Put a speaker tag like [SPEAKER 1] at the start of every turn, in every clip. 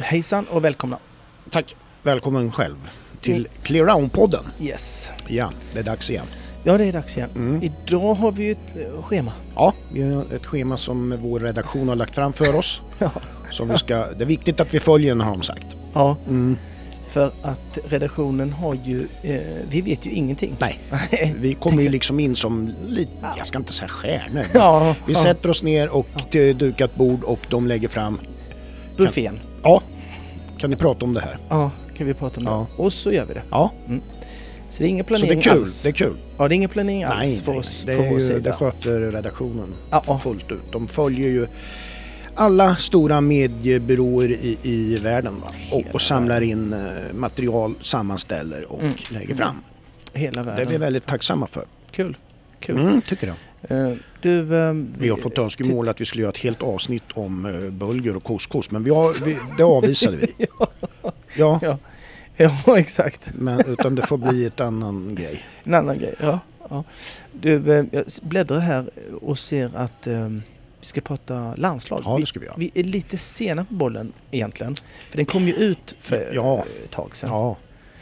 [SPEAKER 1] Hejsan och välkomna.
[SPEAKER 2] Tack. Välkommen själv till Clear Round-podden.
[SPEAKER 1] Yes.
[SPEAKER 2] Ja, det är dags igen.
[SPEAKER 1] Ja, det är dags igen.
[SPEAKER 2] Mm.
[SPEAKER 1] Idag har vi ju ett eh, schema.
[SPEAKER 2] Ja, vi har ett schema som vår redaktion har lagt fram för oss.
[SPEAKER 1] Ja.
[SPEAKER 2] Som vi ska, det är viktigt att vi följer den har de sagt.
[SPEAKER 1] Ja,
[SPEAKER 2] Mm.
[SPEAKER 1] för att redaktionen har ju... Eh, vi vet ju ingenting.
[SPEAKER 2] Nej,
[SPEAKER 1] Nej.
[SPEAKER 2] vi kommer ju liksom in som lite, jag ska inte säga stjärnor. men
[SPEAKER 1] Ja,
[SPEAKER 2] Vi
[SPEAKER 1] ja.
[SPEAKER 2] sätter oss ner och till dukat bord och de lägger fram,
[SPEAKER 1] buffén.
[SPEAKER 2] ja, kan ni prata om det här?
[SPEAKER 1] Ja, kan vi prata om det.
[SPEAKER 2] Ja.
[SPEAKER 1] Och så gör vi det.
[SPEAKER 2] Ja,
[SPEAKER 1] Så det är ingen
[SPEAKER 2] så det
[SPEAKER 1] planering
[SPEAKER 2] är kul.
[SPEAKER 1] alls.
[SPEAKER 2] Det är kul.
[SPEAKER 1] Ja, det är ingen planering alls
[SPEAKER 2] Nej,
[SPEAKER 1] för
[SPEAKER 2] nej,
[SPEAKER 1] oss
[SPEAKER 2] nej.
[SPEAKER 1] från
[SPEAKER 2] Det,
[SPEAKER 1] vår
[SPEAKER 2] är ju,
[SPEAKER 1] sida.
[SPEAKER 2] det sköter redaktionen
[SPEAKER 1] Ja, ja.
[SPEAKER 2] fullt ut. De följer ju alla stora mediebyråer i, i världen va? Och, och samlar in eh, material, sammanställer och
[SPEAKER 1] Mm.
[SPEAKER 2] lägger fram.
[SPEAKER 1] Hela
[SPEAKER 2] Det är
[SPEAKER 1] världen.
[SPEAKER 2] vi väldigt tacksamma för.
[SPEAKER 1] Kul. Kul.
[SPEAKER 2] Mm, tycker jag.
[SPEAKER 1] Eh, du... Eh,
[SPEAKER 2] Vi har fått önskemål att vi skulle göra ett helt avsnitt om eh, bulgur och couscous men vi har, vi, det avvisade vi. Ja,
[SPEAKER 1] Ja. Ja, exakt.
[SPEAKER 2] men, utan det får bli ett annan grej.
[SPEAKER 1] En annan grej. Ja, ja. Du, eh, jag s- bläddrar här och ser att eh, vi ska prata landslag.
[SPEAKER 2] Ja,
[SPEAKER 1] vi,
[SPEAKER 2] det ska vi göra.
[SPEAKER 1] vi är lite sena på bollen egentligen. För den kom ju ut för
[SPEAKER 2] Ja.
[SPEAKER 1] eh, ett tag sedan.
[SPEAKER 2] Ja,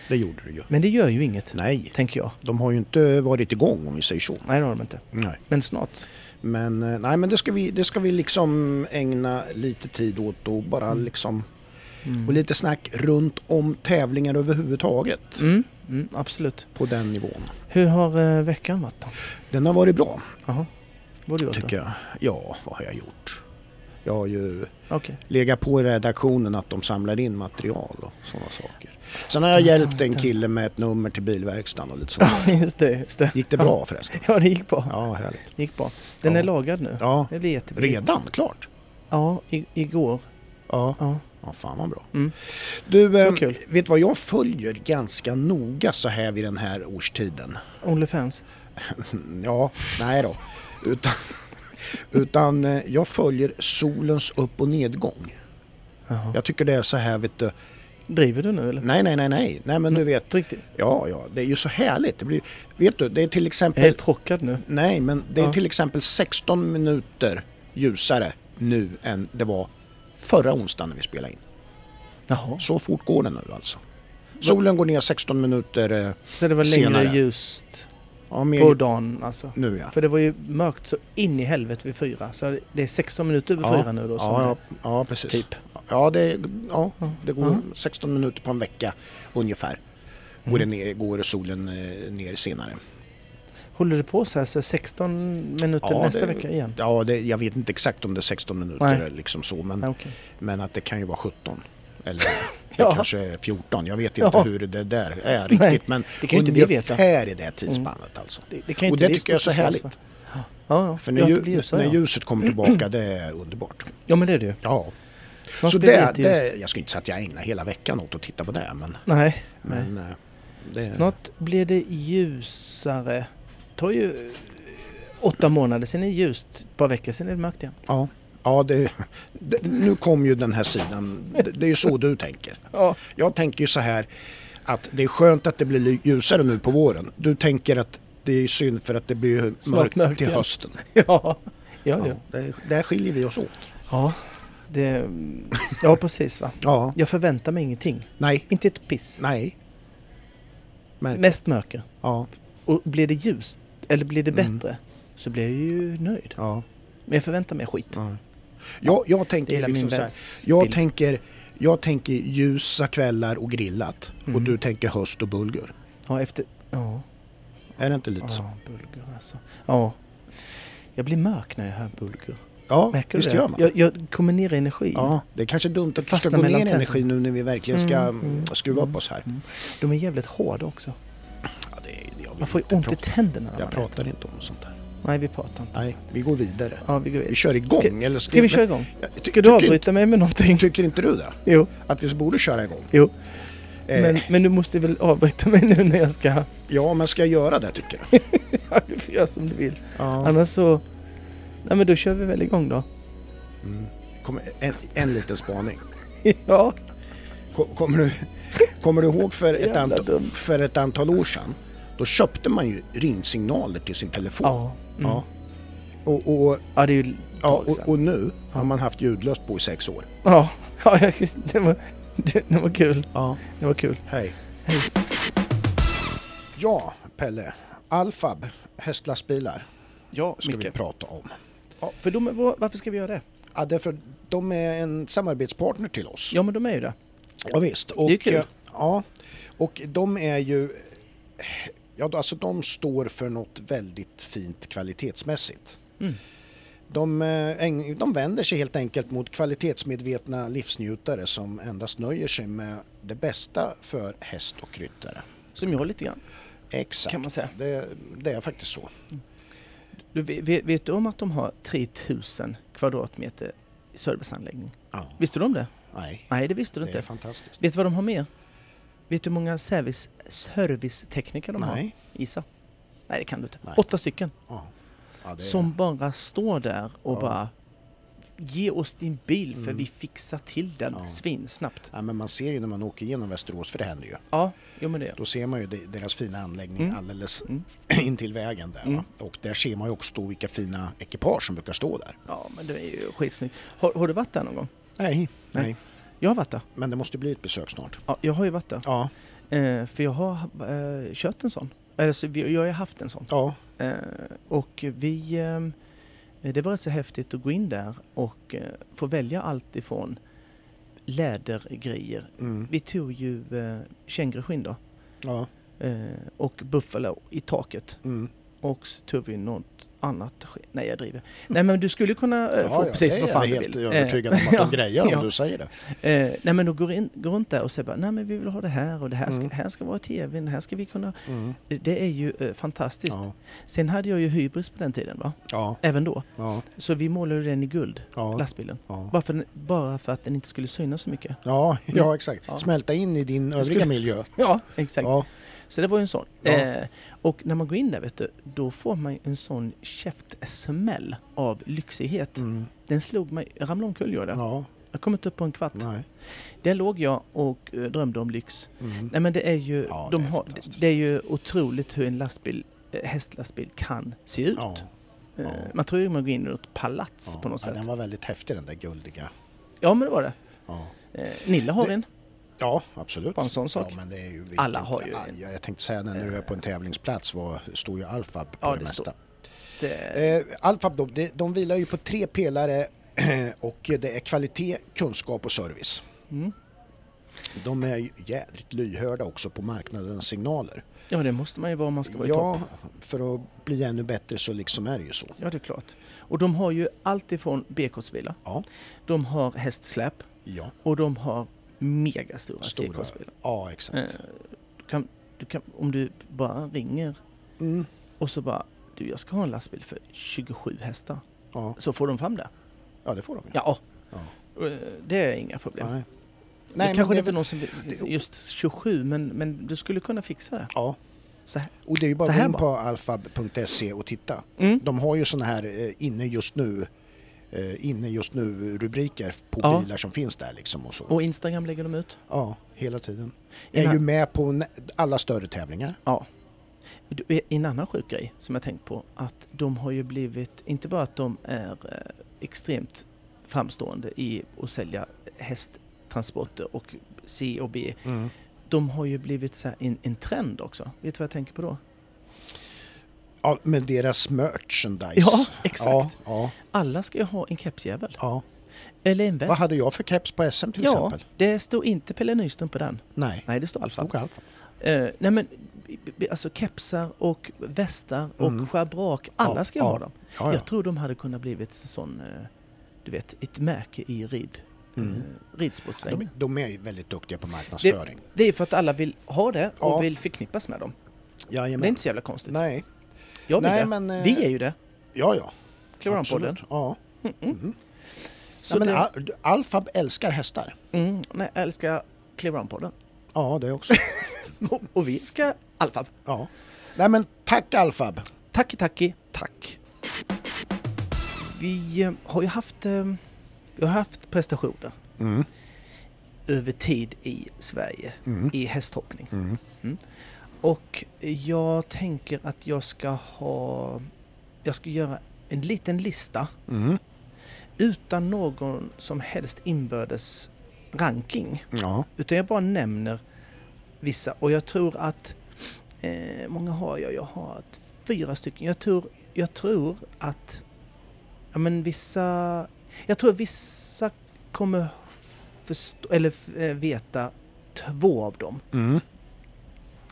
[SPEAKER 2] det gjorde det ju.
[SPEAKER 1] Men det gör ju inget,
[SPEAKER 2] Nej,
[SPEAKER 1] tänker jag.
[SPEAKER 2] de har ju inte varit igång om vi säger så.
[SPEAKER 1] Nej, det har de inte.
[SPEAKER 2] Nej.
[SPEAKER 1] Men snart.
[SPEAKER 2] Men eh, nej, men det ska vi, det ska vi liksom ägna lite tid åt och bara liksom
[SPEAKER 1] Mm.
[SPEAKER 2] och lite snack runt om tävlingar överhuvudtaget
[SPEAKER 1] Mm, mm, absolut.
[SPEAKER 2] på den nivån.
[SPEAKER 1] Hur har eh, veckan varit då?
[SPEAKER 2] Den har varit bra
[SPEAKER 1] Jaha. Vad har du gjort
[SPEAKER 2] tycker jag. Ja, vad har jag gjort? Jag har ju
[SPEAKER 1] då? Okej.
[SPEAKER 2] legat på i redaktionen att de samlar in material och sådana saker. Sen har jag hjälpt en kille med ett nummer till bilverkstaden och lite sånt.
[SPEAKER 1] just det, just det.
[SPEAKER 2] Gick det bra förresten?
[SPEAKER 1] Ja, det gick bra.
[SPEAKER 2] Ja, härligt.
[SPEAKER 1] Det gick bra. Den
[SPEAKER 2] Ja.
[SPEAKER 1] är lagad nu.
[SPEAKER 2] Ja,
[SPEAKER 1] Det blir jättebra.
[SPEAKER 2] redan klart.
[SPEAKER 1] Ja, i, igår.
[SPEAKER 2] Ja,
[SPEAKER 1] Ja.
[SPEAKER 2] ja fan vad bra.
[SPEAKER 1] Mm.
[SPEAKER 2] Du, eh,
[SPEAKER 1] kul.
[SPEAKER 2] vet vad jag följer ganska noga så här vid den här årstiden?
[SPEAKER 1] Onlyfans.
[SPEAKER 2] Ja, nej då. Utan, utan eh, jag följer solens upp och nedgång.
[SPEAKER 1] Jaha.
[SPEAKER 2] Jag tycker det är så här, vet du.
[SPEAKER 1] Driver du nu eller?
[SPEAKER 2] Nej, nej, nej, nej. Nej, men
[SPEAKER 1] Mm.
[SPEAKER 2] du vet.
[SPEAKER 1] Riktigt.
[SPEAKER 2] Ja, ja, det är ju så härligt. Det blir, vet du, det är till
[SPEAKER 1] Jag är
[SPEAKER 2] exempel...
[SPEAKER 1] helt chockad nu.
[SPEAKER 2] Nej, men det är
[SPEAKER 1] Ja.
[SPEAKER 2] till exempel 16 minuter ljusare nu än det var förra onsdagen när vi spelade in.
[SPEAKER 1] Jaha.
[SPEAKER 2] Så fort går det nu alltså. Solen går ner 16 minuter eh,
[SPEAKER 1] Så det var längre
[SPEAKER 2] Senare.
[SPEAKER 1] ljust
[SPEAKER 2] ja,
[SPEAKER 1] på
[SPEAKER 2] mer
[SPEAKER 1] dagen alltså?
[SPEAKER 2] nu ja.
[SPEAKER 1] För det var ju mörkt så in i helvete vid fyra. Så det är 16 minuter över
[SPEAKER 2] Ja,
[SPEAKER 1] fyra nu då? Som
[SPEAKER 2] Ja, ja,
[SPEAKER 1] det-
[SPEAKER 2] ja precis.
[SPEAKER 1] Typ.
[SPEAKER 2] Ja, det, ja,
[SPEAKER 1] Ja.
[SPEAKER 2] det går
[SPEAKER 1] Ja.
[SPEAKER 2] 16 minuter på en vecka ungefär. Går,
[SPEAKER 1] Mm.
[SPEAKER 2] det ner, går solen eh, ner senare.
[SPEAKER 1] Håller det på så här så 16 minuter
[SPEAKER 2] Ja,
[SPEAKER 1] nästa
[SPEAKER 2] det-
[SPEAKER 1] vecka igen?
[SPEAKER 2] Ja, det, jag vet inte exakt om det är 16 minuter
[SPEAKER 1] Nej.
[SPEAKER 2] eller liksom så, men,
[SPEAKER 1] Ja, okej.
[SPEAKER 2] men att det kan ju vara 17. Eller
[SPEAKER 1] Ja.
[SPEAKER 2] kanske är 14. Jag vet inte
[SPEAKER 1] Ja.
[SPEAKER 2] hur det där är
[SPEAKER 1] Nej,
[SPEAKER 2] riktigt, men
[SPEAKER 1] det kan ju inte vi veta. Mm.
[SPEAKER 2] ungefär i det tidsspannet alltså.
[SPEAKER 1] Det, det kan ju
[SPEAKER 2] Och
[SPEAKER 1] inte
[SPEAKER 2] det
[SPEAKER 1] bli
[SPEAKER 2] tycker jag är så
[SPEAKER 1] stort och
[SPEAKER 2] härligt.
[SPEAKER 1] svårt, va? Ja, ja.
[SPEAKER 2] För
[SPEAKER 1] ja,
[SPEAKER 2] när,
[SPEAKER 1] det
[SPEAKER 2] lju-
[SPEAKER 1] blir ljusare,
[SPEAKER 2] när
[SPEAKER 1] ja.
[SPEAKER 2] ljuset kommer tillbaka, det är underbart.
[SPEAKER 1] ja, men det är det ju.
[SPEAKER 2] Ja.
[SPEAKER 1] Snart
[SPEAKER 2] Så
[SPEAKER 1] blir
[SPEAKER 2] det,
[SPEAKER 1] lite ljust.
[SPEAKER 2] det, jag skulle inte säga att jag ägnar hela veckan åt att titta på det, men...
[SPEAKER 1] Nej. Nej.
[SPEAKER 2] men eh, det,
[SPEAKER 1] Snart blir det ljusare. Det tar ju eh, åtta månader, sen är det ljust. Ett par veckor, sen är det mörkt igen.
[SPEAKER 2] Ja, ja det, det, nu kom ju den här sidan. Det, det är ju så du tänker.
[SPEAKER 1] Ja.
[SPEAKER 2] Jag tänker ju så här att det är skönt att det blir li- ljusare nu på våren. Du tänker att det är synd för att det blir
[SPEAKER 1] Snart
[SPEAKER 2] mörkt,
[SPEAKER 1] mörkt
[SPEAKER 2] till
[SPEAKER 1] igen.
[SPEAKER 2] hösten.
[SPEAKER 1] Ja, ja,
[SPEAKER 2] Ja,
[SPEAKER 1] ja.
[SPEAKER 2] det, där skiljer vi oss åt.
[SPEAKER 1] Ja, det, ja precis va.
[SPEAKER 2] Ja,
[SPEAKER 1] Jag förväntar mig ingenting.
[SPEAKER 2] nej,
[SPEAKER 1] Inte ett piss.
[SPEAKER 2] nej. Märk.
[SPEAKER 1] Mest mörker.
[SPEAKER 2] Ja,
[SPEAKER 1] Och blir det ljust, eller blir det
[SPEAKER 2] Mm.
[SPEAKER 1] bättre, så blir jag ju nöjd.
[SPEAKER 2] ja.
[SPEAKER 1] Men jag förväntar mig skit.
[SPEAKER 2] ja. Jag, jag
[SPEAKER 1] Det är
[SPEAKER 2] tänker
[SPEAKER 1] hela
[SPEAKER 2] liksom
[SPEAKER 1] min
[SPEAKER 2] så här.
[SPEAKER 1] världsbild.
[SPEAKER 2] Jag tänker, jag tänker ljusa kvällar och grillat. Och
[SPEAKER 1] Mm.
[SPEAKER 2] du tänker höst och bulgur.
[SPEAKER 1] Ja, efter... Ja,
[SPEAKER 2] Är det inte lite så?
[SPEAKER 1] ja, bulgur alltså. Ja. Jag blir mörk när jag hör bulgur.
[SPEAKER 2] Ja,
[SPEAKER 1] Märker
[SPEAKER 2] visst
[SPEAKER 1] du det?
[SPEAKER 2] gör man.
[SPEAKER 1] Jag, jag kommer ner i energi.
[SPEAKER 2] Ja, det är kanske dumt att vi ska
[SPEAKER 1] Fastna
[SPEAKER 2] gå ner
[SPEAKER 1] mellan
[SPEAKER 2] i
[SPEAKER 1] tänderna.
[SPEAKER 2] energi nu när vi verkligen ska
[SPEAKER 1] Mm,
[SPEAKER 2] mm,
[SPEAKER 1] mm,
[SPEAKER 2] skruva
[SPEAKER 1] mm.
[SPEAKER 2] upp oss här.
[SPEAKER 1] De är jävligt hårda också.
[SPEAKER 2] Ja, det, är- jag vill
[SPEAKER 1] Man får ju
[SPEAKER 2] inte
[SPEAKER 1] ont i
[SPEAKER 2] prata-
[SPEAKER 1] tänderna när
[SPEAKER 2] Jag
[SPEAKER 1] man äter.
[SPEAKER 2] pratar inte om sånt här.
[SPEAKER 1] Nej, vi pratar inte.
[SPEAKER 2] Nej, vi går vidare.
[SPEAKER 1] Ja, vi, går vidare.
[SPEAKER 2] Vi kör igång,
[SPEAKER 1] Ska,
[SPEAKER 2] eller
[SPEAKER 1] ska
[SPEAKER 2] ska
[SPEAKER 1] vi
[SPEAKER 2] vi-
[SPEAKER 1] köra igång?
[SPEAKER 2] Ty-
[SPEAKER 1] Ska du
[SPEAKER 2] tycker
[SPEAKER 1] avbryta mig med någonting?
[SPEAKER 2] inte- Tycker inte du det?
[SPEAKER 1] Jo,
[SPEAKER 2] Att vi borde köra igång?
[SPEAKER 1] jo.
[SPEAKER 2] Eh,
[SPEAKER 1] Men, men du måste väl avbryta mig nu när jag ska...
[SPEAKER 2] Ja, men ska jag göra det tycker jag?
[SPEAKER 1] Ja, du får göra som du vill.
[SPEAKER 2] Ja.
[SPEAKER 1] Annars så... Nej men då kör vi väl igång då.
[SPEAKER 2] Mm. Kommer- en, en liten spaning.
[SPEAKER 1] ja,
[SPEAKER 2] Ko- Kommer du, kommer du ihåg för ett,
[SPEAKER 1] Jävla
[SPEAKER 2] antal,
[SPEAKER 1] dumt.
[SPEAKER 2] för ett antal år sedan? Då köpte man ju ringsignaler till sin telefon.
[SPEAKER 1] ja. Mm.
[SPEAKER 2] Ja. Och, och,
[SPEAKER 1] Ja, det är ju
[SPEAKER 2] ja,
[SPEAKER 1] tag
[SPEAKER 2] och,
[SPEAKER 1] sedan.
[SPEAKER 2] och nu har man haft ljudlöst på i sex år.
[SPEAKER 1] Ja, ja jag- det, var, det, det var kul.
[SPEAKER 2] Ja,
[SPEAKER 1] Det var kul.
[SPEAKER 2] hej. Ja, Pelle. Alfab, hästlastbilar,
[SPEAKER 1] Ja,
[SPEAKER 2] ska vi prata om.
[SPEAKER 1] Ja, för de, är- var, varför ska vi göra det?
[SPEAKER 2] Ja, därför att de är en samarbetspartner till oss.
[SPEAKER 1] Ja, men de är ju det.
[SPEAKER 2] Ja, visst. Och,
[SPEAKER 1] Det är kul.
[SPEAKER 2] eh, Ja, och de är ju... Ja, alltså de står för något väldigt fint kvalitetsmässigt.
[SPEAKER 1] Mm.
[SPEAKER 2] De, eh, äng- de vänder sig helt enkelt mot kvalitetsmedvetna livsnjutare som endast nöjer sig med det bästa för häst och ryttare.
[SPEAKER 1] Som jag lite grann,
[SPEAKER 2] Exakt,
[SPEAKER 1] kan man säga.
[SPEAKER 2] det, det är faktiskt så.
[SPEAKER 1] Du, vet, vet du om att de har 3000 kvadratmeter serviceanläggning?
[SPEAKER 2] Ja.
[SPEAKER 1] Visste du om det?
[SPEAKER 2] Nej,
[SPEAKER 1] Nej, det visste du
[SPEAKER 2] det
[SPEAKER 1] inte.
[SPEAKER 2] är fantastiskt.
[SPEAKER 1] Vet du vad de har med? Vet du hur många service, servicetekniker de har?
[SPEAKER 2] Nej.
[SPEAKER 1] Gissa. Nej, det kan du inte.
[SPEAKER 2] Nej.
[SPEAKER 1] Åtta stycken.
[SPEAKER 2] Ja. Ja, det är,
[SPEAKER 1] Som bara står där och
[SPEAKER 2] Ja.
[SPEAKER 1] bara Ge oss din bil för
[SPEAKER 2] Mm.
[SPEAKER 1] vi fixar till den
[SPEAKER 2] Ja.
[SPEAKER 1] svinsnabbt.
[SPEAKER 2] ja, men man ser ju när man åker igenom Västerås, för det händer ju.
[SPEAKER 1] Ja, jo men det gör
[SPEAKER 2] Då ser man ju de- deras fina anläggning
[SPEAKER 1] Mm.
[SPEAKER 2] alldeles
[SPEAKER 1] Mm.
[SPEAKER 2] intill vägen där.
[SPEAKER 1] Mm.
[SPEAKER 2] Va? Och där ser man ju också då vilka fina ekipage som brukar stå där.
[SPEAKER 1] Ja, men det är ju skitsnyggt. Har, har du varit där någon gång?
[SPEAKER 2] Nej, nej.
[SPEAKER 1] Nej. Jag har varit där.
[SPEAKER 2] Men det måste bli ett besök snart.
[SPEAKER 1] Ja, jag har ju varit där.
[SPEAKER 2] Ja,
[SPEAKER 1] Eh, för jag har eh, kört en sån. Eller så, vi- jag har ju haft en sån.
[SPEAKER 2] ja,
[SPEAKER 1] Eh, och vi... ehm, det var rätt så häftigt att gå in där och eh, få välja allt ifrån lädergrejer.
[SPEAKER 2] mm.
[SPEAKER 1] Vi tog ju eh, känguruskinn då.
[SPEAKER 2] ja,
[SPEAKER 1] Eh, och buffalo i taket.
[SPEAKER 2] mm.
[SPEAKER 1] Och så tog vi något annat skinn. Nej, jag driver. Nej, men du skulle kunna eh,
[SPEAKER 2] ja,
[SPEAKER 1] få
[SPEAKER 2] ja,
[SPEAKER 1] precis
[SPEAKER 2] det
[SPEAKER 1] vad
[SPEAKER 2] är
[SPEAKER 1] fan
[SPEAKER 2] jag
[SPEAKER 1] du
[SPEAKER 2] helt
[SPEAKER 1] vill. Eh,
[SPEAKER 2] övertygad om att de
[SPEAKER 1] ja,
[SPEAKER 2] grejer om
[SPEAKER 1] ja.
[SPEAKER 2] du säger det.
[SPEAKER 1] Eh, nej men då går, in, går runt där och säger bara, nej men vi vill ha det här och det här ska,
[SPEAKER 2] Mm.
[SPEAKER 1] här ska vara tvn, här ska vi kunna...
[SPEAKER 2] Mm.
[SPEAKER 1] Det är ju eh, fantastiskt.
[SPEAKER 2] Ja,
[SPEAKER 1] Sen hade jag ju hybris på den tiden va?
[SPEAKER 2] ja,
[SPEAKER 1] Även då.
[SPEAKER 2] ja,
[SPEAKER 1] Så vi målade den i guld,
[SPEAKER 2] ja,
[SPEAKER 1] lastbilen.
[SPEAKER 2] ja.
[SPEAKER 1] Bara för, den- bara för att den inte skulle synas så mycket.
[SPEAKER 2] Ja, ja, exakt.
[SPEAKER 1] Mm. Ja.
[SPEAKER 2] Smälta in i din övriga
[SPEAKER 1] skulle-
[SPEAKER 2] miljö.
[SPEAKER 1] Ja, exakt.
[SPEAKER 2] Ja,
[SPEAKER 1] Så det var ju en sån.
[SPEAKER 2] Ja.
[SPEAKER 1] Eh, och när man går in där vet du, då får man ju en sån käftsmäll av lyxighet.
[SPEAKER 2] mm.
[SPEAKER 1] Den slog mig, jag ramlade omkull gjorde jag.
[SPEAKER 2] ja,
[SPEAKER 1] Jag kom inte upp på en kvart.
[SPEAKER 2] nej.
[SPEAKER 1] Där låg jag och eh, drömde om lyx.
[SPEAKER 2] Mm.
[SPEAKER 1] Nej men det är ju,
[SPEAKER 2] Ja,
[SPEAKER 1] de
[SPEAKER 2] det är
[SPEAKER 1] har,
[SPEAKER 2] fantastiskt.
[SPEAKER 1] det är ju otroligt hur en lastbil, eh, hästlastbil kan se ut.
[SPEAKER 2] Ja,
[SPEAKER 1] Eh,
[SPEAKER 2] ja.
[SPEAKER 1] Man tror ju man går in i något palats
[SPEAKER 2] ja.
[SPEAKER 1] på något
[SPEAKER 2] ja,
[SPEAKER 1] sätt.
[SPEAKER 2] den var väldigt häftig den där guldiga.
[SPEAKER 1] Ja men det var det.
[SPEAKER 2] Ja.
[SPEAKER 1] Eh, Nilla har
[SPEAKER 2] Det-
[SPEAKER 1] en,
[SPEAKER 2] Ja, absolut.
[SPEAKER 1] bara en sån sak.
[SPEAKER 2] Ja, men det är ju vilket-
[SPEAKER 1] Alla har ju-
[SPEAKER 2] Ja, Jag, jag tänkte säga när du är på en tävlingsplats var, står ju Alfab på
[SPEAKER 1] Ja,
[SPEAKER 2] det,
[SPEAKER 1] det
[SPEAKER 2] mesta.
[SPEAKER 1] Det,
[SPEAKER 2] Eh, Alfab då, de, de vilar ju på tre pelare och det är kvalitet, kunskap och service.
[SPEAKER 1] mm.
[SPEAKER 2] De är ju jädrigt lyhörda också på marknadens signaler.
[SPEAKER 1] Ja det måste man ju vara om man ska vara i topp.
[SPEAKER 2] Ja, för att bli ännu bättre så liksom är det ju så.
[SPEAKER 1] Ja det är klart. Och de har ju allt ifrån B-kortsbilar,
[SPEAKER 2] Ja,
[SPEAKER 1] de har hästsläp
[SPEAKER 2] ja,
[SPEAKER 1] och de har megastora
[SPEAKER 2] Stora.
[SPEAKER 1] C-kortsbilar.
[SPEAKER 2] ja exakt.
[SPEAKER 1] Eh, du kan, du kan, om du bara ringer
[SPEAKER 2] Mm,
[SPEAKER 1] och så bara du jag ska ha en lastbil för 27 hästar.
[SPEAKER 2] ja.
[SPEAKER 1] Så får de fram det.
[SPEAKER 2] ja, det får de ju.
[SPEAKER 1] Ja,
[SPEAKER 2] Ja.
[SPEAKER 1] Eh, det är inga problem.
[SPEAKER 2] Nej.
[SPEAKER 1] Nej,
[SPEAKER 2] men
[SPEAKER 1] det kanske
[SPEAKER 2] det är
[SPEAKER 1] inte är
[SPEAKER 2] väl-
[SPEAKER 1] någon som vill- just 27, men, men du skulle kunna fixa det.
[SPEAKER 2] Ja,
[SPEAKER 1] Så här.
[SPEAKER 2] och det är ju bara
[SPEAKER 1] Så
[SPEAKER 2] att gå
[SPEAKER 1] här
[SPEAKER 2] in
[SPEAKER 1] bara.
[SPEAKER 2] på alfab.se och titta.
[SPEAKER 1] Mm.
[SPEAKER 2] De har ju såna här eh, inne just nu eh, inne just nu rubriker på
[SPEAKER 1] Ja.
[SPEAKER 2] bilar som finns där liksom och så.
[SPEAKER 1] Och Instagram lägger de ut.
[SPEAKER 2] Ja, hela tiden.
[SPEAKER 1] En
[SPEAKER 2] Jag är ju
[SPEAKER 1] a-
[SPEAKER 2] med på nä- alla större tävlingar.
[SPEAKER 1] Ja. Du, eh, En annan sjuk grej som jag tänkt på, att de har ju blivit, inte bara att de är eh, extremt framstående i att sälja hästtransporter och C och B. De har ju blivit så här en, en trend också. Vet du vad jag tänker på då?
[SPEAKER 2] Ja, med deras merchandise.
[SPEAKER 1] Ja, exakt.
[SPEAKER 2] Ja, ja,
[SPEAKER 1] Alla ska ju ha en kepsjävel.
[SPEAKER 2] ja.
[SPEAKER 1] Eller en väst.
[SPEAKER 2] Vad hade jag för keps på SM till
[SPEAKER 1] ja,
[SPEAKER 2] exempel?
[SPEAKER 1] det står inte Pelle Nyström på den.
[SPEAKER 2] Nej.
[SPEAKER 1] Nej, det står Alfa.
[SPEAKER 2] Stod Alfa.
[SPEAKER 1] Eh, nej men, b- b- alltså kepsar och västar och
[SPEAKER 2] Mm.
[SPEAKER 1] schabrak, alla
[SPEAKER 2] Ja,
[SPEAKER 1] ska ju
[SPEAKER 2] ja,
[SPEAKER 1] ha dem.
[SPEAKER 2] Ja, ja.
[SPEAKER 1] Jag tror de hade kunnat blivit så- sån, eh, du vet, ett märke i rid,
[SPEAKER 2] Mm.
[SPEAKER 1] eh,
[SPEAKER 2] De,
[SPEAKER 1] ridsportsvängen.
[SPEAKER 2] de är ju väldigt duktiga på marknadsföring.
[SPEAKER 1] Det är för att alla vill ha det och
[SPEAKER 2] Ja.
[SPEAKER 1] vill förknippas med dem. Det är
[SPEAKER 2] Jajamän.
[SPEAKER 1] inte så jävla konstigt.
[SPEAKER 2] Nej.
[SPEAKER 1] jag vill
[SPEAKER 2] nej,
[SPEAKER 1] det.
[SPEAKER 2] men, eh,
[SPEAKER 1] Vi är ju det,
[SPEAKER 2] Ja, ja.
[SPEAKER 1] Kloranpodden.
[SPEAKER 2] Absolut. Ja.
[SPEAKER 1] Så
[SPEAKER 2] nej, men
[SPEAKER 1] det,
[SPEAKER 2] Al- Alfab älskar hästar.
[SPEAKER 1] mm, nej, jag älskar Clearown-podden.
[SPEAKER 2] Ja, det också.
[SPEAKER 1] Och, och vi ska Alfab.
[SPEAKER 2] ja. Nej men tack Alfab.
[SPEAKER 1] Tack, tacki, tack. Vi eh, har ju haft, eh, vi har haft prestationer
[SPEAKER 2] Mm.
[SPEAKER 1] över tid i Sverige
[SPEAKER 2] Mm.
[SPEAKER 1] i hästhoppning.
[SPEAKER 2] Mm.
[SPEAKER 1] Och jag tänker att jag ska ha... Jag ska göra en liten lista
[SPEAKER 2] Mm.
[SPEAKER 1] utan någon som helst inbördes ranking.
[SPEAKER 2] Ja.
[SPEAKER 1] Utan jag bara nämner vissa och jag tror att, eh, många har jag? Jag har ett, fyra stycken. Jag tror, jag tror att, ja men vissa, jag tror vissa kommer förstå, eller eh, veta två av dem.
[SPEAKER 2] Mm.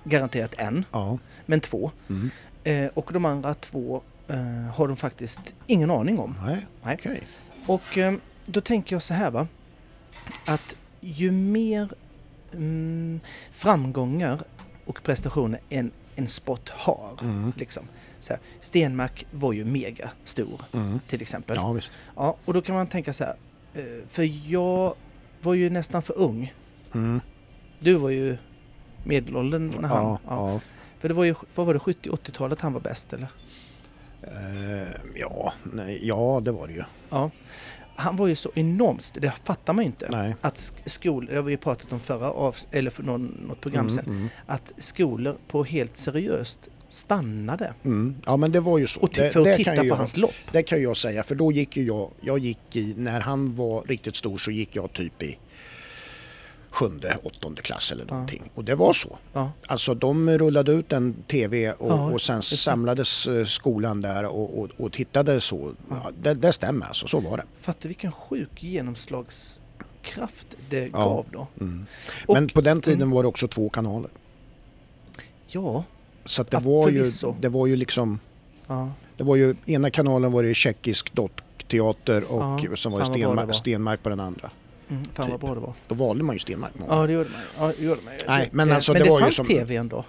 [SPEAKER 1] Garanterat en,
[SPEAKER 2] Ja.
[SPEAKER 1] men två.
[SPEAKER 2] Mm.
[SPEAKER 1] Eh, och de andra två eh, har de faktiskt ingen aning om.
[SPEAKER 2] Nej.
[SPEAKER 1] Nej.
[SPEAKER 2] Okej.
[SPEAKER 1] Och eh, då tänker jag så här va. Att ju mer mm, framgångar och prestationer en, en sport har.
[SPEAKER 2] Mm.
[SPEAKER 1] Liksom. Så här, Stenmark var ju mega stor
[SPEAKER 2] Mm.
[SPEAKER 1] till exempel. Ja.
[SPEAKER 2] Ja, visst.
[SPEAKER 1] och då kan man tänka så här. eh, För jag var ju nästan för ung.
[SPEAKER 2] Mm.
[SPEAKER 1] Du var ju medelåldern när han...
[SPEAKER 2] Ja,
[SPEAKER 1] ja.
[SPEAKER 2] ja.
[SPEAKER 1] För det var ju, vad var det, 70-80-talet han var bäst eller?
[SPEAKER 2] Eh, ja, nej, ja, det var det ju. Mm,
[SPEAKER 1] Ja. Han var ju så enormt, st- det fattar man ju inte.
[SPEAKER 2] Nej.
[SPEAKER 1] Att sk- skolor, det har vi ju pratat om förra av, eller för någon, något program
[SPEAKER 2] Mm,
[SPEAKER 1] sen,
[SPEAKER 2] mm,
[SPEAKER 1] att skolor på helt seriöst stannade
[SPEAKER 2] mm. Ja, men det var ju så.
[SPEAKER 1] och ti-
[SPEAKER 2] Det-
[SPEAKER 1] för
[SPEAKER 2] det
[SPEAKER 1] att
[SPEAKER 2] kan
[SPEAKER 1] titta
[SPEAKER 2] ju
[SPEAKER 1] på
[SPEAKER 2] jag,
[SPEAKER 1] hans lopp.
[SPEAKER 2] Det kan jag säga, för då gick ju jag, jag gick i, när han var riktigt stor så gick jag typ i sjunde, åttonde klass eller någonting. Och det var så.
[SPEAKER 1] Ja.
[SPEAKER 2] Alltså de rullade ut en TV och,
[SPEAKER 1] Ja,
[SPEAKER 2] och sen
[SPEAKER 1] just det.
[SPEAKER 2] samlades eh, skolan där och, och, och tittade så. Ja, det, det stämmer alltså, så var det.
[SPEAKER 1] Fattar vilken sjuk genomslagskraft det
[SPEAKER 2] Ja.
[SPEAKER 1] gav då.
[SPEAKER 2] Mm.
[SPEAKER 1] Och-
[SPEAKER 2] Men på den tiden
[SPEAKER 1] mm.
[SPEAKER 2] var det också två kanaler.
[SPEAKER 1] Ja,
[SPEAKER 2] Så att det,
[SPEAKER 1] Ja,
[SPEAKER 2] var ju,
[SPEAKER 1] förvisso.
[SPEAKER 2] det var ju liksom,
[SPEAKER 1] ja,
[SPEAKER 2] det var ju, ena kanalen var det tjeckisk dockteater och
[SPEAKER 1] Ja,
[SPEAKER 2] sen var det,
[SPEAKER 1] fan vad bra det var.
[SPEAKER 2] Stenmark, Stenmark på den andra.
[SPEAKER 1] mm, fan vad
[SPEAKER 2] Typ.
[SPEAKER 1] bra det var.
[SPEAKER 2] Då valde man ju Stenmark. många
[SPEAKER 1] Ja, det gjorde man. Ja, det gjorde man. ju.
[SPEAKER 2] Nej, men
[SPEAKER 1] Eh,
[SPEAKER 2] alltså,
[SPEAKER 1] men
[SPEAKER 2] det
[SPEAKER 1] det,
[SPEAKER 2] var ju
[SPEAKER 1] fanns
[SPEAKER 2] som-
[SPEAKER 1] tv ändå?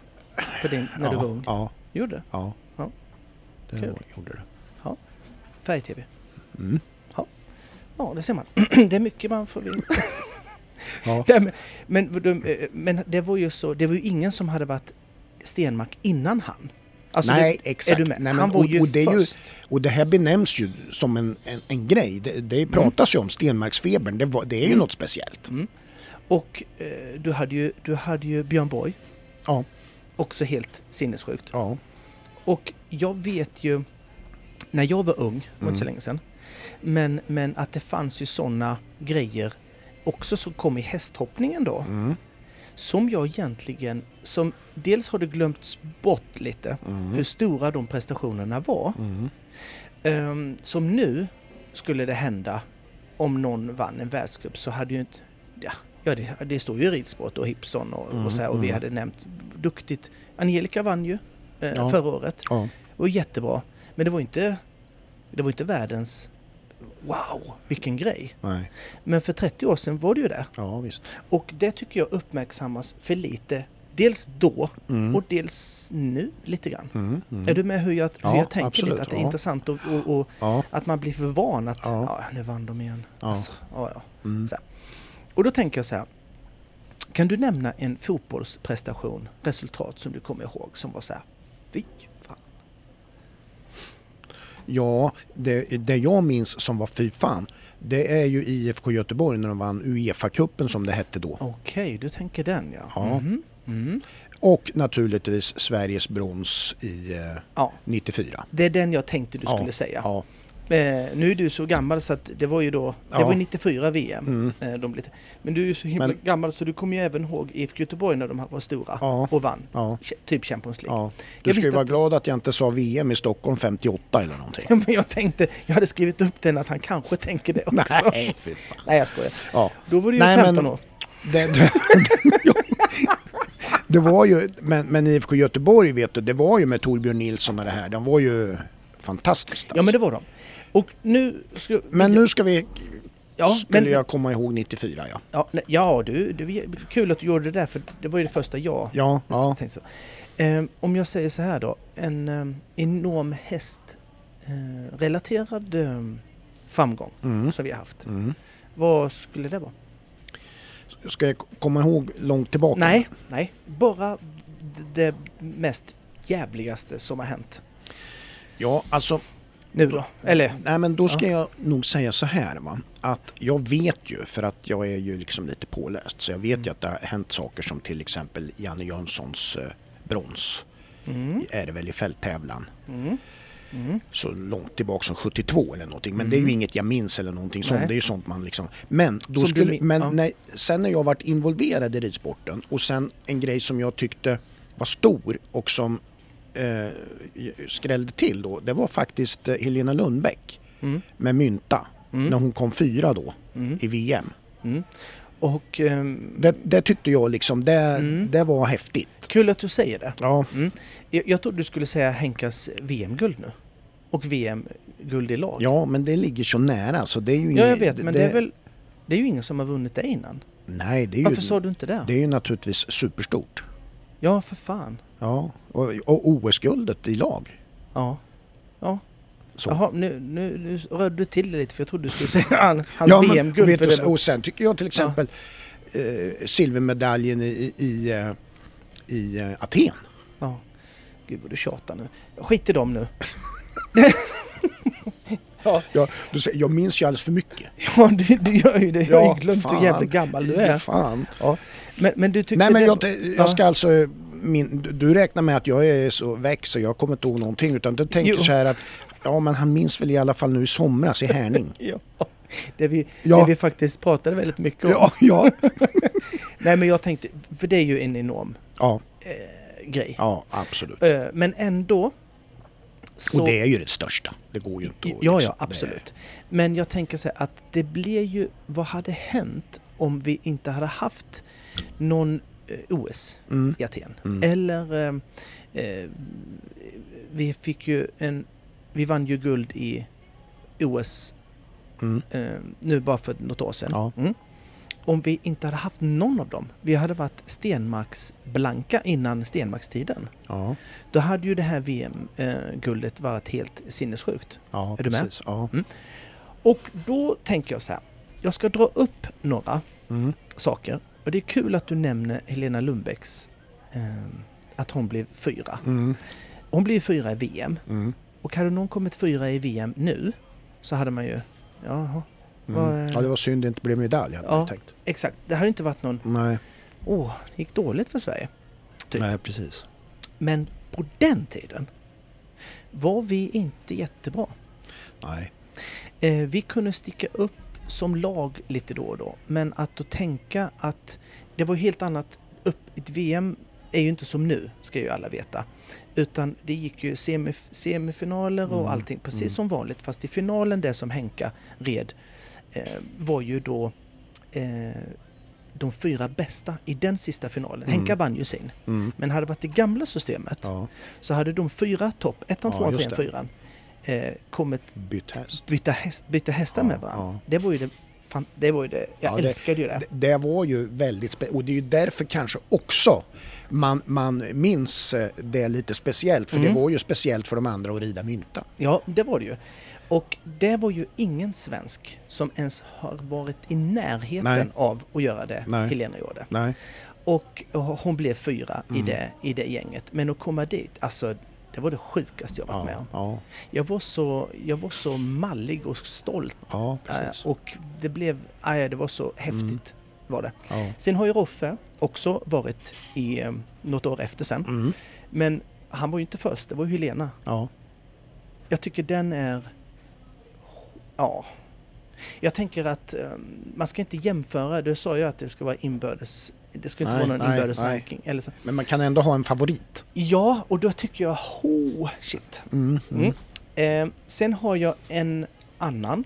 [SPEAKER 1] På din, när
[SPEAKER 2] ja,
[SPEAKER 1] du var ung?
[SPEAKER 2] Ja,
[SPEAKER 1] Gjorde det?
[SPEAKER 2] ja.
[SPEAKER 1] Ja.
[SPEAKER 2] Det
[SPEAKER 1] Kul.
[SPEAKER 2] var, gjorde det.
[SPEAKER 1] Färg-tv?
[SPEAKER 2] Mm.
[SPEAKER 1] Ja, det ser man. det är mycket man får veta.
[SPEAKER 2] Ja.
[SPEAKER 1] Nej, men, men, de, eh, men det var ju så, det var ju ingen som hade varit Stenmark innan han. Alltså,
[SPEAKER 2] Nej,
[SPEAKER 1] det,
[SPEAKER 2] exakt.
[SPEAKER 1] Är du med?
[SPEAKER 2] Nej, men,
[SPEAKER 1] han var
[SPEAKER 2] och-
[SPEAKER 1] ju
[SPEAKER 2] och det är ju-
[SPEAKER 1] först.
[SPEAKER 2] Och det här benämns ju som en, en, en grej. Det, det
[SPEAKER 1] Mm.
[SPEAKER 2] pratas ju om Stenmarksfebern. Det, var, det är ju något speciellt.
[SPEAKER 1] Och eh, du, hade ju, du hade ju Björn Borg,
[SPEAKER 2] Ja,
[SPEAKER 1] också helt sinnessjukt.
[SPEAKER 2] ja.
[SPEAKER 1] Och jag vet ju, när jag var ung, det var inte så
[SPEAKER 2] Mm.
[SPEAKER 1] länge sedan, men, men att det fanns ju sådana grejer också som kom i hästhoppningen då.
[SPEAKER 2] Mm,
[SPEAKER 1] Som jag egentligen, som dels har det glömts bort lite, hur stora de prestationerna var.
[SPEAKER 2] mm,
[SPEAKER 1] Ehm, som nu skulle det hända om någon vann en världscup så hade ju inte... Ja, ja det, det står ju ridsport och Hipson och,
[SPEAKER 2] Mm,
[SPEAKER 1] och så här, och vi hade nämnt duktigt. Angelica vann ju eh,
[SPEAKER 2] Ja.
[SPEAKER 1] förra året.
[SPEAKER 2] ja.
[SPEAKER 1] Det var jättebra. Men det var ju inte, det var inte världens... Wow, vilken grej!
[SPEAKER 2] Nej.
[SPEAKER 1] Men för 30 år sedan var det ju det.
[SPEAKER 2] Ja, visst.
[SPEAKER 1] Och det tycker jag uppmärksammas för lite. Dels då och dels nu lite grann.
[SPEAKER 2] Mm, mm.
[SPEAKER 1] Är du med hur jag, hur
[SPEAKER 2] Ja,
[SPEAKER 1] jag tänker
[SPEAKER 2] absolut,
[SPEAKER 1] lite? Att det är
[SPEAKER 2] ja.
[SPEAKER 1] intressant och, och, och
[SPEAKER 2] Ja,
[SPEAKER 1] att man blir förvånad att ja.
[SPEAKER 2] Ja.
[SPEAKER 1] nu vann de igen.
[SPEAKER 2] Ja.
[SPEAKER 1] Alltså, ja, ja.
[SPEAKER 2] Mm.
[SPEAKER 1] Så här. Och då tänker jag så här. Kan du nämna en fotbollsprestation, resultat som du kommer ihåg som var så här, fy fan.
[SPEAKER 2] ja det, det jag minns som var fy fan, det är ju IFK Göteborg när de vann Uefa-cupen som det hette då.
[SPEAKER 1] Okej, du tänker den ja.
[SPEAKER 2] Ja.
[SPEAKER 1] Mhm. Mm.
[SPEAKER 2] Och naturligtvis Sveriges brons i eh,
[SPEAKER 1] ja.
[SPEAKER 2] 94.
[SPEAKER 1] Det är den jag tänkte du
[SPEAKER 2] Ja,
[SPEAKER 1] skulle säga.
[SPEAKER 2] Ja,
[SPEAKER 1] Eh, nu är du så gammal så att det var ju då, det
[SPEAKER 2] Ja.
[SPEAKER 1] var ju 94 VM.
[SPEAKER 2] Mm.
[SPEAKER 1] Eh, de blev, men du är ju så himla
[SPEAKER 2] Men-
[SPEAKER 1] gammal så du kommer ju även ihåg IFK Göteborg när de här var stora
[SPEAKER 2] Ja.
[SPEAKER 1] och vann.
[SPEAKER 2] ja,
[SPEAKER 1] Ch- Typ Champions League.
[SPEAKER 2] ja.
[SPEAKER 1] Jag
[SPEAKER 2] Du ska
[SPEAKER 1] visste
[SPEAKER 2] ju vara
[SPEAKER 1] att-
[SPEAKER 2] glad att jag inte sa VM i Stockholm 58 eller någonting.
[SPEAKER 1] Ja, men jag tänkte, jag hade skrivit upp den att han kanske tänker det också.
[SPEAKER 2] Nej, fy fan.
[SPEAKER 1] Nej, jag skojar.
[SPEAKER 2] Ja.
[SPEAKER 1] Då var du ju
[SPEAKER 2] Nej,
[SPEAKER 1] 15
[SPEAKER 2] men-
[SPEAKER 1] år.
[SPEAKER 2] Det, det, ja. det var ju, men, men IFK Göteborg vet du, det var ju med Torbjörn Nilsson och det här, de var ju fantastiskt.
[SPEAKER 1] Ja, men
[SPEAKER 2] alltså.
[SPEAKER 1] det var de. Och nu... Ska,
[SPEAKER 2] men nu ska vi,
[SPEAKER 1] ja,
[SPEAKER 2] skulle
[SPEAKER 1] men,
[SPEAKER 2] jag komma ihåg 94 ja.
[SPEAKER 1] ja, nej, ja, du, det var kul att du gjorde det där för det var ju det första jag
[SPEAKER 2] Ja, ja.
[SPEAKER 1] jag tänkte så. Ehm, om jag säger så här då, en ehm, enorm hästrelaterad ehm, framgång
[SPEAKER 2] Mm.
[SPEAKER 1] som vi har haft.
[SPEAKER 2] Mm.
[SPEAKER 1] Vad skulle det vara?
[SPEAKER 2] Ska jag komma ihåg långt tillbaka?
[SPEAKER 1] Nej, nej, bara d- det mest jävligaste som har hänt
[SPEAKER 2] Ja, alltså,
[SPEAKER 1] nu då. Eller
[SPEAKER 2] nej men då ska jag nog säga så här va, att jag vet ju, för att jag är ju liksom lite påläst, så jag vet ju att det har hänt saker som till exempel Janne Jönssons eh, brons,
[SPEAKER 1] Mm.
[SPEAKER 2] är det väl i fälttävlan.
[SPEAKER 1] Mm. Mm.
[SPEAKER 2] så långt tillbaka som 72 eller någonting. Men det är ju
[SPEAKER 1] Mm.
[SPEAKER 2] inget jag minns eller någonting sånt.
[SPEAKER 1] Nej.
[SPEAKER 2] Det är ju sånt man liksom... Men, då
[SPEAKER 1] Som du
[SPEAKER 2] skulle,
[SPEAKER 1] min-
[SPEAKER 2] men
[SPEAKER 1] ja.
[SPEAKER 2] när, sen när jag varit involverad i ridsporten och sen en grej som jag tyckte var stor och som eh, skrällde till då. Det var faktiskt eh, Helena Lundbäck
[SPEAKER 1] Mm.
[SPEAKER 2] med mynta.
[SPEAKER 1] Mm.
[SPEAKER 2] När hon kom fyra då
[SPEAKER 1] Mm.
[SPEAKER 2] i VM.
[SPEAKER 1] Mm. Och ehm,
[SPEAKER 2] Det, det tyckte jag liksom, det,
[SPEAKER 1] Mm.
[SPEAKER 2] det var häftigt.
[SPEAKER 1] kul att du säger det.
[SPEAKER 2] Ja,
[SPEAKER 1] Jag, jag trodde du skulle säga Henkas VM-guld nu. Och VM-guld i lag.
[SPEAKER 2] ja, men det ligger så nära så det är ju
[SPEAKER 1] Ja, jag
[SPEAKER 2] inget-
[SPEAKER 1] vet, men det, är väl... Det är ju ingen som har vunnit det innan.
[SPEAKER 2] Nej, det är ju,
[SPEAKER 1] Varför sa du inte det?
[SPEAKER 2] det är ju naturligtvis superstort.
[SPEAKER 1] Ja, för fan.
[SPEAKER 2] Ja, och, och OS-guldet i lag.
[SPEAKER 1] Ja.
[SPEAKER 2] Så.
[SPEAKER 1] Jaha, nu, nu, nu rörde du till det lite för jag trodde du skulle säga han, hans
[SPEAKER 2] Ja, men
[SPEAKER 1] Alltså VM-guld.
[SPEAKER 2] vet
[SPEAKER 1] För
[SPEAKER 2] du,
[SPEAKER 1] det var...
[SPEAKER 2] Och sen tycker jag till exempel eh, silvermedaljen i, i, eh, i eh, Aten.
[SPEAKER 1] ja. Gud vad du tjatar nu. Skit i dem nu.
[SPEAKER 2] Jag, du säger, jag minns ju alldeles för mycket.
[SPEAKER 1] Ja, du, du gör ju det. Jag har ju glömt hur jävla gammal du är.
[SPEAKER 2] Fan.
[SPEAKER 1] Men, men du tyckte
[SPEAKER 2] Nej, men
[SPEAKER 1] det...
[SPEAKER 2] jag, jag ska alltså... Min, du- du räknar med att jag är så väck så jag kommer inte ihåg någonting utan du tänker
[SPEAKER 1] Jo.
[SPEAKER 2] så här att ja men han minns väl i alla fall nu i somras i Härning.
[SPEAKER 1] Ja, det vi, det
[SPEAKER 2] Ja,
[SPEAKER 1] vi faktiskt pratade väldigt mycket om.
[SPEAKER 2] ja, ja,
[SPEAKER 1] Nej, men jag tänkte, för det är ju en enorm
[SPEAKER 2] ja,
[SPEAKER 1] eh, grej.
[SPEAKER 2] ja absolut.
[SPEAKER 1] Eh, men ändå... Så,
[SPEAKER 2] Och det är ju det största. Det går ju inte att
[SPEAKER 1] Ja,
[SPEAKER 2] liksom-
[SPEAKER 1] ja,
[SPEAKER 2] det-
[SPEAKER 1] absolut. Men jag tänker så här att det blev ju... Vad hade hänt om vi inte hade haft någon eh, OS
[SPEAKER 2] Mm,
[SPEAKER 1] i Aten?
[SPEAKER 2] mm.
[SPEAKER 1] Eller... Eh, eh, vi fick ju en... Vi vann ju guld i OS
[SPEAKER 2] Mm.
[SPEAKER 1] eh, nu bara för något år sedan.
[SPEAKER 2] Ja.
[SPEAKER 1] Mm. Om vi inte hade haft någon av dem, vi hade varit Stenmarksblanka innan Stenmarkstiden.
[SPEAKER 2] Ja,
[SPEAKER 1] Då hade ju det här VM-guldet varit helt sinnessjukt.
[SPEAKER 2] ja,
[SPEAKER 1] Är du med?
[SPEAKER 2] precis. Ja.
[SPEAKER 1] Och då tänker jag så här, jag ska dra upp några
[SPEAKER 2] Mm.
[SPEAKER 1] saker. Och det är kul att du nämner Helena Lundbäcks, eh, att hon blev fyra.
[SPEAKER 2] Mm.
[SPEAKER 1] Hon blev fyra i VM.
[SPEAKER 2] Mm.
[SPEAKER 1] Och hade någon kommit fyra i VM nu så hade man ju, jaha, Vad
[SPEAKER 2] Mm.
[SPEAKER 1] är-
[SPEAKER 2] Ja, det var synd det inte blev medalj hade
[SPEAKER 1] Ja.
[SPEAKER 2] jag tänkt.
[SPEAKER 1] exakt. Det hade inte varit någon,
[SPEAKER 2] Nej,
[SPEAKER 1] åh, det gick dåligt för Sverige. Typ.
[SPEAKER 2] nej precis.
[SPEAKER 1] Men på den tiden var vi inte jättebra.
[SPEAKER 2] Nej.
[SPEAKER 1] Eh, vi kunde sticka upp som lag lite då och då, men att då tänka att det var helt annat. Upp, ett VM är ju inte som nu, ska ju alla veta, utan det gick ju semif- semifinaler och
[SPEAKER 2] Mm,
[SPEAKER 1] allting precis
[SPEAKER 2] mm.
[SPEAKER 1] som vanligt, fast i finalen, det som Henka red, eh, var ju då eh, de fyra bästa i den sista finalen.
[SPEAKER 2] Mm.
[SPEAKER 1] Henka vann ju sin,
[SPEAKER 2] Mm.
[SPEAKER 1] men hade det varit det gamla systemet
[SPEAKER 2] Ja,
[SPEAKER 1] så hade de fyra topp, ettan,
[SPEAKER 2] Ja,
[SPEAKER 1] tvåan,
[SPEAKER 2] just
[SPEAKER 1] trean, fyran, eh, kommit
[SPEAKER 2] bytt häst.
[SPEAKER 1] byta, häst, byta hästar
[SPEAKER 2] Ja,
[SPEAKER 1] med varandra.
[SPEAKER 2] ja.
[SPEAKER 1] Det var ju det, fan, det var ju det, jag
[SPEAKER 2] Ja, det-
[SPEAKER 1] älskade ju det.
[SPEAKER 2] Det, det var ju väldigt spe- och det är ju därför kanske också man, man minns eh, det lite speciellt för
[SPEAKER 1] Mm.
[SPEAKER 2] det var ju speciellt för de andra att rida mynta.
[SPEAKER 1] Ja, det var det ju. Och det var ju ingen svensk som ens har varit i närheten
[SPEAKER 2] Nej.
[SPEAKER 1] av att göra det
[SPEAKER 2] Nej.
[SPEAKER 1] Helena gjorde.
[SPEAKER 2] Nej.
[SPEAKER 1] Och och hon blev fyra i,
[SPEAKER 2] Mm.
[SPEAKER 1] det, i det gänget. Men att komma dit, alltså det var det sjukaste jag varit med
[SPEAKER 2] Ja,
[SPEAKER 1] om.
[SPEAKER 2] ja,
[SPEAKER 1] Jag var, så, jag var så mallig och stolt.
[SPEAKER 2] ja,
[SPEAKER 1] eh,
[SPEAKER 2] precis. Mm.
[SPEAKER 1] Och det blev, aj, det var så häftigt var det.
[SPEAKER 2] Ja.
[SPEAKER 1] Sen har ju Roffe också varit i eh, något år efter sen.
[SPEAKER 2] Mm.
[SPEAKER 1] Men han var ju inte först, det var ju Helena.
[SPEAKER 2] Ja.
[SPEAKER 1] Jag tycker den är... Ja. Jag tänker att eh, man ska inte jämföra, du sa ju att det ska vara inbördes... Det ska inte
[SPEAKER 2] Nej,
[SPEAKER 1] vara någon
[SPEAKER 2] nej,
[SPEAKER 1] inbördes
[SPEAKER 2] nej.
[SPEAKER 1] ranking eller så.
[SPEAKER 2] Men man kan ändå ha en favorit.
[SPEAKER 1] Ja, och då tycker jag... Oh, shit.
[SPEAKER 2] Mm. Mm.
[SPEAKER 1] Mm. Eh, sen har jag en annan.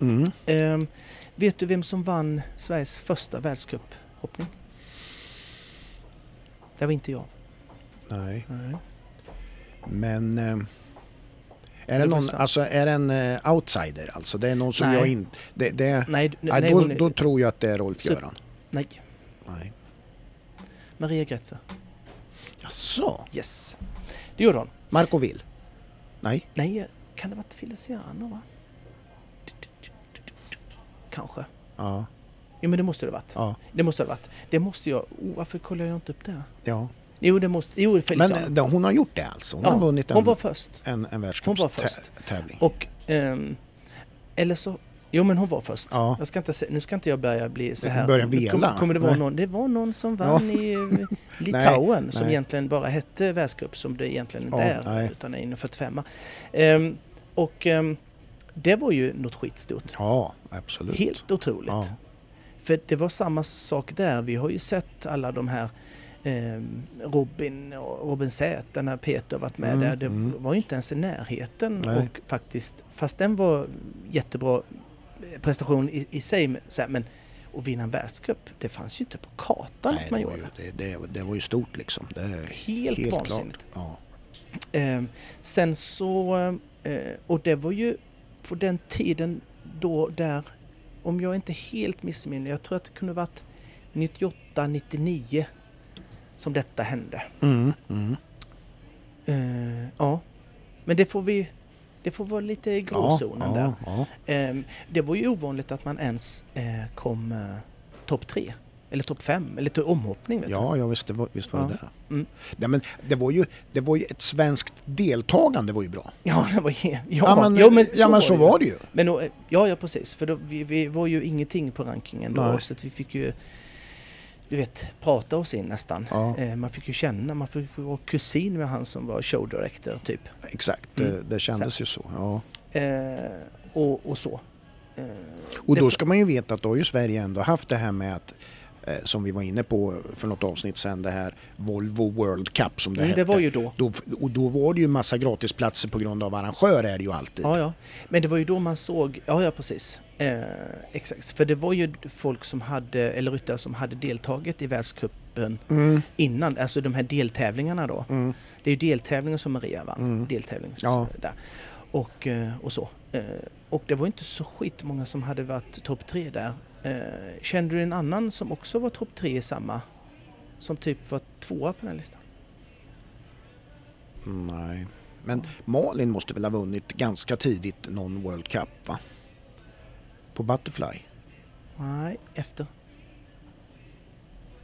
[SPEAKER 2] Mm.
[SPEAKER 1] Eh, vet du vem som vann Sveriges första världscuphoppning? Det var inte jag.
[SPEAKER 2] Nej.
[SPEAKER 1] Nej.
[SPEAKER 2] Men eh, är
[SPEAKER 1] var
[SPEAKER 2] det, någon,
[SPEAKER 1] sant.
[SPEAKER 2] alltså, är det en eh, outsider alltså? Det är någon som
[SPEAKER 1] Nej.
[SPEAKER 2] jag inte... Det, det,
[SPEAKER 1] Nej, du-
[SPEAKER 2] nej,
[SPEAKER 1] nej,
[SPEAKER 2] då,
[SPEAKER 1] hon är-
[SPEAKER 2] då tror jag att det är Rolf-Göran.
[SPEAKER 1] nej.
[SPEAKER 2] Nej.
[SPEAKER 1] Maria Gretzer.
[SPEAKER 2] Jaså?
[SPEAKER 1] Yes. Det gjorde hon.
[SPEAKER 2] Marco Will? Nej?
[SPEAKER 1] Nej, kan det ha varit Feliciano va? Kanske.
[SPEAKER 2] Ja.
[SPEAKER 1] Jo men det måste det ha varit.
[SPEAKER 2] ja,
[SPEAKER 1] Det måste det ha varit. Det måste jag... Oh, varför kollar jag inte upp det?
[SPEAKER 2] ja.
[SPEAKER 1] Jo, det måste... Jo,
[SPEAKER 2] Men
[SPEAKER 1] Feliciano.
[SPEAKER 2] eh, det- hon har gjort det alltså? Hon
[SPEAKER 1] Ja,
[SPEAKER 2] har vunnit en,
[SPEAKER 1] hon var först.
[SPEAKER 2] en, en
[SPEAKER 1] hon var först.
[SPEAKER 2] världscupstävling?
[SPEAKER 1] Och... ehm, eller så Jo men hon var först.
[SPEAKER 2] Ja.
[SPEAKER 1] Jag ska inte se, nu ska inte jag börja bli så
[SPEAKER 2] Jag
[SPEAKER 1] här.
[SPEAKER 2] börjar
[SPEAKER 1] Nu
[SPEAKER 2] vela.
[SPEAKER 1] Kommer, kommer det, vara
[SPEAKER 2] Nej.
[SPEAKER 1] någon, det var någon som vann i eh, Litauen som
[SPEAKER 2] nej.
[SPEAKER 1] egentligen bara hette världscup som det egentligen inte
[SPEAKER 2] Ja,
[SPEAKER 1] är.
[SPEAKER 2] nej.
[SPEAKER 1] Utan är inom 45 ehm, Och ehm, det var ju något skitstort.
[SPEAKER 2] Ja, absolut.
[SPEAKER 1] Helt otroligt.
[SPEAKER 2] ja.
[SPEAKER 1] För det var samma sak där. Vi har ju sett alla de här ehm, Robin och Robin Z när Peter varit med
[SPEAKER 2] Mm,
[SPEAKER 1] där. Det
[SPEAKER 2] mm.
[SPEAKER 1] var ju inte ens i närheten.
[SPEAKER 2] Nej.
[SPEAKER 1] Och faktiskt, fast den var jättebra eh, prestation i, i sig. men Så här, men att vinna en världscup, det fanns ju inte på kartan
[SPEAKER 2] Nej,
[SPEAKER 1] att man
[SPEAKER 2] det, var
[SPEAKER 1] gjorde.
[SPEAKER 2] ju, det, det, det var ju stort liksom. Det är
[SPEAKER 1] Helt,
[SPEAKER 2] helt
[SPEAKER 1] vansinnigt.
[SPEAKER 2] klart. Ja.
[SPEAKER 1] Ehm, sen så, eh, och det var ju på den tiden då där, om jag inte helt missminner, jag tror att det kunde varit 98, 99 som detta hände.
[SPEAKER 2] Mm, mm.
[SPEAKER 1] Eh, ja, men det får vi, det får vara lite i gråzonen
[SPEAKER 2] ja,
[SPEAKER 1] där.
[SPEAKER 2] Ja,
[SPEAKER 1] Ehm, det var ju ovanligt att man ens eh, kom eh, topp tre, eller topp fem, eller till omhoppning vet
[SPEAKER 2] ja, ja visst, det var, visst var
[SPEAKER 1] Ja.
[SPEAKER 2] det där.
[SPEAKER 1] Mm.
[SPEAKER 2] Nej, men det, var ju, det var ju ett svenskt deltagande var ju bra.
[SPEAKER 1] du. Ja, det var, ja,
[SPEAKER 2] men,
[SPEAKER 1] jo, men
[SPEAKER 2] ja, men så
[SPEAKER 1] ju.
[SPEAKER 2] var det ju.
[SPEAKER 1] Men då, ja, ja precis. För då, vi, vi var ju ingenting på rankingen då.
[SPEAKER 2] Nej.
[SPEAKER 1] Så att vi fick ju, du vet, prata oss in nästan.
[SPEAKER 2] Ja,
[SPEAKER 1] Eh, Man fick ju känna, man fick vara kusin med han som var show director typ.
[SPEAKER 2] exakt,
[SPEAKER 1] Mm.
[SPEAKER 2] det, det kändes ju så. Ja.
[SPEAKER 1] Eh, och, och så. Eh,
[SPEAKER 2] Och då
[SPEAKER 1] det-
[SPEAKER 2] ska man ju veta att då har ju Sverige ändå haft det här med att eh, som vi var inne på för något avsnitt sedan, det här Volvo World Cup som det
[SPEAKER 1] mm,
[SPEAKER 2] hette.
[SPEAKER 1] det var ju då.
[SPEAKER 2] då, och då var det ju massa gratisplatser på grund av arrangör är det ju alltid.
[SPEAKER 1] Ja, ja. Men det var ju då man såg, ja, ja precis. Eh, exakt. För det var ju folk som hade, eller ryttare som hade deltagit i världscupen
[SPEAKER 2] Mm,
[SPEAKER 1] innan, alltså de här deltävlingarna då.
[SPEAKER 2] mm.
[SPEAKER 1] Det är ju deltävlingen som Maria vann.
[SPEAKER 2] Mm.
[SPEAKER 1] Deltävlings
[SPEAKER 2] Ja.
[SPEAKER 1] där. Och, eh, och så. Eh, Och det var inte så skitmånga som hade varit topp tre där. Eh, Kände du en annan som också var topp tre i samma? Som typ var tvåa på den här listan?
[SPEAKER 2] Nej. Men Malin måste väl ha vunnit ganska tidigt någon World Cup va? På Butterfly?
[SPEAKER 1] Nej, efter.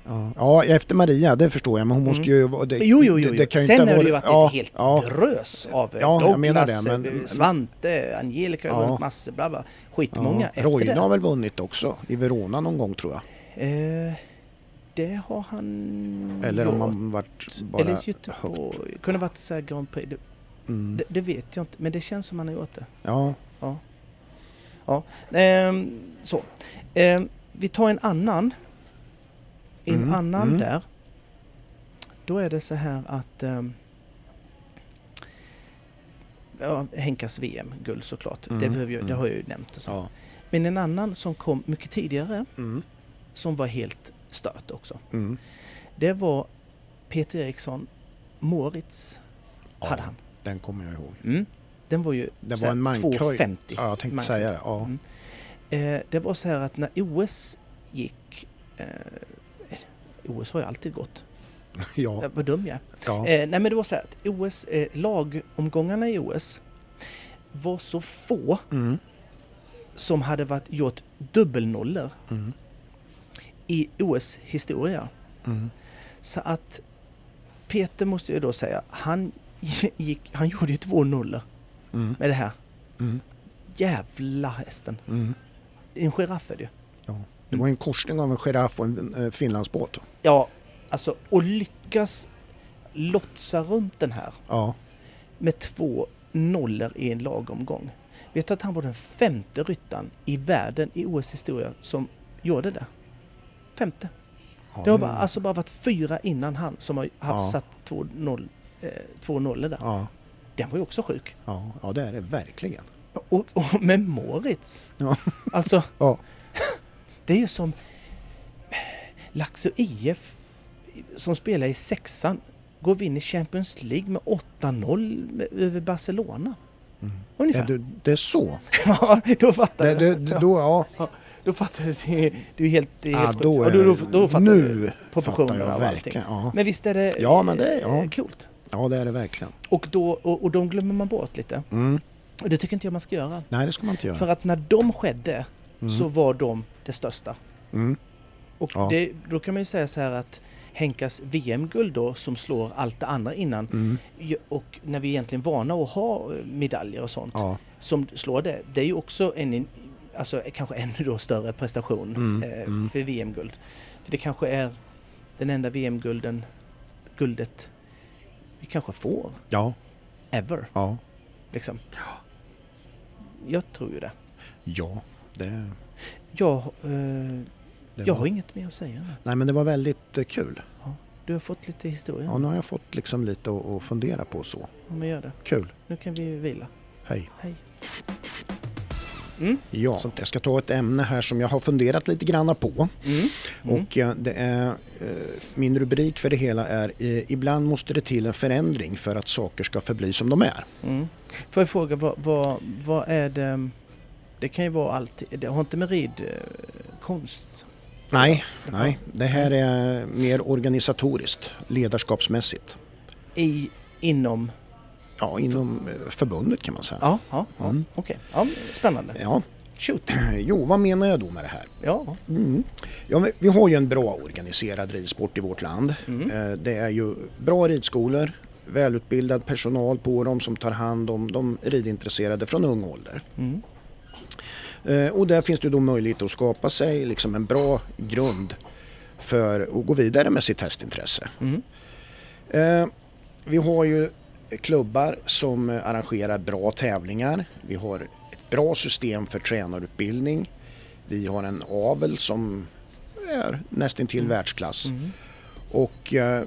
[SPEAKER 2] Ja, ja efter Maria, det förstår jag. Men hon
[SPEAKER 1] Mm.
[SPEAKER 2] måste ju... Det,
[SPEAKER 1] Jo, jo, jo.
[SPEAKER 2] Eh, det-
[SPEAKER 1] jo.
[SPEAKER 2] det kan ju
[SPEAKER 1] Sen
[SPEAKER 2] inte
[SPEAKER 1] har
[SPEAKER 2] ha
[SPEAKER 1] det ju varit
[SPEAKER 2] ja,
[SPEAKER 1] ett helt
[SPEAKER 2] ja,
[SPEAKER 1] drös av eh,
[SPEAKER 2] Ja,
[SPEAKER 1] Douglas,
[SPEAKER 2] jag menar det,
[SPEAKER 1] eh,
[SPEAKER 2] men-
[SPEAKER 1] Svante, Angelica,
[SPEAKER 2] Ja.
[SPEAKER 1] ja. massor, bla, bla. Skitmånga
[SPEAKER 2] ja.
[SPEAKER 1] efter
[SPEAKER 2] Roine
[SPEAKER 1] det.
[SPEAKER 2] har väl vunnit också? I Verona någon gång tror jag.
[SPEAKER 1] Eh, det har han
[SPEAKER 2] Eller om
[SPEAKER 1] gjort.
[SPEAKER 2] han varit bara...
[SPEAKER 1] Eller Göteborg.
[SPEAKER 2] högt.
[SPEAKER 1] Det kunde varit så här Grand Prix. Det,
[SPEAKER 2] Mm.
[SPEAKER 1] det, det vet jag inte, men det känns som han har gjort det.
[SPEAKER 2] Ja,
[SPEAKER 1] Ehm, så. Ehm, vi tar en annan. En
[SPEAKER 2] Mm,
[SPEAKER 1] annan
[SPEAKER 2] mm.
[SPEAKER 1] där. Då är det så här att ehm, Ja, Henkas VM-guld såklart, det,
[SPEAKER 2] Mm,
[SPEAKER 1] behöver ju, det
[SPEAKER 2] mm.
[SPEAKER 1] har jag ju nämnt. och Så.
[SPEAKER 2] ja.
[SPEAKER 1] Men en annan som kom mycket tidigare,
[SPEAKER 2] Mm.
[SPEAKER 1] som var helt stört också,
[SPEAKER 2] Mm.
[SPEAKER 1] det var Peter Eriksson, Moritz
[SPEAKER 2] Ja.
[SPEAKER 1] hade han.
[SPEAKER 2] Den kommer jag ihåg.
[SPEAKER 1] Mm. Den var ju
[SPEAKER 2] Det
[SPEAKER 1] så
[SPEAKER 2] var
[SPEAKER 1] här
[SPEAKER 2] en mankhöjd.
[SPEAKER 1] 2,50.
[SPEAKER 2] Ja, jag tänkte
[SPEAKER 1] Man-
[SPEAKER 2] säga det. Ja.
[SPEAKER 1] Mm. Eh, det var så här att när OS gick... Eh, OS har ju alltid gått.
[SPEAKER 2] Ja,
[SPEAKER 1] Eh, vad dum jag är.
[SPEAKER 2] ja.
[SPEAKER 1] Eh, nej men det var så här att OS, eh, lagomgångarna i OS var så få
[SPEAKER 2] Mm.
[SPEAKER 1] som hade varit, gjort dubbelnollor
[SPEAKER 2] Mm.
[SPEAKER 1] i OS historia.
[SPEAKER 2] Mm.
[SPEAKER 1] Så att Peter måste jag då säga, han, gick, han gjorde ju två nollor
[SPEAKER 2] Mm.
[SPEAKER 1] med det här.
[SPEAKER 2] Mm.
[SPEAKER 1] Jävla hästen.
[SPEAKER 2] Mm.
[SPEAKER 1] Det är En giraff är det ju.
[SPEAKER 2] Ja. Det var en korsning av en giraff och en eh, finlandsbåt. va?
[SPEAKER 1] Ja, alltså och lyckas lotsa runt den här
[SPEAKER 2] Ja.
[SPEAKER 1] med två nollor i en lagomgång. Vet du att han var den femte ryttaren i världen i OS historia som gjorde det? Femte.
[SPEAKER 2] ja
[SPEAKER 1] Det har bara, alltså bara varit fyra innan han som har haft
[SPEAKER 2] Ja.
[SPEAKER 1] satt två, noll, eh, två nollor där.
[SPEAKER 2] Ja.
[SPEAKER 1] Den var ju också sjuk.
[SPEAKER 2] Ja, ja, det är det verkligen.
[SPEAKER 1] Och, och med Moritz.
[SPEAKER 2] Ja.
[SPEAKER 1] Alltså,
[SPEAKER 2] Ja.
[SPEAKER 1] det är ju som Laxå IF som spelar i sexan går vi in i Champions League med 8-0 med- över Barcelona.
[SPEAKER 2] Mm.
[SPEAKER 1] Ungefär.
[SPEAKER 2] Ja, du, det är så.
[SPEAKER 1] Ja, då fattar
[SPEAKER 2] Det,
[SPEAKER 1] du.
[SPEAKER 2] det, det, då, ja.
[SPEAKER 1] Då fattar du. Det är- Det är helt... Det är
[SPEAKER 2] Ja,
[SPEAKER 1] helt
[SPEAKER 2] då
[SPEAKER 1] sjukt.
[SPEAKER 2] är,
[SPEAKER 1] Ja, då, då, då fattar du
[SPEAKER 2] nu fattar
[SPEAKER 1] proportionerna
[SPEAKER 2] jag
[SPEAKER 1] och allting.
[SPEAKER 2] verkligen. Ja.
[SPEAKER 1] Men visst är det,
[SPEAKER 2] Ja, men det är-
[SPEAKER 1] eh,
[SPEAKER 2] ja.
[SPEAKER 1] coolt?
[SPEAKER 2] ja, det är det verkligen.
[SPEAKER 1] Och, då, och, och de glömmer man bort lite.
[SPEAKER 2] Mm.
[SPEAKER 1] Och det tycker inte jag man ska göra.
[SPEAKER 2] Nej, det ska man inte göra.
[SPEAKER 1] För att när de skedde
[SPEAKER 2] Mm.
[SPEAKER 1] så var de det största.
[SPEAKER 2] Mm.
[SPEAKER 1] Och
[SPEAKER 2] Ja.
[SPEAKER 1] det, då kan man ju säga så här att Henkas VM-guld då som slår allt det andra innan
[SPEAKER 2] Mm.
[SPEAKER 1] ju- och när vi egentligen är vana att ha eh, medaljer och sånt
[SPEAKER 2] Ja.
[SPEAKER 1] som slår det, det är ju också en, in- alltså kanske ännu då större prestation
[SPEAKER 2] Mm,
[SPEAKER 1] eh,
[SPEAKER 2] mm.
[SPEAKER 1] för VM-guld. För det kanske är den enda VM-gulden, guldet vi kanske får,
[SPEAKER 2] Ja,
[SPEAKER 1] ever.
[SPEAKER 2] ja,
[SPEAKER 1] Liksom. Jag tror ju det.
[SPEAKER 2] ja. Det,
[SPEAKER 1] Jag, eh,
[SPEAKER 2] det
[SPEAKER 1] jag
[SPEAKER 2] var,
[SPEAKER 1] har inget mer att säga. nu.
[SPEAKER 2] Nej men det var väldigt eh, kul.
[SPEAKER 1] Du har fått lite historia
[SPEAKER 2] Ja, nu har jag fått liksom lite att, att fundera på så.
[SPEAKER 1] om jag gör det.
[SPEAKER 2] Kul.
[SPEAKER 1] Nu kan vi vila.
[SPEAKER 2] Hej.
[SPEAKER 1] Hej. Mm.
[SPEAKER 2] Ja, jag ska ta ett ämne här som jag har funderat lite granna på.
[SPEAKER 1] Mm. Mm.
[SPEAKER 2] Och eh, det är, eh, min rubrik för det hela är eh, Ibland måste det till en förändring för att saker ska förbli som de är.
[SPEAKER 1] Mm. Får jag fråga, vad, vad, vad är det... Det kan ju vara allt. Det har inte med eh, ridkonst...
[SPEAKER 2] Nej, nej, det här är mer organisatoriskt, ledarskapsmässigt.
[SPEAKER 1] I, inom...
[SPEAKER 2] Ja, inom eh, förbundet kan man säga.
[SPEAKER 1] Ja, ja, ja
[SPEAKER 2] Mm.
[SPEAKER 1] okej. Ja, spännande.
[SPEAKER 2] Ja,
[SPEAKER 1] Shoot!
[SPEAKER 2] jo, vad menar jag då med det här?
[SPEAKER 1] Ja.
[SPEAKER 2] Mm. Ja, men vi har ju en bra organiserad ridsport i vårt land.
[SPEAKER 1] Mm.
[SPEAKER 2] Eh, Det är ju bra ridskolor, välutbildad personal på dem som tar hand om de ridintresserade från ung ålder.
[SPEAKER 1] Mm.
[SPEAKER 2] Eh, Och där finns det ju då möjlighet att skapa sig liksom en bra grund för att gå vidare med sitt hästintresse.
[SPEAKER 1] Mm.
[SPEAKER 2] Eh, Vi har ju klubbar som eh, arrangerar bra tävlingar. Vi har ett bra system för tränarutbildning. Vi har en avel som är nästintill världsklass.
[SPEAKER 1] Mm.
[SPEAKER 2] Och eh,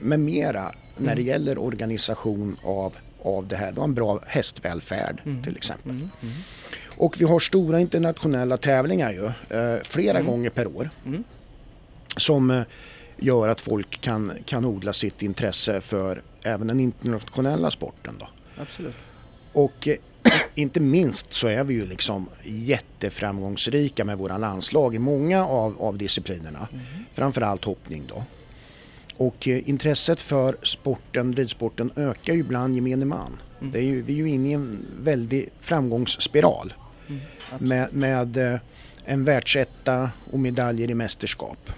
[SPEAKER 2] med mera när
[SPEAKER 1] Mm.
[SPEAKER 2] det gäller organisation av, av det här. Vi har en bra hästvälfärd
[SPEAKER 1] Mm.
[SPEAKER 2] till exempel.
[SPEAKER 1] Mm. Mm.
[SPEAKER 2] Och vi har stora internationella tävlingar ju, eh, flera gånger per år.
[SPEAKER 1] Mm.
[SPEAKER 2] Som eh, gör att folk kan, kan odla sitt intresse för även den internationella sporten. Då.
[SPEAKER 1] Absolut.
[SPEAKER 2] Och eh, inte minst så är vi ju liksom jätteframgångsrika med våra landslag i många av, av disciplinerna.
[SPEAKER 1] Mm.
[SPEAKER 2] Framförallt hoppning då. Och eh, intresset för sporten, ridsporten ökar ju bland gemene man.
[SPEAKER 1] Mm.
[SPEAKER 2] Det är ju, vi är ju inne i en väldig framgångsspiral
[SPEAKER 1] Mm. Absolut.
[SPEAKER 2] med, med eh, en världsetta och medaljer i mästerskap.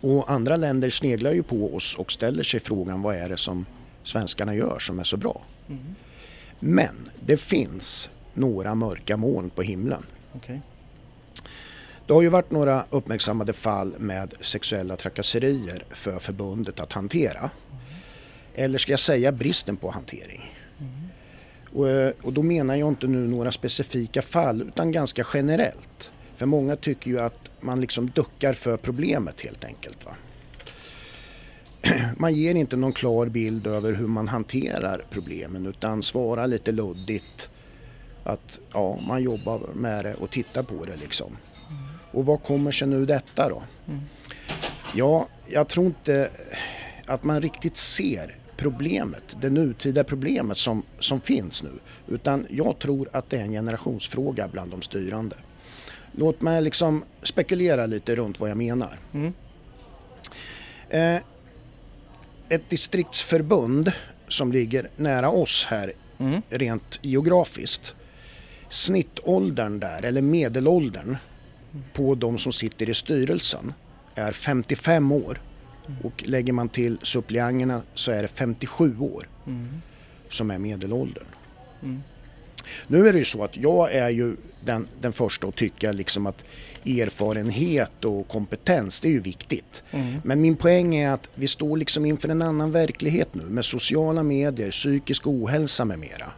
[SPEAKER 2] Och andra länder sneglar ju på oss och ställer sig frågan vad är det som svenskarna gör som är så bra?
[SPEAKER 1] Mm.
[SPEAKER 2] Men det finns några mörka moln på himlen.
[SPEAKER 1] Okej.
[SPEAKER 2] Det har ju varit några uppmärksammade fall med sexuella trakasserier för förbundet att hantera. Eller ska jag säga bristen på hantering? Och, eh, och då menar jag inte nu några specifika fall utan ganska generellt. För många tycker ju att man liksom duckar för problemet helt enkelt. Va? Man ger inte någon klar bild över hur man hanterar problemen utan svarar lite luddigt att ja, man jobbar med det och tittar på det liksom. Och vad kommer sig nu detta då?
[SPEAKER 1] Mm.
[SPEAKER 2] Ja, jag tror inte att man riktigt ser problemet, det nutida problemet som, som finns nu. Utan jag tror att det är en generationsfråga bland de styrande. Låt mig liksom spekulera lite runt vad jag menar.
[SPEAKER 1] Mm.
[SPEAKER 2] Eh, ett distriktsförbund som ligger nära oss här
[SPEAKER 1] Mm.
[SPEAKER 2] rent geografiskt. Snittåldern där, eller medelåldern, på de som sitter i styrelsen är 55 år.
[SPEAKER 1] Mm.
[SPEAKER 2] Och lägger man till suppleanterna så är det 57 år
[SPEAKER 1] Mm.
[SPEAKER 2] som är medelåldern.
[SPEAKER 1] Mm.
[SPEAKER 2] Nu är det ju så att jag är ju den, den första att tycka liksom att erfarenhet och kompetens, det är ju viktigt.
[SPEAKER 1] Mm.
[SPEAKER 2] Men min poäng är att vi står liksom inför en annan verklighet nu med sociala medier, psykisk ohälsa med mera.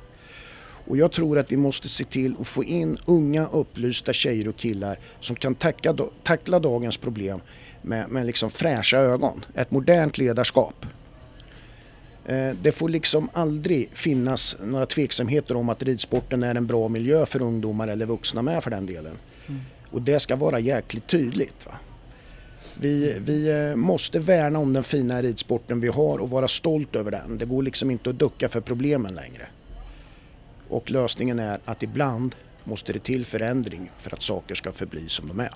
[SPEAKER 2] Och jag tror att vi måste se till att få in unga upplysta tjejer och killar som kan tacka, tackla dagens problem med, med liksom fräscha ögon. Ett modernt ledarskap. Eh, Det får liksom aldrig finnas några tveksamheter om att ridsporten är en bra miljö för ungdomar eller vuxna med för den delen. Och det ska vara jäkligt tydligt. Va? Vi, vi eh, måste värna om den fina ridsporten vi har och vara stolt över den. Det går liksom inte att ducka för problemen längre. Och lösningen är att ibland måste det till förändring för att saker ska förbli som de är.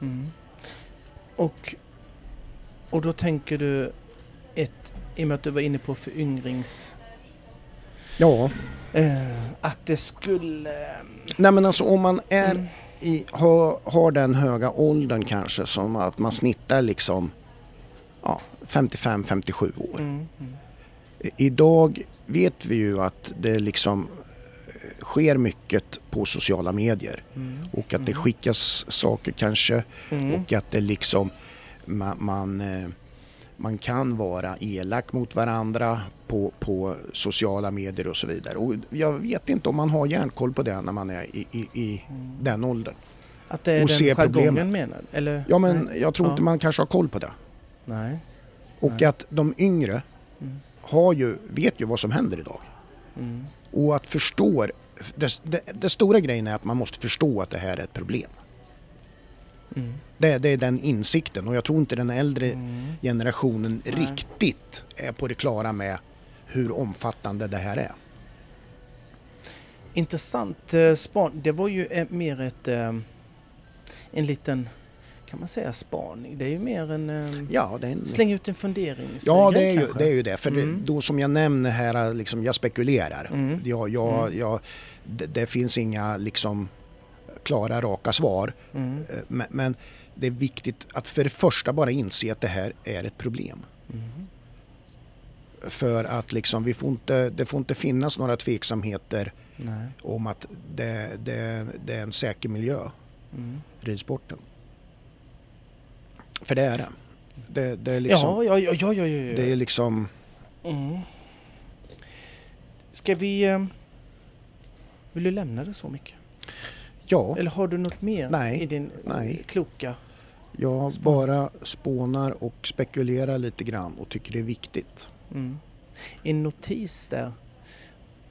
[SPEAKER 1] Mm. Och, och då tänker du ett, i och med att du var inne på föryngrings...
[SPEAKER 2] Ja,
[SPEAKER 1] Eh, att det skulle...
[SPEAKER 2] nej men alltså om man är
[SPEAKER 1] Mm.
[SPEAKER 2] i, har, har den höga åldern kanske som att man snittar liksom ja, 55-57 år.
[SPEAKER 1] Mm. Mm.
[SPEAKER 2] Idag vet vi ju att det liksom eh, sker mycket på sociala medier
[SPEAKER 1] Mm.
[SPEAKER 2] och att det
[SPEAKER 1] Mm.
[SPEAKER 2] skickas saker kanske
[SPEAKER 1] Mm.
[SPEAKER 2] och att det liksom man, man, eh, man kan vara elak mot varandra på, på sociala medier och så vidare. Och jag vet inte om man har järnkoll på det när man är i, i, i
[SPEAKER 1] Mm.
[SPEAKER 2] den åldern.
[SPEAKER 1] Att det är
[SPEAKER 2] och se
[SPEAKER 1] den jargongen
[SPEAKER 2] problemen.
[SPEAKER 1] menar Eller?
[SPEAKER 2] Ja men
[SPEAKER 1] Nej.
[SPEAKER 2] jag tror inte
[SPEAKER 1] Ja.
[SPEAKER 2] man kanske har koll på det.
[SPEAKER 1] Nej.
[SPEAKER 2] Och
[SPEAKER 1] Nej.
[SPEAKER 2] att de yngre
[SPEAKER 1] Mm.
[SPEAKER 2] har ju, vet ju vad som händer idag.
[SPEAKER 1] Mm.
[SPEAKER 2] Och att förstå, det, det, det stora grejen är att man måste förstå att det här är ett problem.
[SPEAKER 1] Mm.
[SPEAKER 2] Det, det är den insikten och jag tror inte den äldre
[SPEAKER 1] Mm.
[SPEAKER 2] generationen
[SPEAKER 1] Nej.
[SPEAKER 2] riktigt är på det klara med hur omfattande det här är.
[SPEAKER 1] Intressant eh, span. Det var ju eh, mer ett... eh, En liten... Kan man säga spaning? Det är ju mer en... eh,
[SPEAKER 2] Ja, det är, en...
[SPEAKER 1] Släng ut en fundering.
[SPEAKER 2] ja, det
[SPEAKER 1] grej
[SPEAKER 2] är, ju,
[SPEAKER 1] kanske.
[SPEAKER 2] det är ju det. För
[SPEAKER 1] Mm.
[SPEAKER 2] det, då som jag nämner här, liksom, jag spekulerar.
[SPEAKER 1] Mm.
[SPEAKER 2] Jag, jag, jag, det, det finns inga liksom, klara, raka svar.
[SPEAKER 1] Mm.
[SPEAKER 2] Eh, Men, men det är viktigt att för det första bara inse att det här är ett problem.
[SPEAKER 1] Mm.
[SPEAKER 2] För att liksom, vi får inte, det får inte finnas några tveksamheter
[SPEAKER 1] Nej.
[SPEAKER 2] om att det, det, det är en säker miljö,
[SPEAKER 1] Mm.
[SPEAKER 2] ridsporten. För det är det. Det, det är liksom...
[SPEAKER 1] Ja, ja, ja, ja, ja, ja.
[SPEAKER 2] Det är liksom
[SPEAKER 1] Mm. Ska vi... eh, Vill du lämna det så mycket?
[SPEAKER 2] ja,
[SPEAKER 1] Eller har du något mer
[SPEAKER 2] Nej,
[SPEAKER 1] i din
[SPEAKER 2] nej.
[SPEAKER 1] kloka?
[SPEAKER 2] jag bara spånar och spekulerar lite grann och tycker det är viktigt.
[SPEAKER 1] Mm. En notis där.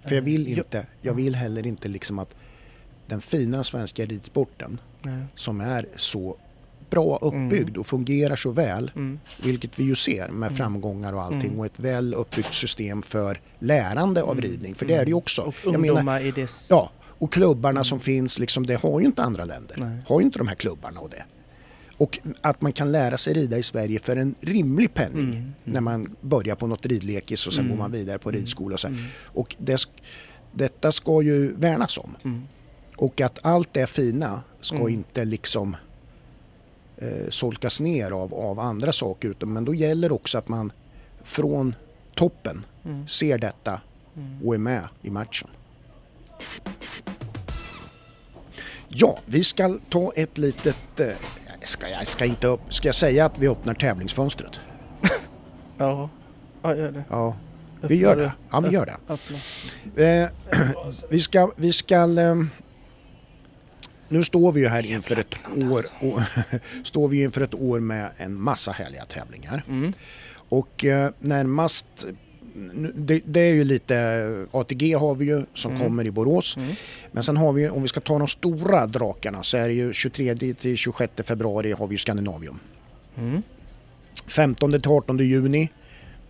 [SPEAKER 2] För jag vill
[SPEAKER 1] Eh,
[SPEAKER 2] inte, jag vill heller inte liksom att den fina svenska ridsporten
[SPEAKER 1] Nej.
[SPEAKER 2] som är så bra uppbyggd och fungerar så väl,
[SPEAKER 1] Mm.
[SPEAKER 2] vilket vi ju ser med framgångar och allting
[SPEAKER 1] Mm.
[SPEAKER 2] och ett väl uppbyggt system för lärande av ridning, för det är det ju också.
[SPEAKER 1] Mm. Och
[SPEAKER 2] Jag
[SPEAKER 1] ungdomar
[SPEAKER 2] menar,
[SPEAKER 1] i dess...
[SPEAKER 2] Ja, och klubbarna som finns, liksom, det har ju inte andra länder.
[SPEAKER 1] Nej.
[SPEAKER 2] Har ju inte de här klubbarna och det. Och att man kan lära sig rida i Sverige för en rimlig penning
[SPEAKER 1] Mm, mm.
[SPEAKER 2] när man börjar på något ridlekis och sen går man vidare på ridskola. Och, så. här.
[SPEAKER 1] Mm.
[SPEAKER 2] och det, sk- detta ska ju värnas om.
[SPEAKER 1] Mm.
[SPEAKER 2] Och att allt det fina ska inte liksom eh, solkas ner av, av andra saker. Utan, men då gäller också att man från toppen
[SPEAKER 1] Mm.
[SPEAKER 2] ser detta
[SPEAKER 1] Mm.
[SPEAKER 2] och är med i matchen. Ja, vi ska ta ett litet... eh, Ska jag, ska inte upp, ska jag säga att vi öppnar tävlingsfönstret?
[SPEAKER 1] Ja. Ja, gör det.
[SPEAKER 2] Ja, vi gör
[SPEAKER 1] Öppnar
[SPEAKER 2] det. Ja, vi gör det.
[SPEAKER 1] Öppna.
[SPEAKER 2] Eh, vi ska... Vi ska ehm, nu står vi ju här inför ett år, och står vi inför ett år med en massa härliga tävlingar.
[SPEAKER 1] Mm.
[SPEAKER 2] Och eh, närmast, nu- det, det är ju lite, eh, ATG har vi ju som kommer i Borås.
[SPEAKER 1] Mm.
[SPEAKER 2] Men sen har vi ju, om vi ska ta de stora drakarna så är det ju 23 till 26 februari har vi ju Skandinavium.
[SPEAKER 1] Mm.
[SPEAKER 2] 15 till 18 juni,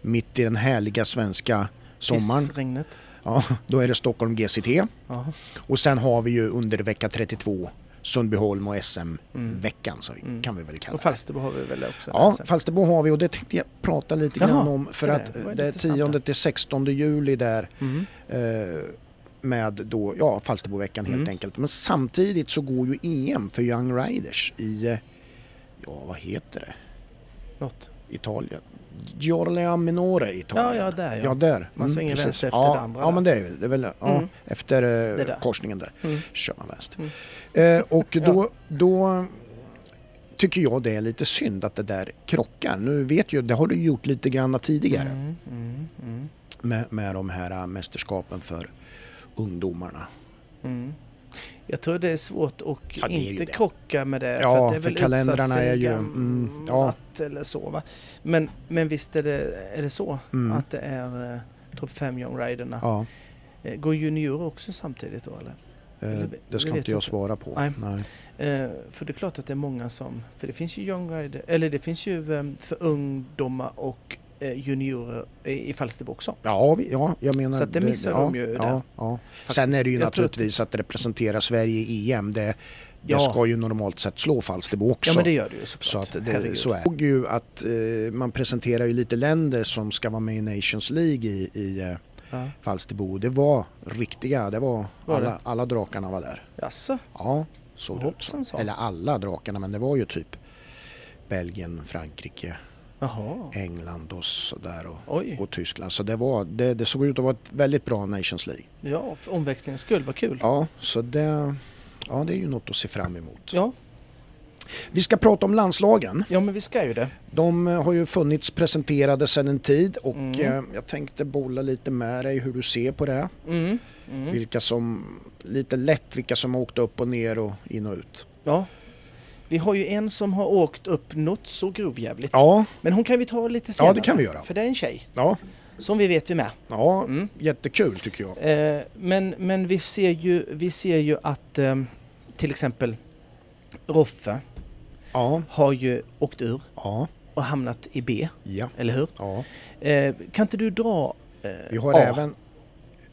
[SPEAKER 2] mitt i den härliga svenska sommaren,
[SPEAKER 1] Pissregnet.
[SPEAKER 2] ja, då är det Stockholm GCT.
[SPEAKER 1] Ja.
[SPEAKER 2] Och sen har vi ju under vecka 32 Sundbyholm och SM-veckan så kan vi väl kalla
[SPEAKER 1] Mm. Och
[SPEAKER 2] det.
[SPEAKER 1] Falsterbo har vi väl också? där
[SPEAKER 2] Ja,
[SPEAKER 1] sen.
[SPEAKER 2] Falsterbo har vi och det tänkte jag prata lite
[SPEAKER 1] Jaha,
[SPEAKER 2] grann om för
[SPEAKER 1] se
[SPEAKER 2] att
[SPEAKER 1] där. Vad är
[SPEAKER 2] det är
[SPEAKER 1] lite sant där?
[SPEAKER 2] 10 till 16 juli där
[SPEAKER 1] Mm.
[SPEAKER 2] eh, med då, ja, Falsterboveckan helt
[SPEAKER 1] Mm.
[SPEAKER 2] enkelt. Men samtidigt så går ju EM för Young Riders i, eh, ja vad heter det,
[SPEAKER 1] Något.
[SPEAKER 2] Italien? Giorlia Minore i Italien.
[SPEAKER 1] Ja, ja, där ja.
[SPEAKER 2] Ja, där. Mm,
[SPEAKER 1] Man svänger
[SPEAKER 2] precis.
[SPEAKER 1] vänster efter
[SPEAKER 2] ja,
[SPEAKER 1] det andra
[SPEAKER 2] Ja,
[SPEAKER 1] där.
[SPEAKER 2] men det är, det är väl ja,
[SPEAKER 1] Mm.
[SPEAKER 2] efter eh,
[SPEAKER 1] där.
[SPEAKER 2] korsningen där
[SPEAKER 1] Mm.
[SPEAKER 2] kör man vänster.
[SPEAKER 1] Mm.
[SPEAKER 2] Eh, och då, då tycker jag det är lite synd att det där krockar. Nu vet ju, det har du gjort lite grann tidigare
[SPEAKER 1] Mm, mm, mm,
[SPEAKER 2] med, med de här eh, mästerskapen för ungdomarna.
[SPEAKER 1] mm. Jag tror det är svårt att
[SPEAKER 2] Ja, det är ju
[SPEAKER 1] inte
[SPEAKER 2] det.
[SPEAKER 1] krocka med det.
[SPEAKER 2] Ja,
[SPEAKER 1] att det är
[SPEAKER 2] för kalendrarna
[SPEAKER 1] utsatt sedan
[SPEAKER 2] är ju- mm, ja.
[SPEAKER 1] gammalt eller så, va? Men, men visst är det, är det så
[SPEAKER 2] Mm.
[SPEAKER 1] att det är eh, topp 5 young riderna.
[SPEAKER 2] Ja,
[SPEAKER 1] Eh, Går juniorer också samtidigt då eller?
[SPEAKER 2] eh,
[SPEAKER 1] Det- det
[SPEAKER 2] det ska
[SPEAKER 1] vet
[SPEAKER 2] inte
[SPEAKER 1] jag
[SPEAKER 2] jag
[SPEAKER 1] inte.
[SPEAKER 2] svara på.
[SPEAKER 1] Nej.
[SPEAKER 2] Nej.
[SPEAKER 1] Eh, För det är klart att det är många som, för det finns ju young rider, eller det finns ju eh, för ungdomar och eh, juniorer i i Falsterbo också.
[SPEAKER 2] Ja, vi, ja, jag menar...
[SPEAKER 1] Så att det missar
[SPEAKER 2] ja,
[SPEAKER 1] de ju där.
[SPEAKER 2] Ja, ja.
[SPEAKER 1] Faktiskt.
[SPEAKER 2] Sen är det ju
[SPEAKER 1] Jag tror att-
[SPEAKER 2] naturligtvis att representera Sverige i EM, det, det
[SPEAKER 1] Ja.
[SPEAKER 2] ska ju normalt sett slå Falsterbo också.
[SPEAKER 1] Ja men det gör det ju såklart.
[SPEAKER 2] Så att det,
[SPEAKER 1] Herregud.
[SPEAKER 2] så är det. ju att eh, man presenterar ju lite länder som ska vara med i Nations League i, i eh,
[SPEAKER 1] Ja.
[SPEAKER 2] Falsterbo. Det var riktiga, det var,
[SPEAKER 1] Var det?
[SPEAKER 2] alla, alla drakarna var där.
[SPEAKER 1] Jaså?
[SPEAKER 2] Ja, såg det ut
[SPEAKER 1] Hoppsan
[SPEAKER 2] som.
[SPEAKER 1] sa.
[SPEAKER 2] Eller alla drakarna, men det var ju typ Belgien, Frankrike,
[SPEAKER 1] Jaha.
[SPEAKER 2] England och sådär och,
[SPEAKER 1] Oj.
[SPEAKER 2] och Tyskland. Så det, var, det, det såg ut att vara ett väldigt bra Nations League.
[SPEAKER 1] Ja, för omväxlings skull. Vad kul.
[SPEAKER 2] Ja, så det, ja, det är ju något att se fram emot.
[SPEAKER 1] Ja.
[SPEAKER 2] Vi ska prata om landslagen.
[SPEAKER 1] ja, men vi ska ju det.
[SPEAKER 2] De eh, har ju funnits presenterade sedan en tid och
[SPEAKER 1] Mm.
[SPEAKER 2] eh, jag tänkte bolla lite med dig hur du ser på det.
[SPEAKER 1] Mm. Mm.
[SPEAKER 2] Vilka som, lite lätt vilka som har åkt upp och ner och in och ut.
[SPEAKER 1] Ja. Vi har ju en som har åkt upp något så grovjävligt.
[SPEAKER 2] Ja,
[SPEAKER 1] Men hon kan vi ta lite senare.
[SPEAKER 2] Ja, det kan vi göra.
[SPEAKER 1] För det är en tjej.
[SPEAKER 2] ja,
[SPEAKER 1] Som vi vet vi med.
[SPEAKER 2] ja
[SPEAKER 1] Mm.
[SPEAKER 2] jättekul tycker jag.
[SPEAKER 1] Eh, men men vi, ser ju, vi ser ju att eh, till exempel Roffe
[SPEAKER 2] Ja,
[SPEAKER 1] har ju åkt ur
[SPEAKER 2] ja,
[SPEAKER 1] och hamnat i B,
[SPEAKER 2] ja,
[SPEAKER 1] eller hur?
[SPEAKER 2] ja.
[SPEAKER 1] Eh, kan inte du dra eh,
[SPEAKER 2] Vi har
[SPEAKER 1] A?
[SPEAKER 2] även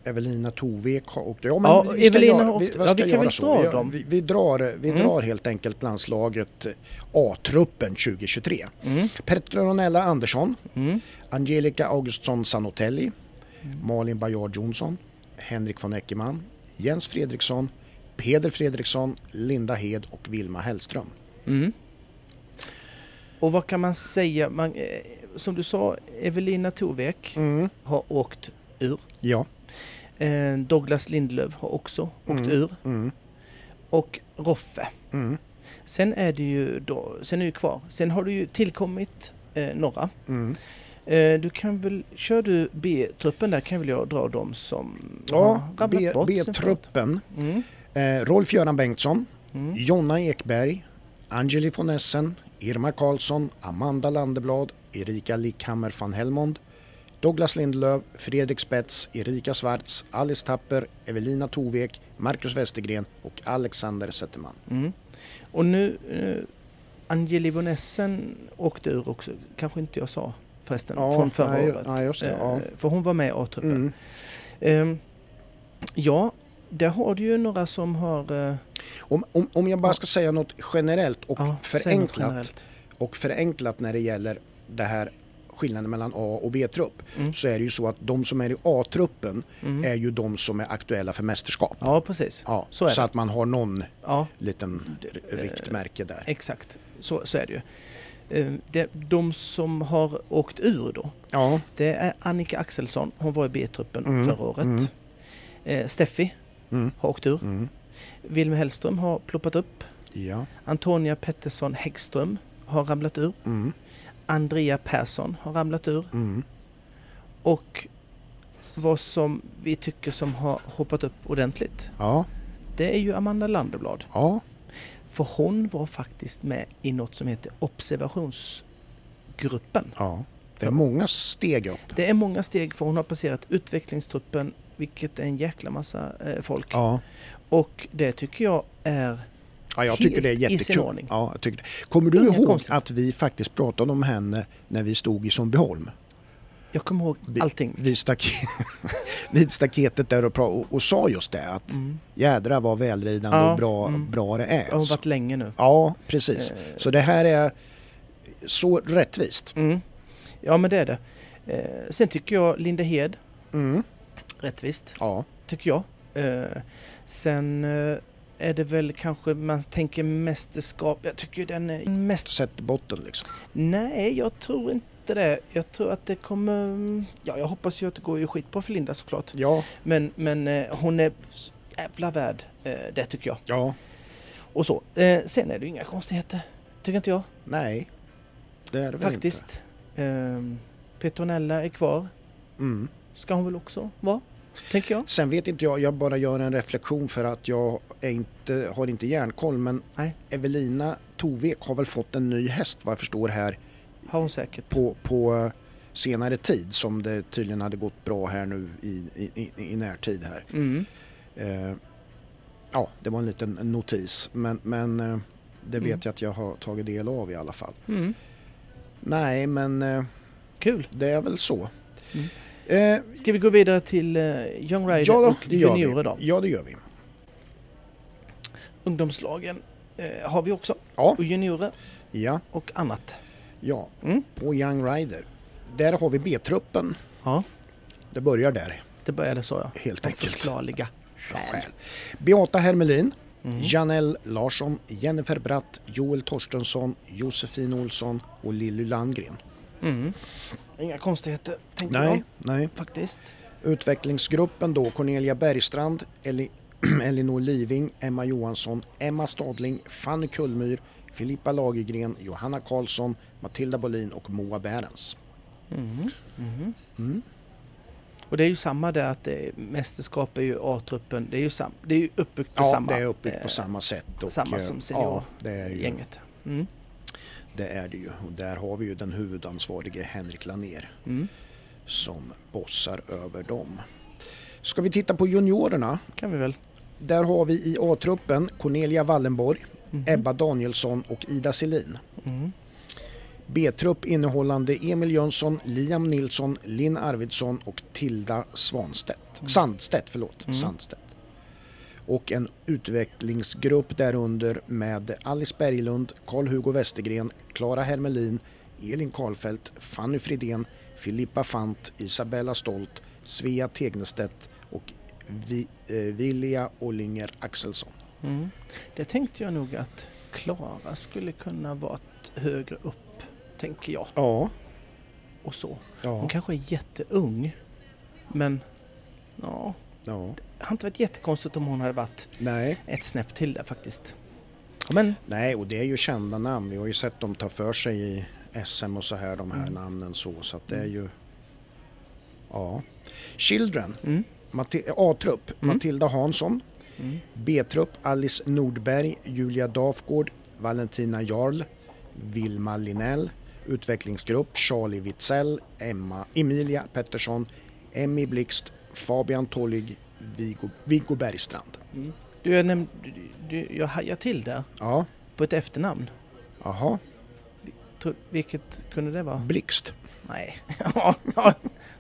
[SPEAKER 2] Evelina Tovek har åkt. Ja, men
[SPEAKER 1] Ja,
[SPEAKER 2] vi ska
[SPEAKER 1] Evelina har
[SPEAKER 2] göra, vi,
[SPEAKER 1] åkt-
[SPEAKER 2] vad
[SPEAKER 1] ja,
[SPEAKER 2] ska
[SPEAKER 1] vi kan
[SPEAKER 2] göra
[SPEAKER 1] väl
[SPEAKER 2] så?
[SPEAKER 1] dra
[SPEAKER 2] Vi gör-
[SPEAKER 1] dem.
[SPEAKER 2] Vi, vi, drar, vi
[SPEAKER 1] Mm.
[SPEAKER 2] drar helt enkelt landslaget A-truppen 2023.
[SPEAKER 1] Mm,
[SPEAKER 2] Petronella Andersson,
[SPEAKER 1] mm,
[SPEAKER 2] Angelica Augustsson Sanotelli, Malin Bajard Jonsson, Henrik von Eckermann, Jens Fredriksson, Peder Fredriksson, Linda Hed och Vilma Hellström.
[SPEAKER 1] mm. Och vad kan man säga? Man, eh, som du sa, Evelina
[SPEAKER 2] Mm.
[SPEAKER 1] Tovek har åkt ur.
[SPEAKER 2] Ja.
[SPEAKER 1] Eh, Douglas Lindlöf har också åkt
[SPEAKER 2] Mm.
[SPEAKER 1] ur.
[SPEAKER 2] Mm.
[SPEAKER 1] Och Roffe.
[SPEAKER 2] Mm.
[SPEAKER 1] Sen är det ju då, sen är det ju kvar. Sen har du ju tillkommit eh, några.
[SPEAKER 2] Mm.
[SPEAKER 1] Eh, du kan väl, kör du B-truppen där kan väl jag dra dem som
[SPEAKER 2] Ja,
[SPEAKER 1] har ramlat
[SPEAKER 2] B-
[SPEAKER 1] bort sen förut.
[SPEAKER 2] B-truppen.
[SPEAKER 1] Mm,
[SPEAKER 2] Eh, Rolf-Göran Bengtsson,
[SPEAKER 1] mm,
[SPEAKER 2] Jonna Ekberg, Angeli von Essen, Irma Karlsson, Amanda Landeblad, Erika Lickhammer van Helmond, Douglas Lindelöf, Fredrik Spets, Erika Schwarz, Alice Tapper, Evelina Tovek, Marcus Westergren och Alexander Zetterman.
[SPEAKER 1] mm. Och nu, eh, Angeli von Essen åkte ur också, kanske inte jag sa förresten, från förra
[SPEAKER 2] nej,
[SPEAKER 1] året.
[SPEAKER 2] Ja, just det. Ja.
[SPEAKER 1] Eh, För hon var med i A-truppen.
[SPEAKER 2] Mm.
[SPEAKER 1] Ehm, ja, där har du ju några som har... eh,
[SPEAKER 2] Om, om, om jag bara
[SPEAKER 1] Ja.
[SPEAKER 2] ska säga något generellt och
[SPEAKER 1] ja, säg något
[SPEAKER 2] förenklat
[SPEAKER 1] generellt.
[SPEAKER 2] och förenklat när det gäller det här skillnaden mellan A och B-trupp
[SPEAKER 1] Mm.
[SPEAKER 2] så är det ju så att de som är i A-truppen
[SPEAKER 1] Mm.
[SPEAKER 2] är ju de som är aktuella för mästerskap.
[SPEAKER 1] Ja, precis.
[SPEAKER 2] Ja,
[SPEAKER 1] så
[SPEAKER 2] så
[SPEAKER 1] är det.
[SPEAKER 2] att man har någon
[SPEAKER 1] Ja,
[SPEAKER 2] liten r- riktmärke där.
[SPEAKER 1] exakt. Så, så är det ju. Ehm, De, de som har åkt ur då,
[SPEAKER 2] Ja,
[SPEAKER 1] det är Annika Axelsson, hon var i B-truppen
[SPEAKER 2] Mm,
[SPEAKER 1] förra året.
[SPEAKER 2] mm.
[SPEAKER 1] Eh, Steffi
[SPEAKER 2] mm,
[SPEAKER 1] har åkt ur.
[SPEAKER 2] mm,
[SPEAKER 1] Wilmer Hellström har ploppat upp.
[SPEAKER 2] ja,
[SPEAKER 1] Antonia Pettersson Häggström har ramlat ur.
[SPEAKER 2] mm,
[SPEAKER 1] Andrea Persson har ramlat ur.
[SPEAKER 2] mm,
[SPEAKER 1] Och vad som vi tycker som har hoppat upp ordentligt,
[SPEAKER 2] ja,
[SPEAKER 1] det är ju Amanda Landeblad.
[SPEAKER 2] ja,
[SPEAKER 1] För hon var faktiskt med i något som heter observationsgruppen.
[SPEAKER 2] ja. Det är många steg upp.
[SPEAKER 1] Det är många steg för hon har passerat utvecklingstruppen, vilket är en jäkla massa eh, folk.
[SPEAKER 2] Ja.
[SPEAKER 1] Och det tycker jag är...
[SPEAKER 2] Ja, jag
[SPEAKER 1] Helt
[SPEAKER 2] tycker det är
[SPEAKER 1] i sin
[SPEAKER 2] jättekul.
[SPEAKER 1] ordning.
[SPEAKER 2] Ja, jag tycker det. Kommer du
[SPEAKER 1] Inget
[SPEAKER 2] ihåg
[SPEAKER 1] konstigt.
[SPEAKER 2] att vi faktiskt pratade om henne när vi stod i Sundbyholm?
[SPEAKER 1] Jag kommer ihåg
[SPEAKER 2] Vi-
[SPEAKER 1] allting.
[SPEAKER 2] Vid, stak vid staketet där och, pra- och, och sa just det att
[SPEAKER 1] Mm.
[SPEAKER 2] jädra vad välridande
[SPEAKER 1] Ja,
[SPEAKER 2] och bra,
[SPEAKER 1] mm.
[SPEAKER 2] bra det är.
[SPEAKER 1] Jag har varit länge nu.
[SPEAKER 2] Ja, precis.
[SPEAKER 1] Eh.
[SPEAKER 2] Så det här är så rättvist.
[SPEAKER 1] Mm. Ja, men det är det. Eh, sen tycker jag Linda Hed,
[SPEAKER 2] Mm.
[SPEAKER 1] rättvist.
[SPEAKER 2] Ja.
[SPEAKER 1] tycker jag. Eh, sen eh, är det väl kanske man tänker mästerskap. Jag tycker den är mest...
[SPEAKER 2] Sätt botten liksom.
[SPEAKER 1] Nej, jag tror inte det. Jag tror att det kommer... Ja, jag hoppas ju att det går ju skitbra för Linda såklart.
[SPEAKER 2] Ja,
[SPEAKER 1] Men, men eh, hon är så jävla värd eh, det tycker jag.
[SPEAKER 2] ja,
[SPEAKER 1] Och så. Eh, sen är det ju inga konstigheter. Tycker inte jag.
[SPEAKER 2] nej. Det är det väl inte.
[SPEAKER 1] Faktiskt. Eh, Petronella är kvar.
[SPEAKER 2] Mm.
[SPEAKER 1] Ska hon väl också vara? Tänker jag.
[SPEAKER 2] Sen vet inte jag, jag bara gör en reflektion för att jag är inte, har inte järnkoll men
[SPEAKER 1] Nej.
[SPEAKER 2] Evelina Tovek har väl fått en ny häst vad jag förstår här
[SPEAKER 1] Har hon säkert.
[SPEAKER 2] på, på eh, senare tid som det tydligen hade gått bra här nu i, i, i- i närtid här.
[SPEAKER 1] Mm.
[SPEAKER 2] Eh, ja, det var en liten notis men, men eh, det vet
[SPEAKER 1] Mm.
[SPEAKER 2] jag att jag har tagit del av i alla fall.
[SPEAKER 1] Mm.
[SPEAKER 2] Nej men eh,
[SPEAKER 1] Kul.
[SPEAKER 2] det är väl så.
[SPEAKER 1] Mm.
[SPEAKER 2] Eh,
[SPEAKER 1] Ska vi gå vidare till eh, Young Rider
[SPEAKER 2] ja,
[SPEAKER 1] och
[SPEAKER 2] det gör
[SPEAKER 1] juniorer
[SPEAKER 2] vi.
[SPEAKER 1] då?
[SPEAKER 2] ja, det gör vi.
[SPEAKER 1] Ungdomslagen eh, har vi också.
[SPEAKER 2] Ja,
[SPEAKER 1] Och juniorer
[SPEAKER 2] ja,
[SPEAKER 1] och annat.
[SPEAKER 2] ja.
[SPEAKER 1] Mm.
[SPEAKER 2] På Young Rider. Där har vi B-truppen.
[SPEAKER 1] Ja,
[SPEAKER 2] Det börjar där
[SPEAKER 1] det började så ja.
[SPEAKER 2] helt
[SPEAKER 1] Av
[SPEAKER 2] enkelt.
[SPEAKER 1] förklarliga skäl.
[SPEAKER 2] Skäl. Beata Hermelin,
[SPEAKER 1] Mm.
[SPEAKER 2] Janelle Larsson, Jennifer Bratt, Joel Torstensson, Josefin Olsson och Lilly Landgren.
[SPEAKER 1] Mm. Inga konstigheter, tänker
[SPEAKER 2] Nej,
[SPEAKER 1] jag
[SPEAKER 2] nej.
[SPEAKER 1] faktiskt.
[SPEAKER 2] Utvecklingsgruppen då, Cornelia Bergstrand, Eli, Elinor Living, Emma Johansson, Emma Stadling, Fanny Kullmyr, Filippa Lagergren, Johanna Karlsson, Matilda Bolin och Moa Bärens.
[SPEAKER 1] Mm. Mm.
[SPEAKER 2] Mm.
[SPEAKER 1] Och det är ju samma där att det är, mästerskap är ju A-truppen, det är ju, sam, det är ju uppbyggt på
[SPEAKER 2] Ja,
[SPEAKER 1] samma,
[SPEAKER 2] det är uppbyggt på
[SPEAKER 1] eh,
[SPEAKER 2] samma sätt. Och,
[SPEAKER 1] samma
[SPEAKER 2] eh,
[SPEAKER 1] som
[SPEAKER 2] ja, det är, ju,
[SPEAKER 1] gänget. Mm.
[SPEAKER 2] det är det ju. Och där har vi ju den huvudansvarige Henrik Lanér
[SPEAKER 1] Mm.
[SPEAKER 2] som bossar över dem. Ska vi titta på juniorerna?
[SPEAKER 1] kan vi väl.
[SPEAKER 2] Där har vi i A-truppen Cornelia Wallenborg,
[SPEAKER 1] Mhm.
[SPEAKER 2] Ebba Danielsson och Ida Selin.
[SPEAKER 1] Mm.
[SPEAKER 2] B-trupp innehållande Emil Jönsson, Liam Nilsson, Linn Arvidsson och Tilda Svanstedt. Sandstedt, förlåt.
[SPEAKER 1] Mm.
[SPEAKER 2] Sandstedt. Och en utvecklingsgrupp därunder med Alice Berglund, Karl-Hugo Westergren, Klara Hermelin, Elin Karlfeldt, Fanny Fridén, Filippa Fant, Isabella Stolt, Svea Tegnestedt och Vi, eh, Vilja Ollinger Axelsson.
[SPEAKER 1] Mm. Det tänkte jag nog att Klara skulle kunna vara högre upp, tänker jag.
[SPEAKER 2] Ja,
[SPEAKER 1] Och så. Hon
[SPEAKER 2] ja,
[SPEAKER 1] kanske är jätteung, men ja,
[SPEAKER 2] ja.
[SPEAKER 1] det hade inte varit jättekonstigt om hon hade varit
[SPEAKER 2] Nej,
[SPEAKER 1] ett snäpp till där faktiskt. Men
[SPEAKER 2] nej, och det är ju kända namn. Vi har ju sett dem ta för sig i SM och så här, de här
[SPEAKER 1] Mm.
[SPEAKER 2] namnen så, så att det är
[SPEAKER 1] Mm.
[SPEAKER 2] ju... Ja. Children,
[SPEAKER 1] mm.
[SPEAKER 2] Mati- eh, A-trupp,
[SPEAKER 1] Mm.
[SPEAKER 2] Matilda Hansson.
[SPEAKER 1] Mm.
[SPEAKER 2] B-trupp, Alice Nordberg, Julia Dafgård, Valentina Jarl, Vilma Linell. Utvecklingsgrupp, Charlie Witzell, Emma, Emilia Pettersson, Emmy Blixt, Fabian Tollig, Viggo, Viggo Bergstrand.
[SPEAKER 1] Mm. Du, jag, näm- du, du, jag hajar till där
[SPEAKER 2] Ja,
[SPEAKER 1] på ett efternamn.
[SPEAKER 2] jaha.
[SPEAKER 1] Tror- Vilket kunde det vara?
[SPEAKER 2] Blixt.
[SPEAKER 1] Nej. Ja, ja.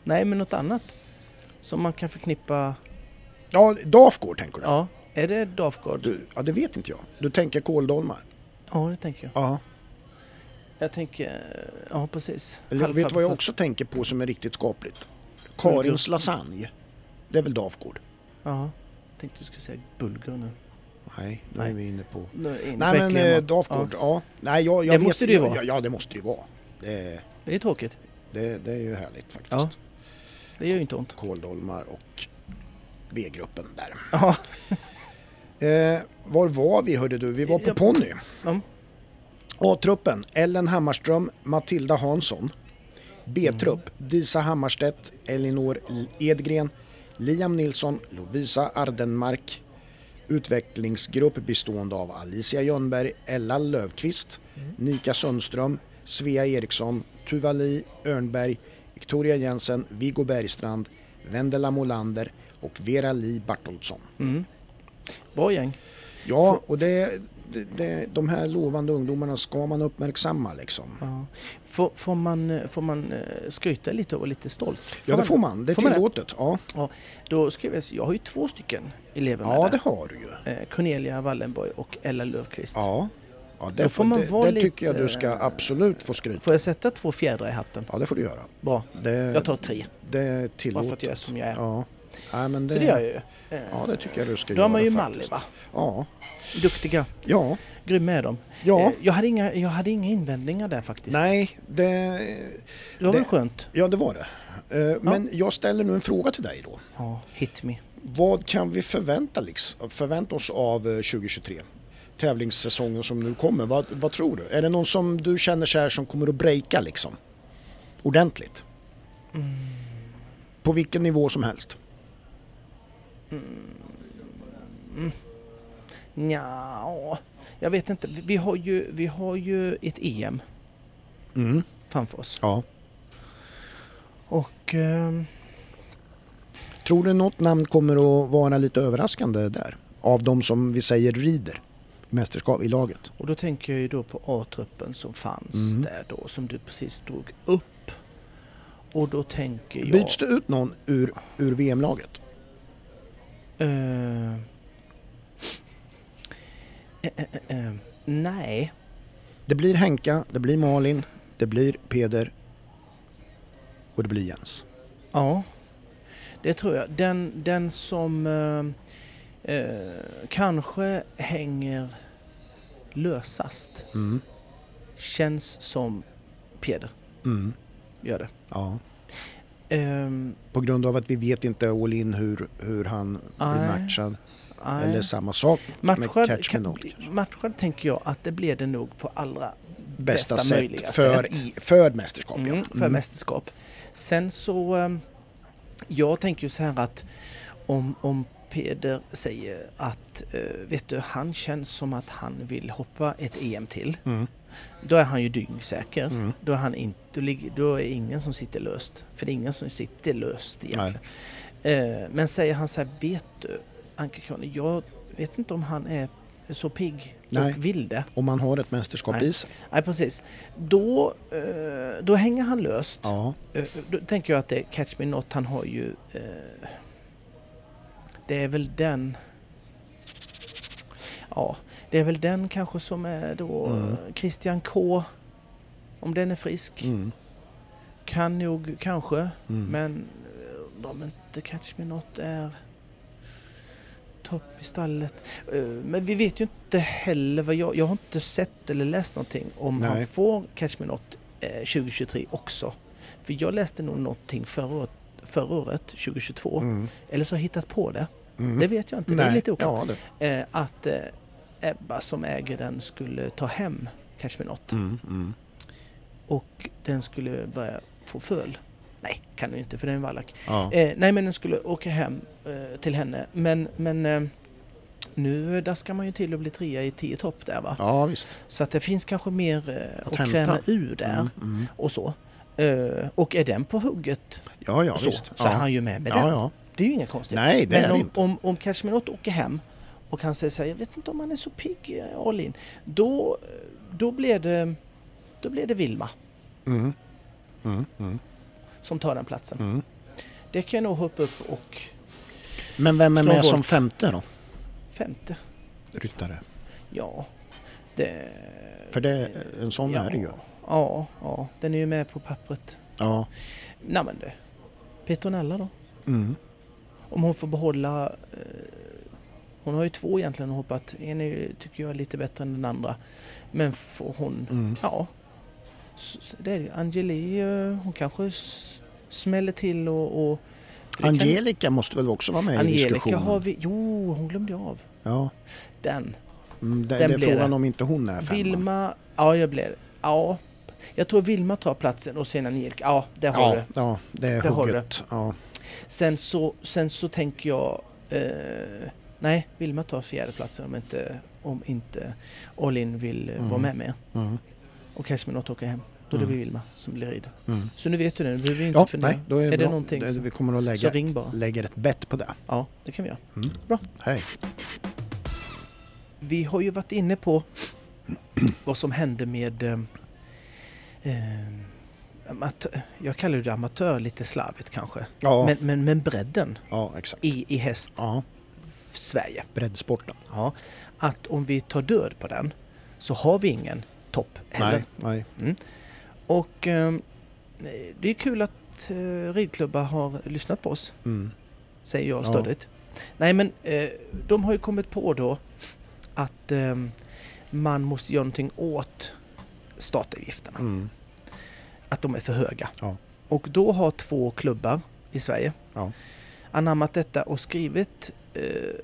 [SPEAKER 1] Nej, men något annat. Som man kan förknippa...
[SPEAKER 2] Ja, Dafgård tänker du?
[SPEAKER 1] Ja, är det Dafgård?
[SPEAKER 2] du? Ja, det vet inte jag. Du tänker kåldolmar?
[SPEAKER 1] Ja, det tänker jag.
[SPEAKER 2] Ja.
[SPEAKER 1] Jag tänker... Ja, precis.
[SPEAKER 2] Eller, vet du vad jag
[SPEAKER 1] Halvfabrikat.
[SPEAKER 2] också tänker på som är riktigt skapligt?
[SPEAKER 1] Mm.
[SPEAKER 2] Karins
[SPEAKER 1] Bulgur.
[SPEAKER 2] lasagne. Det är väl Dafgård?
[SPEAKER 1] Ja. Tänkte du skulle säga bulgur nu.
[SPEAKER 2] Nej, nu
[SPEAKER 1] Nej.
[SPEAKER 2] är vi inne på...
[SPEAKER 1] nu är
[SPEAKER 2] Nej men
[SPEAKER 1] verkligen
[SPEAKER 2] eh,
[SPEAKER 1] mat.
[SPEAKER 2] Dafgård,
[SPEAKER 1] Ja,
[SPEAKER 2] ja. Nej, jag, jag
[SPEAKER 1] Det
[SPEAKER 2] vet,
[SPEAKER 1] måste det ju
[SPEAKER 2] ja,
[SPEAKER 1] vara.
[SPEAKER 2] Ja, det måste det ju vara. Det,
[SPEAKER 1] det är tråkigt.
[SPEAKER 2] det, det är ju härligt faktiskt.
[SPEAKER 1] Ja. Det gör ju inte ont.
[SPEAKER 2] Kåldolmar och B-gruppen där.
[SPEAKER 1] Ja.
[SPEAKER 2] Eh, var var vi hörde du? Vi var på
[SPEAKER 1] Ja.
[SPEAKER 2] ponny.
[SPEAKER 1] Ja.
[SPEAKER 2] A-truppen Ellen Hammarström, Matilda Hansson. B-trupp Disa Hammarstedt, Elinor L- Edgren, Liam Nilsson, Lovisa Ardenmark. Utvecklingsgrupp bestående av Alicia Jönberg, Ella Lövqvist, Nika Sundström, Svea Eriksson, Tuvali Örnberg, Victoria Jensen, Viggo Bergstrand, Vendela Molander och Vera Li Bartolsson.
[SPEAKER 1] Mm. Bra gäng.
[SPEAKER 2] Ja, och det, det, det, de här lovande ungdomarna ska man uppmärksamma liksom.
[SPEAKER 1] Ja. Får, får, man, eh, får man eh, skryta lite och vara lite stolt?
[SPEAKER 2] Ja, det får man. Det är
[SPEAKER 1] Får man det?
[SPEAKER 2] tillåtet. Ja.
[SPEAKER 1] Då ska jag, väl säga, jag har ju två stycken elever med
[SPEAKER 2] ja,
[SPEAKER 1] där.
[SPEAKER 2] det har du ju.
[SPEAKER 1] Eh, Cornelia Wallenborg och Ella Löfqvist.
[SPEAKER 2] Ja, ja det,
[SPEAKER 1] Då
[SPEAKER 2] får
[SPEAKER 1] får man
[SPEAKER 2] det,
[SPEAKER 1] vara
[SPEAKER 2] det tycker jag
[SPEAKER 1] lite- eh,
[SPEAKER 2] du ska absolut få skryta.
[SPEAKER 1] Får jag sätta två fjädrar i hatten?
[SPEAKER 2] Ja, det får du göra.
[SPEAKER 1] Bra.
[SPEAKER 2] Det,
[SPEAKER 1] Jag tar tre.
[SPEAKER 2] det är
[SPEAKER 1] Bara för att
[SPEAKER 2] tillåtet.
[SPEAKER 1] jag är som jag är.
[SPEAKER 2] Ja. Ja, men det,
[SPEAKER 1] Så det gör jag ju. Eh,
[SPEAKER 2] Ja, det tycker jag du ska
[SPEAKER 1] Då
[SPEAKER 2] göra
[SPEAKER 1] har man ju Malli
[SPEAKER 2] faktiskt.
[SPEAKER 1] va?
[SPEAKER 2] Ja,
[SPEAKER 1] Duktiga.
[SPEAKER 2] ja,
[SPEAKER 1] Grymma är de.
[SPEAKER 2] ja.
[SPEAKER 1] Eh, Jag, hade inga, jag hade inga invändningar där faktiskt.
[SPEAKER 2] Nej, det,
[SPEAKER 1] det var väl
[SPEAKER 2] det-
[SPEAKER 1] skönt?
[SPEAKER 2] ja det var det. Eh, Men jag ställer nu en fråga till dig då.
[SPEAKER 1] Ja, hit me.
[SPEAKER 2] Vad kan vi förvänta, liksom, förvänta oss av eh, 2023? Tävlingssäsongen som nu kommer, vad, vad tror du? Är det någon som du känner så här som kommer att breaka liksom? Ordentligt? På vilken nivå som helst?
[SPEAKER 1] Nja, jag vet inte. Vi vi har ju, vi har ju ett EM
[SPEAKER 2] Mm.
[SPEAKER 1] framför oss.
[SPEAKER 2] Ja.
[SPEAKER 1] Och ehm,
[SPEAKER 2] Tror du något namn kommer att vara lite överraskande där? Av de som vi säger rider i mästerskap i laget?
[SPEAKER 1] Och då tänker jag ju då på A-truppen som fanns
[SPEAKER 2] Mm.
[SPEAKER 1] där då, som du precis drog upp. Och då tänker jag...
[SPEAKER 2] Byts det ut någon ur, ur VM-laget?
[SPEAKER 1] Eh, eh, eh, eh, nej,
[SPEAKER 2] Det blir Henka, det blir Malin, det blir Peder och det blir Jens.
[SPEAKER 1] ja. Det tror jag. Den, den som eh, eh, kanske hänger lösast
[SPEAKER 2] Mm.
[SPEAKER 1] känns som Peder.
[SPEAKER 2] Mm.
[SPEAKER 1] gör det.
[SPEAKER 2] Ja.
[SPEAKER 1] Ehm,
[SPEAKER 2] På grund av att vi vet inte all in hur, hur han blir
[SPEAKER 1] Nej.
[SPEAKER 2] matchad.
[SPEAKER 1] nej.
[SPEAKER 2] Eller samma sak med
[SPEAKER 1] matchad,
[SPEAKER 2] catch
[SPEAKER 1] kan,
[SPEAKER 2] med knock.
[SPEAKER 1] bli- matchad tänker jag att det blir det nog på allra
[SPEAKER 2] Bästa,
[SPEAKER 1] bästa möjliga
[SPEAKER 2] sätt för,
[SPEAKER 1] sätt.
[SPEAKER 2] I, för mästerskap.
[SPEAKER 1] Mm,
[SPEAKER 2] ja.
[SPEAKER 1] för mästerskap. Sen så, ehm, jag tänker ju så här att om, om Peder säger att, eh, vet du, han känns som att han vill hoppa ett EM till.
[SPEAKER 2] Mm.
[SPEAKER 1] Då är han ju dyngsäker.
[SPEAKER 2] Mm.
[SPEAKER 1] Då är, han inte, då ligger- då är ingen som sitter löst. För det är ingen som sitter löst egentligen. Eh, men säger han så här, vet du Anka Krone, jag vet inte om han är så pigg
[SPEAKER 2] Nej.
[SPEAKER 1] och vill det.
[SPEAKER 2] Om man har ett mästerskap
[SPEAKER 1] Nej.
[SPEAKER 2] i sig.
[SPEAKER 1] Nej precis. Då, eh, då hänger han löst.
[SPEAKER 2] Ja.
[SPEAKER 1] Eh, då tänker jag att det är Catch Me Not, han har ju... Eh, det är väl den... Ja, det är väl den kanske som är då
[SPEAKER 2] Mm.
[SPEAKER 1] eh, Christian K. Om den är frisk.
[SPEAKER 2] Mm.
[SPEAKER 1] Kan nog kanske.
[SPEAKER 2] Mm.
[SPEAKER 1] Men eh, undrar om inte Catch Me Not är topp i stallet. Eh, Men vi vet ju inte heller vad jag... Jag har inte sett eller läst någonting om
[SPEAKER 2] Nej.
[SPEAKER 1] han får Catch Me Not eh, 2023 också. För jag läste nog någonting förra året, förra året 2022.
[SPEAKER 2] Mm.
[SPEAKER 1] Eller så har jag hittat på det.
[SPEAKER 2] Mm.
[SPEAKER 1] Det vet jag inte. Det är
[SPEAKER 2] Nej.
[SPEAKER 1] lite oklart.
[SPEAKER 2] Ja, det.
[SPEAKER 1] Eh, Att eh, Ebba som äger den skulle ta hem Catch Me Not.
[SPEAKER 2] Mm. Mm.
[SPEAKER 1] Och den skulle börja få föl. Nej, kan den ju inte för den är en vallack.
[SPEAKER 2] Ja.
[SPEAKER 1] Eh, nej men den skulle åka hem eh, till henne. Men, men eh, nu daskar man ju till att bli trea i tio topp där va.
[SPEAKER 2] ja, visst.
[SPEAKER 1] Så att det finns kanske mer eh, att
[SPEAKER 2] hämta.
[SPEAKER 1] kräma ur där
[SPEAKER 2] Mm. Mm.
[SPEAKER 1] och så. Eh, och är den på hugget
[SPEAKER 2] Ja, ja,
[SPEAKER 1] så,
[SPEAKER 2] visst.
[SPEAKER 1] så
[SPEAKER 2] ja.
[SPEAKER 1] är han ju med med
[SPEAKER 2] ja,
[SPEAKER 1] den.
[SPEAKER 2] ja.
[SPEAKER 1] Det är ju inga konstigt.
[SPEAKER 2] Nej, det är
[SPEAKER 1] men
[SPEAKER 2] det
[SPEAKER 1] om,
[SPEAKER 2] inte.
[SPEAKER 1] om, om Kashmirot åker hem och han säger så här, jag vet inte om han är så pigg eh, all in. Då, då blir det, då blir det Vilma
[SPEAKER 2] Mm. Mm. Mm.
[SPEAKER 1] som tar den platsen.
[SPEAKER 2] Mm.
[SPEAKER 1] Det kan jag nog hoppa upp och
[SPEAKER 2] Men vem är
[SPEAKER 1] Slå
[SPEAKER 2] med
[SPEAKER 1] hårt.
[SPEAKER 2] som femte då?
[SPEAKER 1] femte.
[SPEAKER 2] Ryttare.
[SPEAKER 1] Ja, det...
[SPEAKER 2] För det, en sån
[SPEAKER 1] Eh, ja,
[SPEAKER 2] är det ju.
[SPEAKER 1] Ja, ja, den är ju med på pappret.
[SPEAKER 2] Ja.
[SPEAKER 1] Nej men du, Petronella då?
[SPEAKER 2] Mm.
[SPEAKER 1] Om hon får behålla... Eh, hon har ju två egentligen och hoppat. En är ju, tycker jag är lite bättre än den andra. Men får hon...
[SPEAKER 2] Mm.
[SPEAKER 1] Ja. S- s- Det är det ju. Angeli, eh, hon kanske s- smäller till och... och för det kan-
[SPEAKER 2] Angelica måste väl också vara med i
[SPEAKER 1] Angelica
[SPEAKER 2] diskussionen?
[SPEAKER 1] har vi... Jo, hon glömde jag av.
[SPEAKER 2] Ja.
[SPEAKER 1] Den.
[SPEAKER 2] Mm, det, det
[SPEAKER 1] Den
[SPEAKER 2] är
[SPEAKER 1] blir
[SPEAKER 2] frågan
[SPEAKER 1] det.
[SPEAKER 2] om inte hon är femman.
[SPEAKER 1] Vilma, ja jag blev... Ja. Jag tror Vilma tar platsen och sen Angelica. Ja, det har du.
[SPEAKER 2] ja, ja, det är
[SPEAKER 1] Det har
[SPEAKER 2] hugget. Ja.
[SPEAKER 1] Sen så, sen så tänker jag... Eh, nej, Vilma tar fjärdeplatsen om inte, om inte Olin vill eh,
[SPEAKER 2] Mm.
[SPEAKER 1] vara med mer.
[SPEAKER 2] Mm.
[SPEAKER 1] Och Kashminot åker hem. Då är det
[SPEAKER 2] Mm.
[SPEAKER 1] blir Vilma som blir rid.
[SPEAKER 2] Mm.
[SPEAKER 1] Så nu vet du det, nu behöver vi inte
[SPEAKER 2] Ja,
[SPEAKER 1] fundera.
[SPEAKER 2] nej, då är,
[SPEAKER 1] är det
[SPEAKER 2] bra.
[SPEAKER 1] någonting
[SPEAKER 2] det,
[SPEAKER 1] som-
[SPEAKER 2] Vi kommer att
[SPEAKER 1] Så
[SPEAKER 2] lägga,
[SPEAKER 1] ring bara.
[SPEAKER 2] lägga ett bett på det.
[SPEAKER 1] Ja, det kan vi göra.
[SPEAKER 2] Mm.
[SPEAKER 1] Bra.
[SPEAKER 2] Hej.
[SPEAKER 1] Vi har ju varit inne på vad som hände med... Eh, eh, amat- jag kallar det amatör lite slarvigt kanske.
[SPEAKER 2] Ja,
[SPEAKER 1] Men, men, men bredden
[SPEAKER 2] ja exakt.
[SPEAKER 1] i, i häst
[SPEAKER 2] Ja,
[SPEAKER 1] Sverige.
[SPEAKER 2] breddsporten.
[SPEAKER 1] Ja, att om vi tar död på den så har vi ingen topp heller.
[SPEAKER 2] Nej, nej.
[SPEAKER 1] Och eh, det är kul att eh, ridklubbar har lyssnat på oss,
[SPEAKER 2] Mm.
[SPEAKER 1] säger jag
[SPEAKER 2] Ja.
[SPEAKER 1] stödigt. Nej men eh, de har ju kommit på då att eh, man måste göra någonting åt startavgifterna,
[SPEAKER 2] Mm.
[SPEAKER 1] att de är för höga.
[SPEAKER 2] Ja.
[SPEAKER 1] Och då har två klubbar i Sverige
[SPEAKER 2] Ja.
[SPEAKER 1] anammat detta och skrivit eh,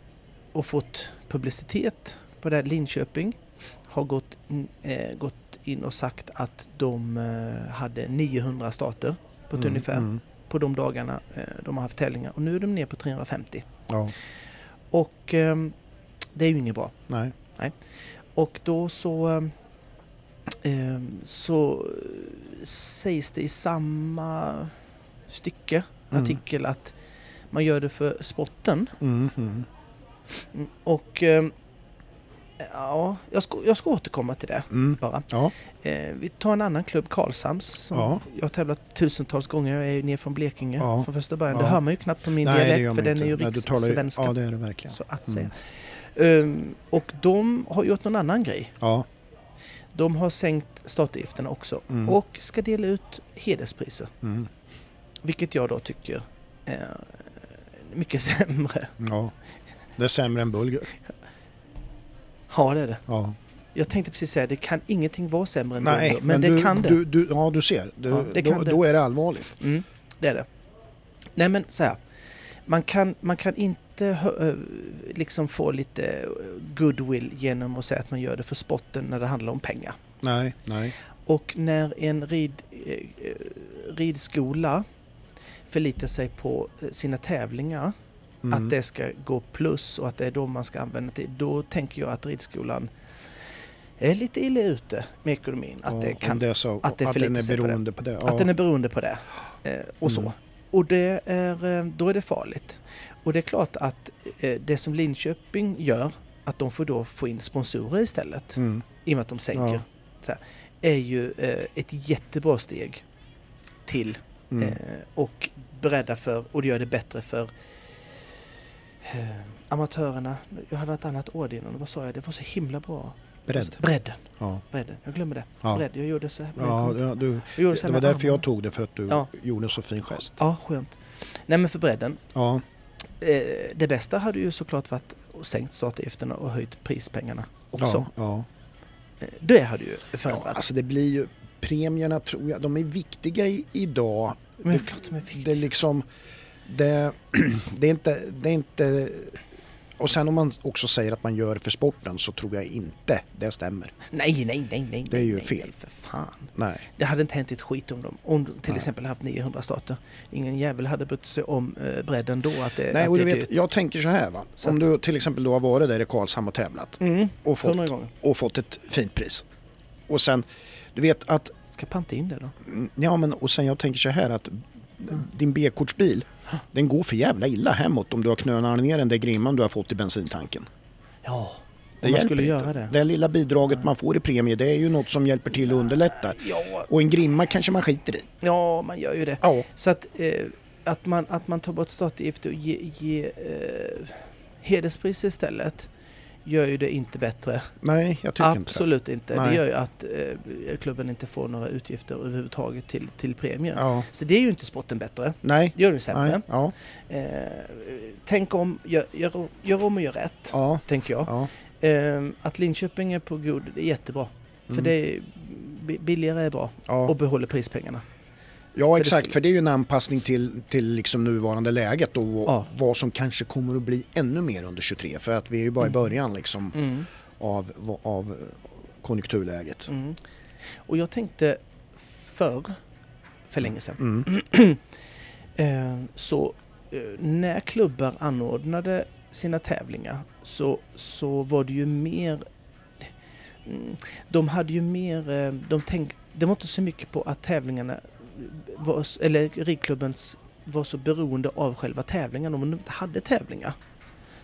[SPEAKER 1] och fått publicitet på det här Linköping har gått, in- eh, gått in och sagt att de eh, hade 900 starter på ett
[SPEAKER 2] Mm,
[SPEAKER 1] ungefär
[SPEAKER 2] Mm.
[SPEAKER 1] på de dagarna eh, de har haft tävlingar och nu är de ner på 350.
[SPEAKER 2] Ja,
[SPEAKER 1] Och ehm, det är ju inget bra.
[SPEAKER 2] nej.
[SPEAKER 1] Och då så, ehm, ehm, så eh, sägs det i samma stycke,
[SPEAKER 2] Mm.
[SPEAKER 1] artikel, att man gör det för spotten.
[SPEAKER 2] Mm. Mm.
[SPEAKER 1] Mm, Och eh, ja, jag ska, jag ska återkomma till det
[SPEAKER 2] Mm.
[SPEAKER 1] bara.
[SPEAKER 2] Ja.
[SPEAKER 1] Eh, vi tar en annan klubb, Karlshamns, som
[SPEAKER 2] Ja.
[SPEAKER 1] jag har tävlat tusentals gånger. Jag är ju ner från Blekinge
[SPEAKER 2] Ja.
[SPEAKER 1] från första början.
[SPEAKER 2] Ja.
[SPEAKER 1] Det hör man ju knappt på min
[SPEAKER 2] Nej, det gör
[SPEAKER 1] dialekt
[SPEAKER 2] man
[SPEAKER 1] för den är ju
[SPEAKER 2] inte. Nej, du talar ju-
[SPEAKER 1] rikssvenska.
[SPEAKER 2] Ja, det är det verkligen.
[SPEAKER 1] så att säga.
[SPEAKER 2] Mm.
[SPEAKER 1] Ehm, och de har gjort någon annan grej.
[SPEAKER 2] Ja.
[SPEAKER 1] De har sänkt startavgifterna också
[SPEAKER 2] Mm.
[SPEAKER 1] och ska dela ut hederspriser.
[SPEAKER 2] Mm.
[SPEAKER 1] Vilket jag då tycker är mycket sämre.
[SPEAKER 2] ja. Det är sämre än bulgur.
[SPEAKER 1] Ja, det är det.
[SPEAKER 2] Ja.
[SPEAKER 1] Jag tänkte precis säga, det kan ingenting vara sämre än
[SPEAKER 2] Nej,
[SPEAKER 1] buller, men, det
[SPEAKER 2] du,
[SPEAKER 1] kan det.
[SPEAKER 2] Du, du, ja, du ser. Du,
[SPEAKER 1] Ja, det
[SPEAKER 2] då,
[SPEAKER 1] kan det.
[SPEAKER 2] då är det allvarligt.
[SPEAKER 1] Mm, det är det. Nej men så här. Man kan, man kan inte hö- eh, liksom få lite goodwill genom att säga att man gör det för spotten när det handlar om pengar.
[SPEAKER 2] Nej, nej.
[SPEAKER 1] Och när en rid, eh, eh, ridskola förlitar sig på eh, sina tävlingar,
[SPEAKER 2] Mm.
[SPEAKER 1] att det ska gå plus och att det är de man ska använda till, då tänker jag att ridskolan är lite illa ute med ekonomin. Att,
[SPEAKER 2] Ja,
[SPEAKER 1] det
[SPEAKER 2] om
[SPEAKER 1] kan,
[SPEAKER 2] det är så,
[SPEAKER 1] att
[SPEAKER 2] att,
[SPEAKER 1] det
[SPEAKER 2] den
[SPEAKER 1] förlitar
[SPEAKER 2] är
[SPEAKER 1] sig på det.
[SPEAKER 2] beroende på det. ja.
[SPEAKER 1] att den är beroende på det. Eh, och så.
[SPEAKER 2] Mm.
[SPEAKER 1] Och det är, eh, då är det farligt. Och det är klart att eh, det som Linköping gör, att de får då få in sponsorer istället,
[SPEAKER 2] Mm.
[SPEAKER 1] i och med att de sänker,
[SPEAKER 2] Ja.
[SPEAKER 1] så här, är ju eh, ett jättebra steg till
[SPEAKER 2] Mm.
[SPEAKER 1] eh, och bredda för, och det gör det bättre för eh, amatörerna. Jag hade ett annat ord innan, vad sa jag? Det var så himla bra.
[SPEAKER 2] Beredd.
[SPEAKER 1] Bredden,
[SPEAKER 2] Ja.
[SPEAKER 1] bredden. Jag glömmer det.
[SPEAKER 2] Ja.
[SPEAKER 1] Bredd, jag gjorde så här. men jag
[SPEAKER 2] Ja,
[SPEAKER 1] kommer inte-
[SPEAKER 2] ja, du,
[SPEAKER 1] jag gjorde så
[SPEAKER 2] det
[SPEAKER 1] här
[SPEAKER 2] var
[SPEAKER 1] med
[SPEAKER 2] därför
[SPEAKER 1] armarna.
[SPEAKER 2] jag tog det, för att du
[SPEAKER 1] Ja.
[SPEAKER 2] gjorde en så fin gest.
[SPEAKER 1] Ja, skönt. Nej men för bredden.
[SPEAKER 2] Ja,
[SPEAKER 1] Eh, det bästa hade ju såklart varit att sänkt startavgifterna och höjt prispengarna också.
[SPEAKER 2] ja, ja.
[SPEAKER 1] Eh, Det hade ju
[SPEAKER 2] ja
[SPEAKER 1] förändrats.
[SPEAKER 2] alltså det blir ju, premierna tror jag, de är viktiga i, idag.
[SPEAKER 1] men det är klart de är viktiga.
[SPEAKER 2] Det är liksom, det, det, är inte, det är inte, och sen om man också säger att man gör det för sporten så tror jag inte det stämmer.
[SPEAKER 1] nej, nej, nej, nej.
[SPEAKER 2] Det är ju
[SPEAKER 1] nej,
[SPEAKER 2] fel.
[SPEAKER 1] Nej, för fan.
[SPEAKER 2] Nej,
[SPEAKER 1] Det hade inte hänt ett skit om de om de till
[SPEAKER 2] Nej.
[SPEAKER 1] exempel haft 900 starter. Ingen jävel hade brytt sig om eh, bredden då. Att det,
[SPEAKER 2] Nej
[SPEAKER 1] att
[SPEAKER 2] och
[SPEAKER 1] det
[SPEAKER 2] du
[SPEAKER 1] är
[SPEAKER 2] vet,
[SPEAKER 1] dyrt.
[SPEAKER 2] jag tänker så här va,
[SPEAKER 1] Så
[SPEAKER 2] om
[SPEAKER 1] att-
[SPEAKER 2] du till exempel då har varit där i Karlshamn och tävlat
[SPEAKER 1] Mm,
[SPEAKER 2] och fått,
[SPEAKER 1] 100 gånger.
[SPEAKER 2] och fått ett fint pris. Och sen, du vet att
[SPEAKER 1] Ska panta in det då?
[SPEAKER 2] Mm, Ja, men och sen jag tänker så här att din B-kortsbil, den går för jävla illa hemåt om du har knönat ner den där grimman du har fått i bensintanken.
[SPEAKER 1] Ja,
[SPEAKER 2] Det
[SPEAKER 1] om man
[SPEAKER 2] hjälper
[SPEAKER 1] skulle
[SPEAKER 2] inte.
[SPEAKER 1] göra det.
[SPEAKER 2] Det lilla bidraget man får i premie, det är ju något som hjälper till och underlättar.
[SPEAKER 1] Ja,
[SPEAKER 2] Och en grimma kanske man skiter i.
[SPEAKER 1] ja, man gör ju det.
[SPEAKER 2] Ja,
[SPEAKER 1] Så att, eh, att, man, att man tar bort startavgifter och ger ge, eh, hederspris istället gör ju det inte bättre.
[SPEAKER 2] nej, jag tycker inte
[SPEAKER 1] Absolut inte. Det
[SPEAKER 2] Nej.
[SPEAKER 1] gör ju att eh, klubben inte får några utgifter överhuvudtaget till, till
[SPEAKER 2] det.
[SPEAKER 1] premien.
[SPEAKER 2] Ja,
[SPEAKER 1] Så det är ju inte sporten bättre.
[SPEAKER 2] nej,
[SPEAKER 1] Det gör det
[SPEAKER 2] nej,
[SPEAKER 1] sämre.
[SPEAKER 2] ja,
[SPEAKER 1] Eh, tänk om, gör, gör, om- gör om och gör rätt,
[SPEAKER 2] ja,
[SPEAKER 1] tänker jag.
[SPEAKER 2] ja.
[SPEAKER 1] Eh, att Linköping är på god, det är jättebra. För
[SPEAKER 2] Mm.
[SPEAKER 1] det är, bi- billigare är bra och
[SPEAKER 2] Ja,
[SPEAKER 1] behåller prispengarna.
[SPEAKER 2] ja
[SPEAKER 1] det
[SPEAKER 2] exakt,
[SPEAKER 1] skulle-
[SPEAKER 2] för det är ju en anpassning till, till liksom nuvarande läget och
[SPEAKER 1] Ja.
[SPEAKER 2] vad som kanske kommer att bli ännu mer under 23. För att vi är ju bara i
[SPEAKER 1] Mm.
[SPEAKER 2] början liksom.
[SPEAKER 1] Mm.
[SPEAKER 2] av, av konjunkturläget.
[SPEAKER 1] Mm. Och jag tänkte förr, för länge sedan,
[SPEAKER 2] Mm.
[SPEAKER 1] eh, så eh, när klubbar anordnade sina tävlingar så, så var det ju mer... Mm, de hade ju mer... eh, De tänkte... Det var inte så mycket på att tävlingarna var, s- eller ridklubbens var så beroende av själva tävlingen. Om de inte hade tävlingar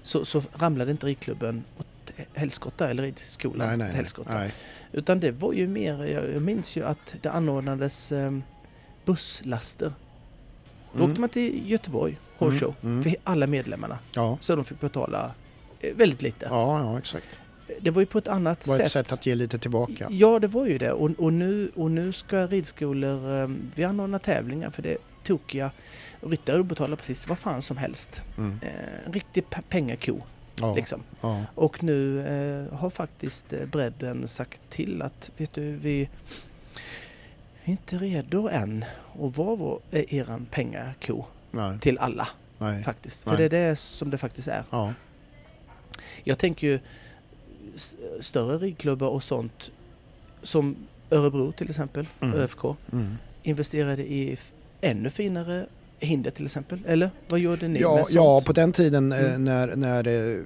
[SPEAKER 1] så, så ramlade inte ridklubben åt helskotta eller ridskolan
[SPEAKER 2] Nej, nej,
[SPEAKER 1] åt
[SPEAKER 2] nej,
[SPEAKER 1] helskotta.
[SPEAKER 2] nej.
[SPEAKER 1] Utan det var ju mer, jag jag minns ju att det anordnades eh, busslaster. Då åkte man till Göteborg, Horse Show,
[SPEAKER 2] Mm.
[SPEAKER 1] för
[SPEAKER 2] Mm.
[SPEAKER 1] he- alla medlemmarna.
[SPEAKER 2] Ja.
[SPEAKER 1] Så de fick betala eh, väldigt lite.
[SPEAKER 2] Ja, ja, exakt.
[SPEAKER 1] Det var ju på ett annat
[SPEAKER 2] Det var
[SPEAKER 1] sätt.
[SPEAKER 2] ett sätt att ge lite tillbaka.
[SPEAKER 1] Ja, det var ju det. Och, och, nu, och nu ska ridskolor, eh, vi anordnar tävlingar för det är tokiga ryttare och betalar precis vad fan som helst.
[SPEAKER 2] Mm.
[SPEAKER 1] Eh, En riktig pe- pengako
[SPEAKER 2] Ja,
[SPEAKER 1] liksom.
[SPEAKER 2] ja.
[SPEAKER 1] Och nu eh, har faktiskt eh, bredden sagt till att vet du, vi vi är inte redo än att vara vår, eh, eran pengako
[SPEAKER 2] Nej,
[SPEAKER 1] till alla
[SPEAKER 2] nej.
[SPEAKER 1] faktiskt. För
[SPEAKER 2] Nej.
[SPEAKER 1] det är det som det faktiskt är.
[SPEAKER 2] Ja,
[SPEAKER 1] Jag tänker ju s- större ridklubbar och sånt som Örebro till exempel,
[SPEAKER 2] Mm.
[SPEAKER 1] ÖFK,
[SPEAKER 2] mm.
[SPEAKER 1] investerade i f- ännu finare hinder till exempel. Eller vad gjorde ni med
[SPEAKER 2] ja,
[SPEAKER 1] sånt?
[SPEAKER 2] ja på den tiden eh,
[SPEAKER 1] Mm.
[SPEAKER 2] när, när eh,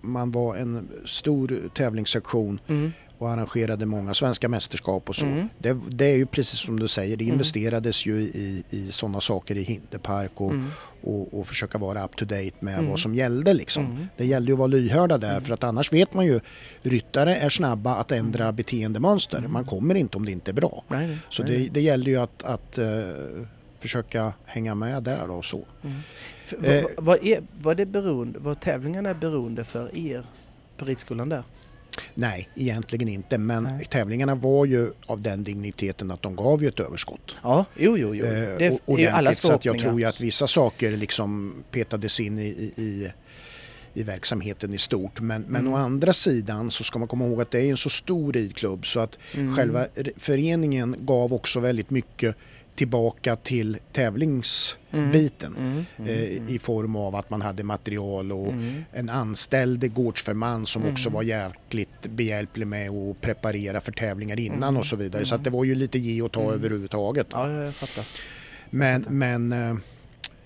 [SPEAKER 2] man var en stor tävlingssektion
[SPEAKER 1] Mm.
[SPEAKER 2] och arrangerade många svenska mästerskap och så.
[SPEAKER 1] Mm.
[SPEAKER 2] Det, det är ju precis som du säger, det
[SPEAKER 1] Mm.
[SPEAKER 2] investerades ju i, i sådana saker i hinderpark och,
[SPEAKER 1] Mm.
[SPEAKER 2] och, och försöka vara up to date med
[SPEAKER 1] Mm.
[SPEAKER 2] vad som gällde liksom.
[SPEAKER 1] Mm.
[SPEAKER 2] Det gällde ju att vara lyhörda där
[SPEAKER 1] Mm.
[SPEAKER 2] för att annars vet man ju ryttare är snabba att ändra
[SPEAKER 1] Mm.
[SPEAKER 2] beteendemönster. Man kommer inte om det inte är bra.
[SPEAKER 1] Nej, nej,
[SPEAKER 2] Så
[SPEAKER 1] nej,
[SPEAKER 2] det,
[SPEAKER 1] nej.
[SPEAKER 2] det gäller ju att, att eh, försöka hänga med där då och så.
[SPEAKER 1] Mm. För,
[SPEAKER 2] Eh,
[SPEAKER 1] vad, vad, är, vad, är det beroende, vad tävlingarna är beroende för er på ridskolan där?
[SPEAKER 2] Nej, egentligen inte men
[SPEAKER 1] Nej.
[SPEAKER 2] tävlingarna var ju av den digniteten att de gav ju ett överskott.
[SPEAKER 1] Ja, jo, jo, jo.
[SPEAKER 2] Eh,
[SPEAKER 1] Det är
[SPEAKER 2] ordentligt,
[SPEAKER 1] ju allas
[SPEAKER 2] så att jag
[SPEAKER 1] förhoppningar.
[SPEAKER 2] tror ju att vissa saker liksom petades in i, i, i i verksamheten i stort. Men, men
[SPEAKER 1] Mm.
[SPEAKER 2] å andra sidan så ska man komma ihåg att det är en så stor ridklubb så att
[SPEAKER 1] Mm.
[SPEAKER 2] själva re- föreningen gav också väldigt mycket tillbaka till tävlingsbiten
[SPEAKER 1] Mm, mm,
[SPEAKER 2] eh,
[SPEAKER 1] mm.
[SPEAKER 2] i form av att man hade material och
[SPEAKER 1] Mm.
[SPEAKER 2] en anställd gårdsförman som också
[SPEAKER 1] Mm.
[SPEAKER 2] var jäkligt behjälplig med att preparera för tävlingar innan
[SPEAKER 1] Mm.
[SPEAKER 2] och så vidare. Så
[SPEAKER 1] Mm.
[SPEAKER 2] att det var ju lite ge och ta
[SPEAKER 1] Mm.
[SPEAKER 2] överhuvudtaget.
[SPEAKER 1] Ja, jag fattar.
[SPEAKER 2] Men, men eh,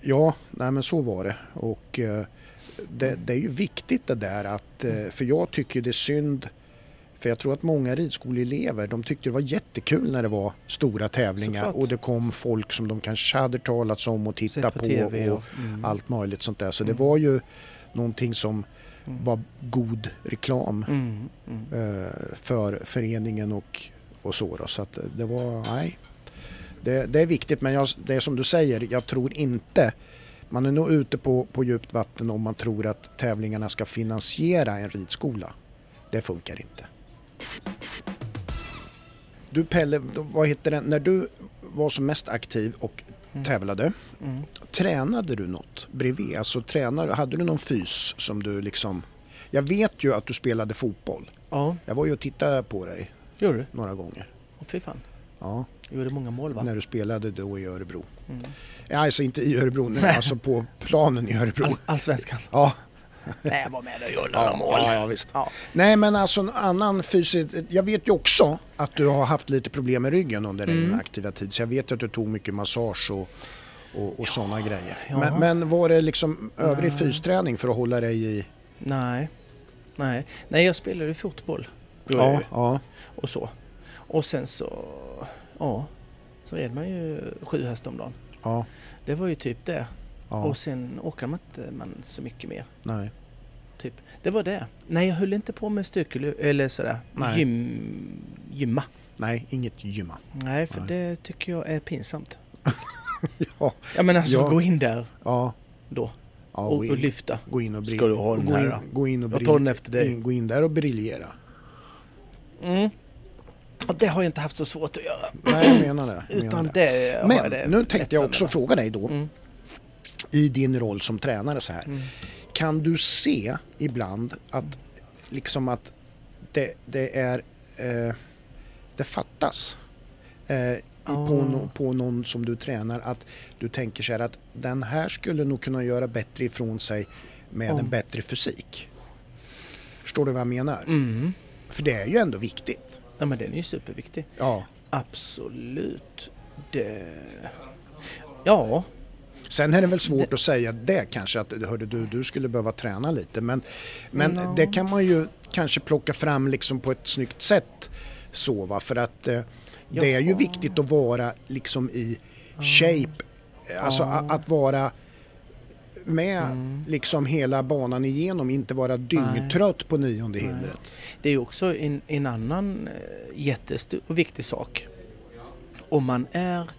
[SPEAKER 2] ja, nej men så var det. Och eh, det, det är ju viktigt det där att, eh, för jag tycker det är synd för jag tror att många ridskoleelever de tyckte det var jättekul när det var stora tävlingar
[SPEAKER 1] Såklart.
[SPEAKER 2] och det kom folk som de kanske hade talats om och
[SPEAKER 1] Sett
[SPEAKER 2] tittat på,
[SPEAKER 1] TV
[SPEAKER 2] och,
[SPEAKER 1] och, mm.
[SPEAKER 2] allt möjligt sånt där. Så
[SPEAKER 1] Mm.
[SPEAKER 2] det var ju någonting som
[SPEAKER 1] Mm.
[SPEAKER 2] var god reklam
[SPEAKER 1] Mm, mm.
[SPEAKER 2] eh, för föreningen och, och så. Då. Så att det var, nej. Det, det är viktigt men jag, det är som du säger, jag tror inte man är nog ute på, på djupt vatten om man tror att tävlingarna ska finansiera en ridskola. Det funkar inte. Du Pelle, då- vad heter det, när du var som mest aktiv och
[SPEAKER 1] Mm.
[SPEAKER 2] tävlade,
[SPEAKER 1] Mm.
[SPEAKER 2] Tränade du något bredvid? Alltså tränade, hade du någon fys som du liksom... Jag vet ju att du spelade fotboll.
[SPEAKER 1] Ja,
[SPEAKER 2] Jag var ju och tittade på dig
[SPEAKER 1] gjorde du?
[SPEAKER 2] några gånger.
[SPEAKER 1] Åh fy fan.
[SPEAKER 2] Ja,
[SPEAKER 1] Gjorde många mål va?
[SPEAKER 2] när du spelade då i Örebro.
[SPEAKER 1] Mm.
[SPEAKER 2] Ja, alltså inte i Örebro, nu, alltså på planen i Örebro.
[SPEAKER 1] All, allsvenskan.
[SPEAKER 2] Ja,
[SPEAKER 1] Nej, jag var med och gjorde några
[SPEAKER 2] ja,
[SPEAKER 1] mål.
[SPEAKER 2] ja, ja, visst.
[SPEAKER 1] Ja.
[SPEAKER 2] Nej, men alltså en annan fysisk... Jag vet ju också att du har haft lite problem med ryggen under din
[SPEAKER 1] Mm.
[SPEAKER 2] aktiva tid. Så jag vet ju att du tog mycket massage och, och, och sådana grejer.
[SPEAKER 1] ja.
[SPEAKER 2] Men, men var det liksom övrig
[SPEAKER 1] Nej.
[SPEAKER 2] fysträning för att hålla dig i...
[SPEAKER 1] Nej. Nej. Nej, jag spelade ju fotboll. Gjorde jag
[SPEAKER 2] Ja,
[SPEAKER 1] ju.
[SPEAKER 2] ja.
[SPEAKER 1] Och så. Och sen så... Ja. Så red man ju sju hästar om dagen.
[SPEAKER 2] Ja,
[SPEAKER 1] Det var ju typ det.
[SPEAKER 2] ja,
[SPEAKER 1] Och sen åkade man inte man så mycket mer.
[SPEAKER 2] nej.
[SPEAKER 1] Typ. Det var det. Nej, jag höll inte på med styrkelyft eller sådär.
[SPEAKER 2] Nej.
[SPEAKER 1] Gym, gymma.
[SPEAKER 2] Nej, inget gymma.
[SPEAKER 1] Nej, för
[SPEAKER 2] Nej.
[SPEAKER 1] det tycker jag är pinsamt.
[SPEAKER 2] Ja,
[SPEAKER 1] Ja, men alltså
[SPEAKER 2] Ja.
[SPEAKER 1] gå in där
[SPEAKER 2] ja.
[SPEAKER 1] då
[SPEAKER 2] ja
[SPEAKER 1] och,
[SPEAKER 2] gå,
[SPEAKER 1] och
[SPEAKER 2] in,
[SPEAKER 1] lyfta.
[SPEAKER 2] gå in och briljera.
[SPEAKER 1] Ska du ha den
[SPEAKER 2] gå
[SPEAKER 1] här,
[SPEAKER 2] in, gå in och
[SPEAKER 1] Jag tar den
[SPEAKER 2] briljera.
[SPEAKER 1] efter dig.
[SPEAKER 2] Gå in där och briljera.
[SPEAKER 1] Mm. Och det har jag inte haft så svårt att göra.
[SPEAKER 2] Nej, jag menar det. Jag
[SPEAKER 1] Utan
[SPEAKER 2] menar
[SPEAKER 1] det har jag det
[SPEAKER 2] Men nu
[SPEAKER 1] lätt
[SPEAKER 2] tänkte
[SPEAKER 1] för
[SPEAKER 2] jag också
[SPEAKER 1] mig.
[SPEAKER 2] fråga dig då,
[SPEAKER 1] Mm.
[SPEAKER 2] i din roll som tränare så här.
[SPEAKER 1] Mm.
[SPEAKER 2] Kan du se ibland att liksom att det, det är eh, det fattas eh, i- på,
[SPEAKER 1] Ah.
[SPEAKER 2] no, på någon som du tränar att du tänker så här att den här skulle nog kunna göra bättre ifrån sig med
[SPEAKER 1] Om.
[SPEAKER 2] en bättre fysik. Förstår du vad jag menar?
[SPEAKER 1] Mm.
[SPEAKER 2] För det är ju ändå viktigt.
[SPEAKER 1] Ja, men den är ju superviktig.
[SPEAKER 2] Ja.
[SPEAKER 1] Absolut. Det... Ja,
[SPEAKER 2] Sen är det väl svårt att säga det kanske att hörde du, du skulle behöva träna lite men, men
[SPEAKER 1] Ja.
[SPEAKER 2] det kan man ju kanske plocka fram liksom på ett snyggt sätt så va för att eh, det är ju
[SPEAKER 1] Jaha.
[SPEAKER 2] viktigt att vara liksom i shape, alltså
[SPEAKER 1] Ja.
[SPEAKER 2] a- att vara med
[SPEAKER 1] Mm.
[SPEAKER 2] liksom hela banan igenom, inte vara dyngtrött på nionde
[SPEAKER 1] Nej.
[SPEAKER 2] hindret.
[SPEAKER 1] det är ju också en, en annan eh, jättestor och viktig sak. Om man är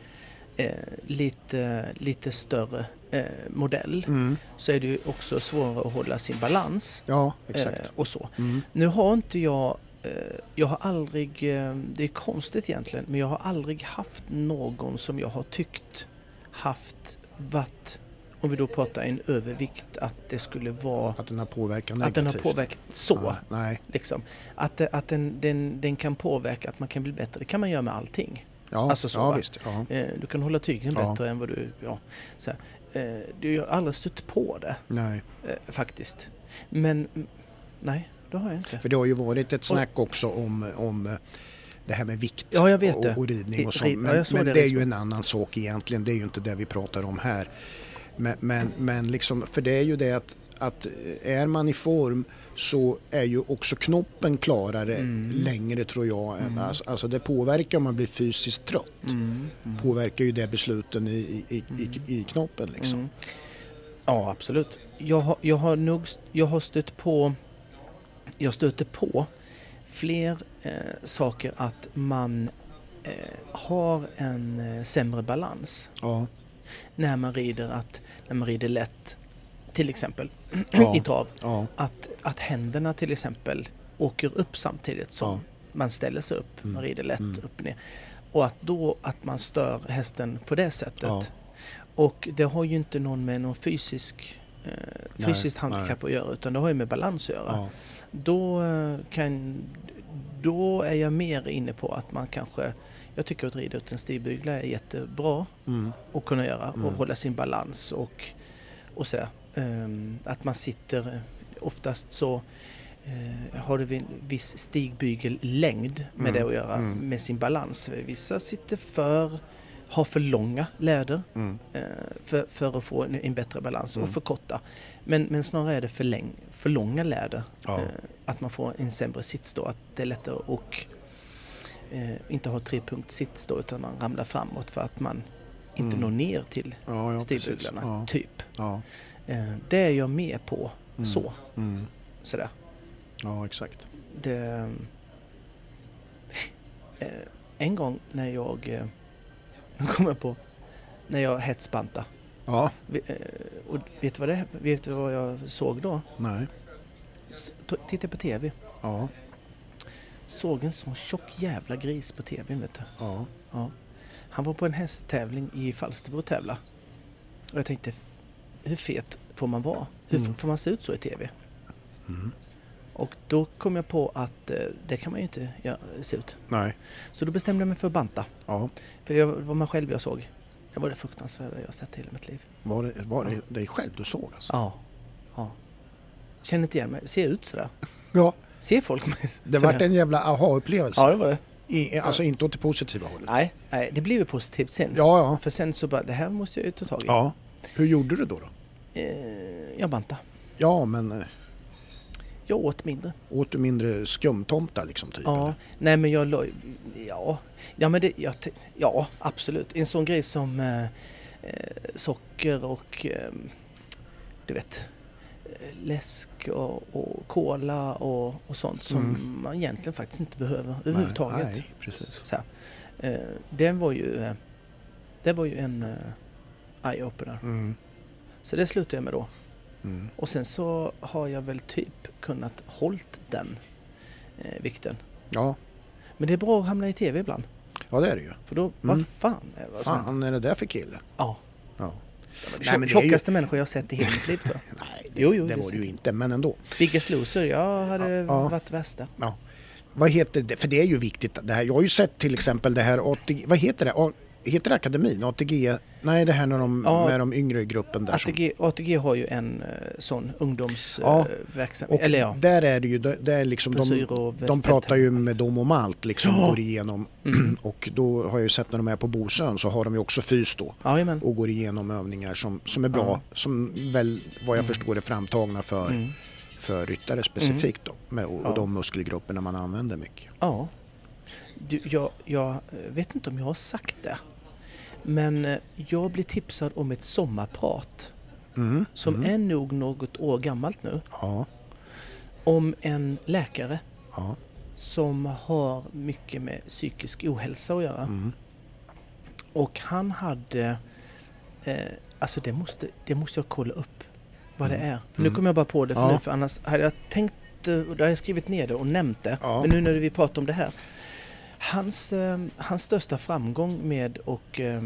[SPEAKER 1] eh, lite, lite större eh, modell
[SPEAKER 2] Mm.
[SPEAKER 1] så är det ju också svårare att hålla sin balans
[SPEAKER 2] Ja, exakt.
[SPEAKER 1] eh, och så.
[SPEAKER 2] Mm.
[SPEAKER 1] Nu har inte jag, eh, jag har aldrig, eh, det är konstigt egentligen, men jag har aldrig haft någon som jag har tyckt haft varit, om vi då pratar en övervikt, att det skulle vara
[SPEAKER 2] Att den har påverkat
[SPEAKER 1] att
[SPEAKER 2] negativt.
[SPEAKER 1] den har påverkat så.
[SPEAKER 2] Ja, nej,
[SPEAKER 1] Liksom. Att, det- att den, den, den kan påverka, att man kan bli bättre. Det kan man göra med allting.
[SPEAKER 2] ja,
[SPEAKER 1] Alltså så,
[SPEAKER 2] ja
[SPEAKER 1] va?
[SPEAKER 2] visst. Ja.
[SPEAKER 1] Eh, Du kan hålla tygen
[SPEAKER 2] Ja.
[SPEAKER 1] bättre än vad du... Ja, så här. Eh, Du har aldrig stött på det
[SPEAKER 2] Nej.
[SPEAKER 1] eh, faktiskt. Men mm, nej, det har jag inte.
[SPEAKER 2] För det har ju varit ett snack också om, om eh, det här med vikt
[SPEAKER 1] Ja, jag vet
[SPEAKER 2] och,
[SPEAKER 1] det.
[SPEAKER 2] och ridning och
[SPEAKER 1] I-
[SPEAKER 2] sånt.
[SPEAKER 1] rid- ja,
[SPEAKER 2] Men,
[SPEAKER 1] jag såg
[SPEAKER 2] men
[SPEAKER 1] det
[SPEAKER 2] det, är
[SPEAKER 1] liksom.
[SPEAKER 2] ju en annan sak egentligen, det är ju inte det vi pratar om här. Men, men, men liksom, för det är ju det att, att eh, är man i form så är ju också knoppen klarare
[SPEAKER 1] Mm.
[SPEAKER 2] längre tror jag. än-
[SPEAKER 1] Mm.
[SPEAKER 2] Alltså, alltså det påverkar om man blir fysiskt trött.
[SPEAKER 1] Mm, mm.
[SPEAKER 2] Påverkar ju det besluten i, i, i, i, i knoppen liksom.
[SPEAKER 1] Mm. Ja, absolut. Jag har, jag har nog, st- jag har stött på, jag stöter på fler eh, saker att man eh, har en eh, sämre balans
[SPEAKER 2] Ja,
[SPEAKER 1] när man rider att, när man rider lätt, till exempel
[SPEAKER 2] Ja.
[SPEAKER 1] i trav,
[SPEAKER 2] ja,
[SPEAKER 1] att, att händerna till exempel åker upp samtidigt som
[SPEAKER 2] Ja.
[SPEAKER 1] man ställer sig upp,
[SPEAKER 2] Mm.
[SPEAKER 1] man rider lätt
[SPEAKER 2] Mm.
[SPEAKER 1] upp och ner. Och att då att man stör hästen på det sättet
[SPEAKER 2] Ja.
[SPEAKER 1] och det har ju inte någon med någon fysisk eh,
[SPEAKER 2] Nej,
[SPEAKER 1] fysiskt handikapp att göra utan det har ju med balans att göra.
[SPEAKER 2] Ja.
[SPEAKER 1] Då, eh, kan, då är jag mer inne på att man kanske, jag tycker att rida ut en stigbygel är jättebra
[SPEAKER 2] Mm.
[SPEAKER 1] att kunna göra och
[SPEAKER 2] Mm.
[SPEAKER 1] hålla sin balans och, och sådär. Ehm, att man sitter, oftast så eh, har det en viss stigbygellängd med
[SPEAKER 2] Mm,
[SPEAKER 1] det att göra
[SPEAKER 2] mm.
[SPEAKER 1] med sin balans. Vissa sitter för, har för långa läder
[SPEAKER 2] Mm.
[SPEAKER 1] eh, för, för att få en, en bättre balans
[SPEAKER 2] Mm.
[SPEAKER 1] och för korta. Men, men snarare är det för, läng, för långa läder.
[SPEAKER 2] Ja.
[SPEAKER 1] Eh, att man får en sämre sits då, att det är lättare och eh, inte ha trepunkt sits då utan man ramlar framåt för att man inte
[SPEAKER 2] Mm.
[SPEAKER 1] når ner till
[SPEAKER 2] Ja, ja, precis.
[SPEAKER 1] stilbyglarna,
[SPEAKER 2] Ja,
[SPEAKER 1] typ.
[SPEAKER 2] ja.
[SPEAKER 1] Eh, det är jag med på,
[SPEAKER 2] Mm.
[SPEAKER 1] så.
[SPEAKER 2] Mm.
[SPEAKER 1] Sådär.
[SPEAKER 2] Ja, exakt.
[SPEAKER 1] Det, eh, en gång när jag, eh, nu kommer jag på, när jag hetsbanta.
[SPEAKER 2] Ja,
[SPEAKER 1] Vi- eh, Och vet du vad, det, vet du vad jag såg då?
[SPEAKER 2] nej.
[SPEAKER 1] S- t- Tittade på TV.
[SPEAKER 2] Ja,
[SPEAKER 1] Såg en sån tjock jävla gris på TV, vet du.
[SPEAKER 2] ja.
[SPEAKER 1] Ja. Han var på en hästtävling i Falsterbo och tävla. Och jag tänkte, hur fet får man vara? Hur
[SPEAKER 2] Mm.
[SPEAKER 1] får man se ut så i TV?
[SPEAKER 2] Mm.
[SPEAKER 1] Och då kom jag på att eh, det kan man ju inte göra, se ut.
[SPEAKER 2] Nej.
[SPEAKER 1] Så då bestämde jag mig för att banta.
[SPEAKER 2] Ja,
[SPEAKER 1] För jag, det var mig själv jag såg. Det var det fruktansvärda jag sett i hela mitt liv.
[SPEAKER 2] var det, var det dig själv du såg alltså?
[SPEAKER 1] Ja. ja. Känner inte igen mig. Ser ut sådär.
[SPEAKER 2] Ja,
[SPEAKER 1] Ser folk mig s-
[SPEAKER 2] det
[SPEAKER 1] sådär?
[SPEAKER 2] vart en jävla aha-upplevelse.
[SPEAKER 1] Ja, det var det.
[SPEAKER 2] I, alltså inte åt det positiva hållet.
[SPEAKER 1] Nej, nej det blev ju positivt sen.
[SPEAKER 2] Ja, ja.
[SPEAKER 1] För sen så bara, det här måste jag ju ta tag i.
[SPEAKER 2] ja. Hur gjorde du då? då?
[SPEAKER 1] Eh, jag banta.
[SPEAKER 2] Ja, men eh,
[SPEAKER 1] Jag åt mindre.
[SPEAKER 2] åt du mindre skumtomtar liksom? Typ,
[SPEAKER 1] Ja,
[SPEAKER 2] eller?
[SPEAKER 1] nej men jag la Ja, ja men det, jag, t- ja absolut. En sån grej som eh, eh, socker och eh, du vet eh, läsk och, och cola och, och sånt som
[SPEAKER 2] Mm.
[SPEAKER 1] man egentligen faktiskt inte behöver överhuvudtaget.
[SPEAKER 2] Nej, nej, precis.
[SPEAKER 1] Så här. Eh, den var ju, eh, det var ju en eh, eye-opener.
[SPEAKER 2] Mm.
[SPEAKER 1] Så det slutade jag med då.
[SPEAKER 2] Mm.
[SPEAKER 1] Och sen så har jag väl typ kunnat hållt den eh, vikten.
[SPEAKER 2] Ja.
[SPEAKER 1] Men det är bra att hamna i tv ibland.
[SPEAKER 2] ja, det är det ju.
[SPEAKER 1] För då, vad
[SPEAKER 2] Mm.
[SPEAKER 1] fan är det? vad som händer?
[SPEAKER 2] Fan är det där för kille?
[SPEAKER 1] Ja.
[SPEAKER 2] Ja.
[SPEAKER 1] Det var
[SPEAKER 2] Nej, men
[SPEAKER 1] det
[SPEAKER 2] det är ju-
[SPEAKER 1] tjockaste människor jag sett i hela mitt liv tror jag.
[SPEAKER 2] Nej, det,
[SPEAKER 1] Jo, jo,
[SPEAKER 2] det
[SPEAKER 1] det är
[SPEAKER 2] var det ju
[SPEAKER 1] säkert.
[SPEAKER 2] inte, men ändå.
[SPEAKER 1] Biggest Loser, jag hade
[SPEAKER 2] Ja, ja.
[SPEAKER 1] varit värsta.
[SPEAKER 2] Ja. Vad heter det? För det är ju viktigt. Det här. Jag har ju sett till exempel det här ATG... Vad heter det? A, heter det akademin? ATG? Nej, det här när de,
[SPEAKER 1] Ja.
[SPEAKER 2] med de yngre i gruppen där. som-
[SPEAKER 1] ATG, ATG har ju en eh, sån
[SPEAKER 2] Ja,
[SPEAKER 1] ungdomsverksamhet,
[SPEAKER 2] Och
[SPEAKER 1] eller ja,
[SPEAKER 2] där är det ju, där där är liksom de,
[SPEAKER 1] frisyr och
[SPEAKER 2] de pratar ju med dem om allt liksom,
[SPEAKER 1] Ja.
[SPEAKER 2] går igenom.
[SPEAKER 1] Mm.
[SPEAKER 2] Och då har jag ju sett när de är på Bosön så har de ju också fys då
[SPEAKER 1] Jajamän.
[SPEAKER 2] och går igenom övningar som, som är bra,
[SPEAKER 1] Ja.
[SPEAKER 2] som väl vad jag förstår är framtagna för,
[SPEAKER 1] Mm.
[SPEAKER 2] för ryttare specifikt då, med, och, och
[SPEAKER 1] Ja.
[SPEAKER 2] de muskelgrupperna man använder mycket.
[SPEAKER 1] Ja. Du, jag, jag eh, vet inte om jag har sagt det. Men eh, jag blev tipsad om ett sommarprat
[SPEAKER 2] Mm.
[SPEAKER 1] som
[SPEAKER 2] mm.
[SPEAKER 1] är nog något år gammalt nu.
[SPEAKER 2] Ja,
[SPEAKER 1] Om en läkare
[SPEAKER 2] ja,
[SPEAKER 1] som har mycket med psykisk ohälsa att göra.
[SPEAKER 2] mm.
[SPEAKER 1] Och han hade... Eh, alltså det måste, det måste jag kolla upp vad det är. För
[SPEAKER 2] Mm.
[SPEAKER 1] Nu kommer jag bara på det för
[SPEAKER 2] Ja.
[SPEAKER 1] nu, för annars hade jag tänkt... eh, och Då hade jag skrivit ner det och nämnt det.
[SPEAKER 2] Ja.
[SPEAKER 1] Men nu när vi pratar om det här. Hans, eh, hans största framgång med och eh,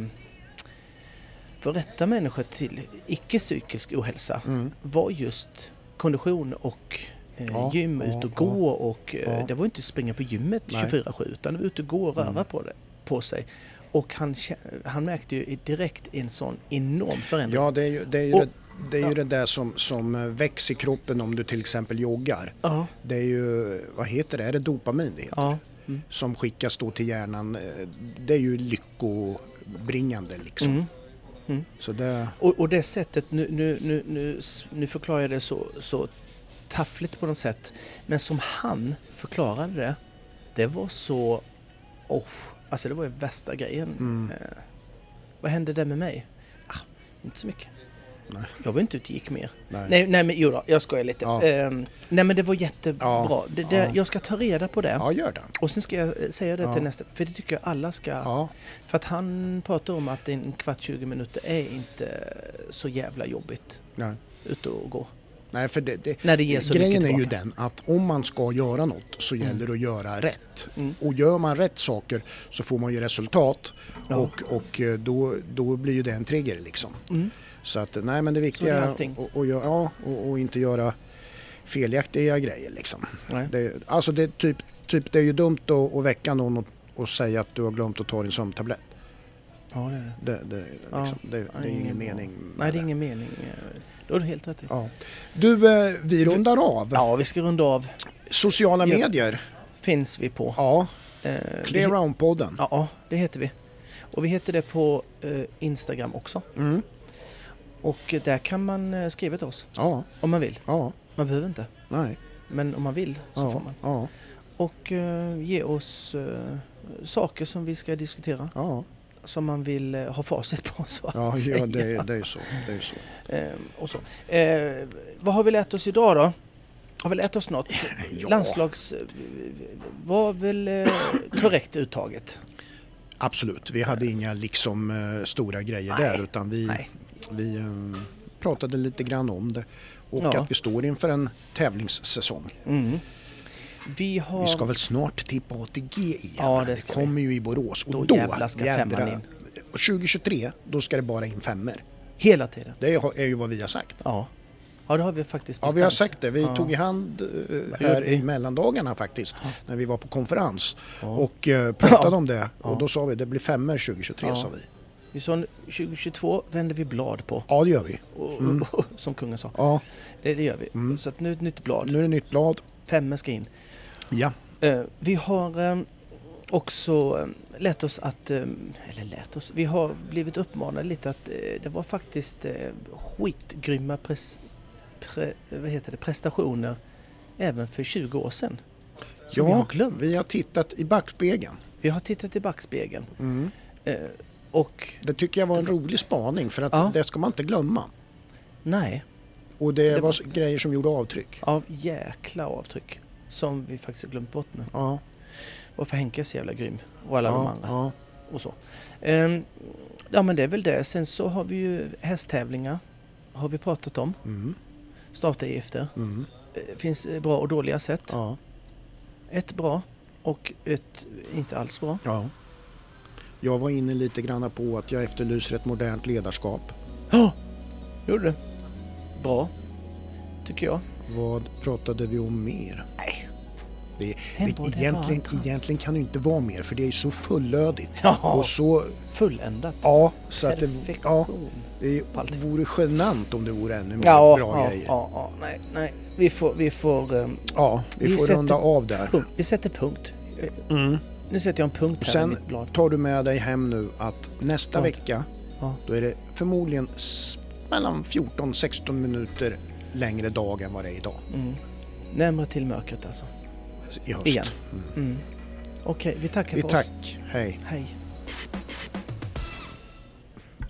[SPEAKER 1] få rätta människor till icke-psykisk ohälsa
[SPEAKER 2] Mm.
[SPEAKER 1] var just kondition och eh,
[SPEAKER 2] Ja,
[SPEAKER 1] gym,
[SPEAKER 2] ja,
[SPEAKER 1] ut och
[SPEAKER 2] ja.
[SPEAKER 1] gå och eh,
[SPEAKER 2] Ja.
[SPEAKER 1] det var inte springa på gymmet
[SPEAKER 2] Nej.
[SPEAKER 1] 24-7 utan det var ute och gå och röra
[SPEAKER 2] Mm.
[SPEAKER 1] på, det, på sig. Och han, kä- han märkte ju direkt en sån enorm förändring.
[SPEAKER 2] ja det är ju, det, är ju
[SPEAKER 1] Och-
[SPEAKER 2] det, det, är ju
[SPEAKER 1] ja.
[SPEAKER 2] det där som, som eh, väcks i kroppen om du till exempel joggar.
[SPEAKER 1] Ja,
[SPEAKER 2] Det är ju, vad heter det, är det dopamin det heter?
[SPEAKER 1] ja, mm,
[SPEAKER 2] som skickas då till hjärnan, eh, det är ju lyckobringande liksom.
[SPEAKER 1] mm.
[SPEAKER 2] Så det,
[SPEAKER 1] Och, och det sättet, nu, nu, nu, nu, s- nu förklarar jag det så, så taffligt på något sätt, men som han förklarade det, det var så... Oh, alltså det var ju värsta grejen.
[SPEAKER 2] Mm.
[SPEAKER 1] Eh, vad hände där med mig? Ah, inte så mycket.
[SPEAKER 2] nej.
[SPEAKER 1] Jag var inte ute och gick mer.
[SPEAKER 2] nej.
[SPEAKER 1] Nej, nej men jodå, jag skojar lite.
[SPEAKER 2] Ja.
[SPEAKER 1] Ehm, nej men det var jättebra.
[SPEAKER 2] Ja,
[SPEAKER 1] Det, det,
[SPEAKER 2] ja.
[SPEAKER 1] Jag ska ta reda på det.
[SPEAKER 2] Ja, gör det.
[SPEAKER 1] Och sen ska jag eh, säga det
[SPEAKER 2] Ja.
[SPEAKER 1] till nästa, för det tycker jag alla ska.
[SPEAKER 2] Ja,
[SPEAKER 1] För att han pratar om att en kvart, 20 minuter är inte så jävla jobbigt
[SPEAKER 2] nej.
[SPEAKER 1] ute och gå.
[SPEAKER 2] Nej, för det, det,
[SPEAKER 1] När det ger så mycket
[SPEAKER 2] grejen är
[SPEAKER 1] tillbaka.
[SPEAKER 2] ju den att om man ska göra något så gäller det att göra rätt.
[SPEAKER 1] Mm.
[SPEAKER 2] Och gör man rätt saker så får man ju resultat
[SPEAKER 1] Ja.
[SPEAKER 2] och, och eh, då, då blir ju det en trigger liksom.
[SPEAKER 1] Mm.
[SPEAKER 2] Så att nej men det viktiga
[SPEAKER 1] med
[SPEAKER 2] är
[SPEAKER 1] allting.
[SPEAKER 2] att- att göra- ja, och, och inte göra felaktiga grejer liksom.
[SPEAKER 1] Nej.
[SPEAKER 2] Det, alltså det, är typ, typ, det är ju dumt att, att väcka någon och, och säga att du har glömt att ta din sömntablett.
[SPEAKER 1] Ja, det är det.
[SPEAKER 2] Det, det,
[SPEAKER 1] Ja.
[SPEAKER 2] liksom, det, det är
[SPEAKER 1] ingen
[SPEAKER 2] ingen
[SPEAKER 1] bra.
[SPEAKER 2] mening med
[SPEAKER 1] Nej, det är ingen mening. eh, Då har du helt rätt i.
[SPEAKER 2] ja. Du, eh, vi rundar av.
[SPEAKER 1] Ja, vi ska runda av.
[SPEAKER 2] Sociala
[SPEAKER 1] Ja.
[SPEAKER 2] medier,
[SPEAKER 1] Finns vi på.
[SPEAKER 2] ja.
[SPEAKER 1] Eh,
[SPEAKER 2] Clear
[SPEAKER 1] vi,
[SPEAKER 2] Round-podden.
[SPEAKER 1] Ja, det heter vi. Och vi heter det på eh, Instagram också.
[SPEAKER 2] Mm.
[SPEAKER 1] Och eh, där kan man eh, skriva till oss
[SPEAKER 2] Ja,
[SPEAKER 1] om man vill.
[SPEAKER 2] ja,
[SPEAKER 1] Man behöver inte,
[SPEAKER 2] nej.
[SPEAKER 1] men om man vill så får
[SPEAKER 2] Ja,
[SPEAKER 1] man.
[SPEAKER 2] ja,
[SPEAKER 1] Och eh, ge oss eh, saker som vi ska diskutera,
[SPEAKER 2] ja,
[SPEAKER 1] som man vill eh, ha facit på så att
[SPEAKER 2] ja,
[SPEAKER 1] säga.
[SPEAKER 2] ja det, det är ju så. Det är ju så.
[SPEAKER 1] Eh, och så. Eh, vad har vi lärt oss idag då? Har vi lärt oss något?
[SPEAKER 2] Ja.
[SPEAKER 1] Landslags... eh, var väl eh, korrekt uttaget?
[SPEAKER 2] Absolut, vi hade inga liksom eh, stora grejer
[SPEAKER 1] Nej.
[SPEAKER 2] där utan vi,
[SPEAKER 1] Nej.
[SPEAKER 2] vi eh, pratade lite grann om det och
[SPEAKER 1] Ja.
[SPEAKER 2] att vi står inför en tävlingssäsong.
[SPEAKER 1] Mm. Vi har...
[SPEAKER 2] Vi ska väl snart tippa ATG igen.
[SPEAKER 1] Ja, det ska vi.
[SPEAKER 2] kommer ju i Borås och
[SPEAKER 1] Då
[SPEAKER 2] då,
[SPEAKER 1] jävlar ska femman in.
[SPEAKER 2] Och 2023, då ska det bara in femmer.
[SPEAKER 1] Hela tiden.
[SPEAKER 2] Det är är ju vad vi har sagt.
[SPEAKER 1] Ja. Ja, det har vi faktiskt
[SPEAKER 2] Ja,
[SPEAKER 1] bestämt.
[SPEAKER 2] vi har sagt det. Vi
[SPEAKER 1] Ja.
[SPEAKER 2] tog i hand eh,
[SPEAKER 1] gjorde
[SPEAKER 2] här
[SPEAKER 1] vi?
[SPEAKER 2] i mellandagarna faktiskt, när vi var på konferens och eh,
[SPEAKER 1] Ja.
[SPEAKER 2] pratade om det.
[SPEAKER 1] Ja.
[SPEAKER 2] Och då sa vi det blir femmer 2023,
[SPEAKER 1] Ja.
[SPEAKER 2] sa vi.
[SPEAKER 1] Vi sa 2022 vänder vi blad på,
[SPEAKER 2] Ja, det gör vi.
[SPEAKER 1] och,
[SPEAKER 2] Mm.
[SPEAKER 1] som kungen sa.
[SPEAKER 2] Ja,
[SPEAKER 1] Det, det gör vi. Så att nu ett nytt blad.
[SPEAKER 2] Mm. nu är det nytt blad.
[SPEAKER 1] Femmen ska in.
[SPEAKER 2] Ja.
[SPEAKER 1] Eh, vi har eh, också eh, lärt oss att, eh, eller lärt oss, vi har blivit uppmanade lite att eh, det var faktiskt eh, skitgrymma pres, pre, vad heter det, prestationer även för 20 år sedan. Som vi har glömt.
[SPEAKER 2] vi har tittat i backspegeln.
[SPEAKER 1] Vi har tittat i backspegeln
[SPEAKER 2] Mm.
[SPEAKER 1] eh, och
[SPEAKER 2] Det tycker jag var en rolig spaning för att
[SPEAKER 1] Ja.
[SPEAKER 2] det ska man inte glömma.
[SPEAKER 1] nej,
[SPEAKER 2] Och det,
[SPEAKER 1] Det
[SPEAKER 2] var
[SPEAKER 1] var-
[SPEAKER 2] s- grejer som gjorde avtryck.
[SPEAKER 1] av jäkla avtryck som vi faktiskt har glömt bort nu.
[SPEAKER 2] Ja,
[SPEAKER 1] Varför Henke är så jävla grym och alla de
[SPEAKER 2] ja,
[SPEAKER 1] andra
[SPEAKER 2] ja.
[SPEAKER 1] och så. Ehm, ja men det är väl det. Sen så har vi ju hästtävlingar. Har vi pratat om.
[SPEAKER 2] Mm,
[SPEAKER 1] Startavgifter.
[SPEAKER 2] mm,
[SPEAKER 1] Eh, finns eh, bra och dåliga sätt.
[SPEAKER 2] ja,
[SPEAKER 1] Ett bra och ett inte alls bra.
[SPEAKER 2] ja. Jag var inne lite grann på att jag efterlyser ett modernt ledarskap.
[SPEAKER 1] Ja, gjorde det. Bra, tycker jag.
[SPEAKER 2] Vad pratade vi om mer?
[SPEAKER 1] Nej.
[SPEAKER 2] Det,
[SPEAKER 1] Sen
[SPEAKER 2] det,
[SPEAKER 1] var det
[SPEAKER 2] egentligen,
[SPEAKER 1] bara trams.
[SPEAKER 2] egentligen kan det ju inte vara mer för det är ju så fullödigt.
[SPEAKER 1] Ja,
[SPEAKER 2] Och så,
[SPEAKER 1] fulländat.
[SPEAKER 2] ja, så att det, ja,
[SPEAKER 1] Perfektion.
[SPEAKER 2] det
[SPEAKER 1] Allting.
[SPEAKER 2] vore genant om det vore ännu mer
[SPEAKER 1] Ja,
[SPEAKER 2] bra
[SPEAKER 1] ja,
[SPEAKER 2] grejer. Ja,
[SPEAKER 1] ja, ja, nej, nej. Vi får, vi får, ehm,
[SPEAKER 2] vi,
[SPEAKER 1] Vi
[SPEAKER 2] får
[SPEAKER 1] sätter-
[SPEAKER 2] runda av där.
[SPEAKER 1] punkt. vi sätter punkt. Eh,
[SPEAKER 2] Mm.
[SPEAKER 1] Nu sätter jag en punkt
[SPEAKER 2] Och
[SPEAKER 1] här i
[SPEAKER 2] sen
[SPEAKER 1] mitt blad.
[SPEAKER 2] tar du med dig hem nu att nästa
[SPEAKER 1] Vad?
[SPEAKER 2] vecka
[SPEAKER 1] Ja.
[SPEAKER 2] då är det förmodligen s- mellan 14-16 minuter längre dag än vad det är idag
[SPEAKER 1] Mm. Närmare till mörkret alltså.
[SPEAKER 2] i höst.
[SPEAKER 1] Igen. Mm. Okej, vi tackar
[SPEAKER 2] Vi
[SPEAKER 1] för oss.
[SPEAKER 2] tack, hej.
[SPEAKER 1] Hej.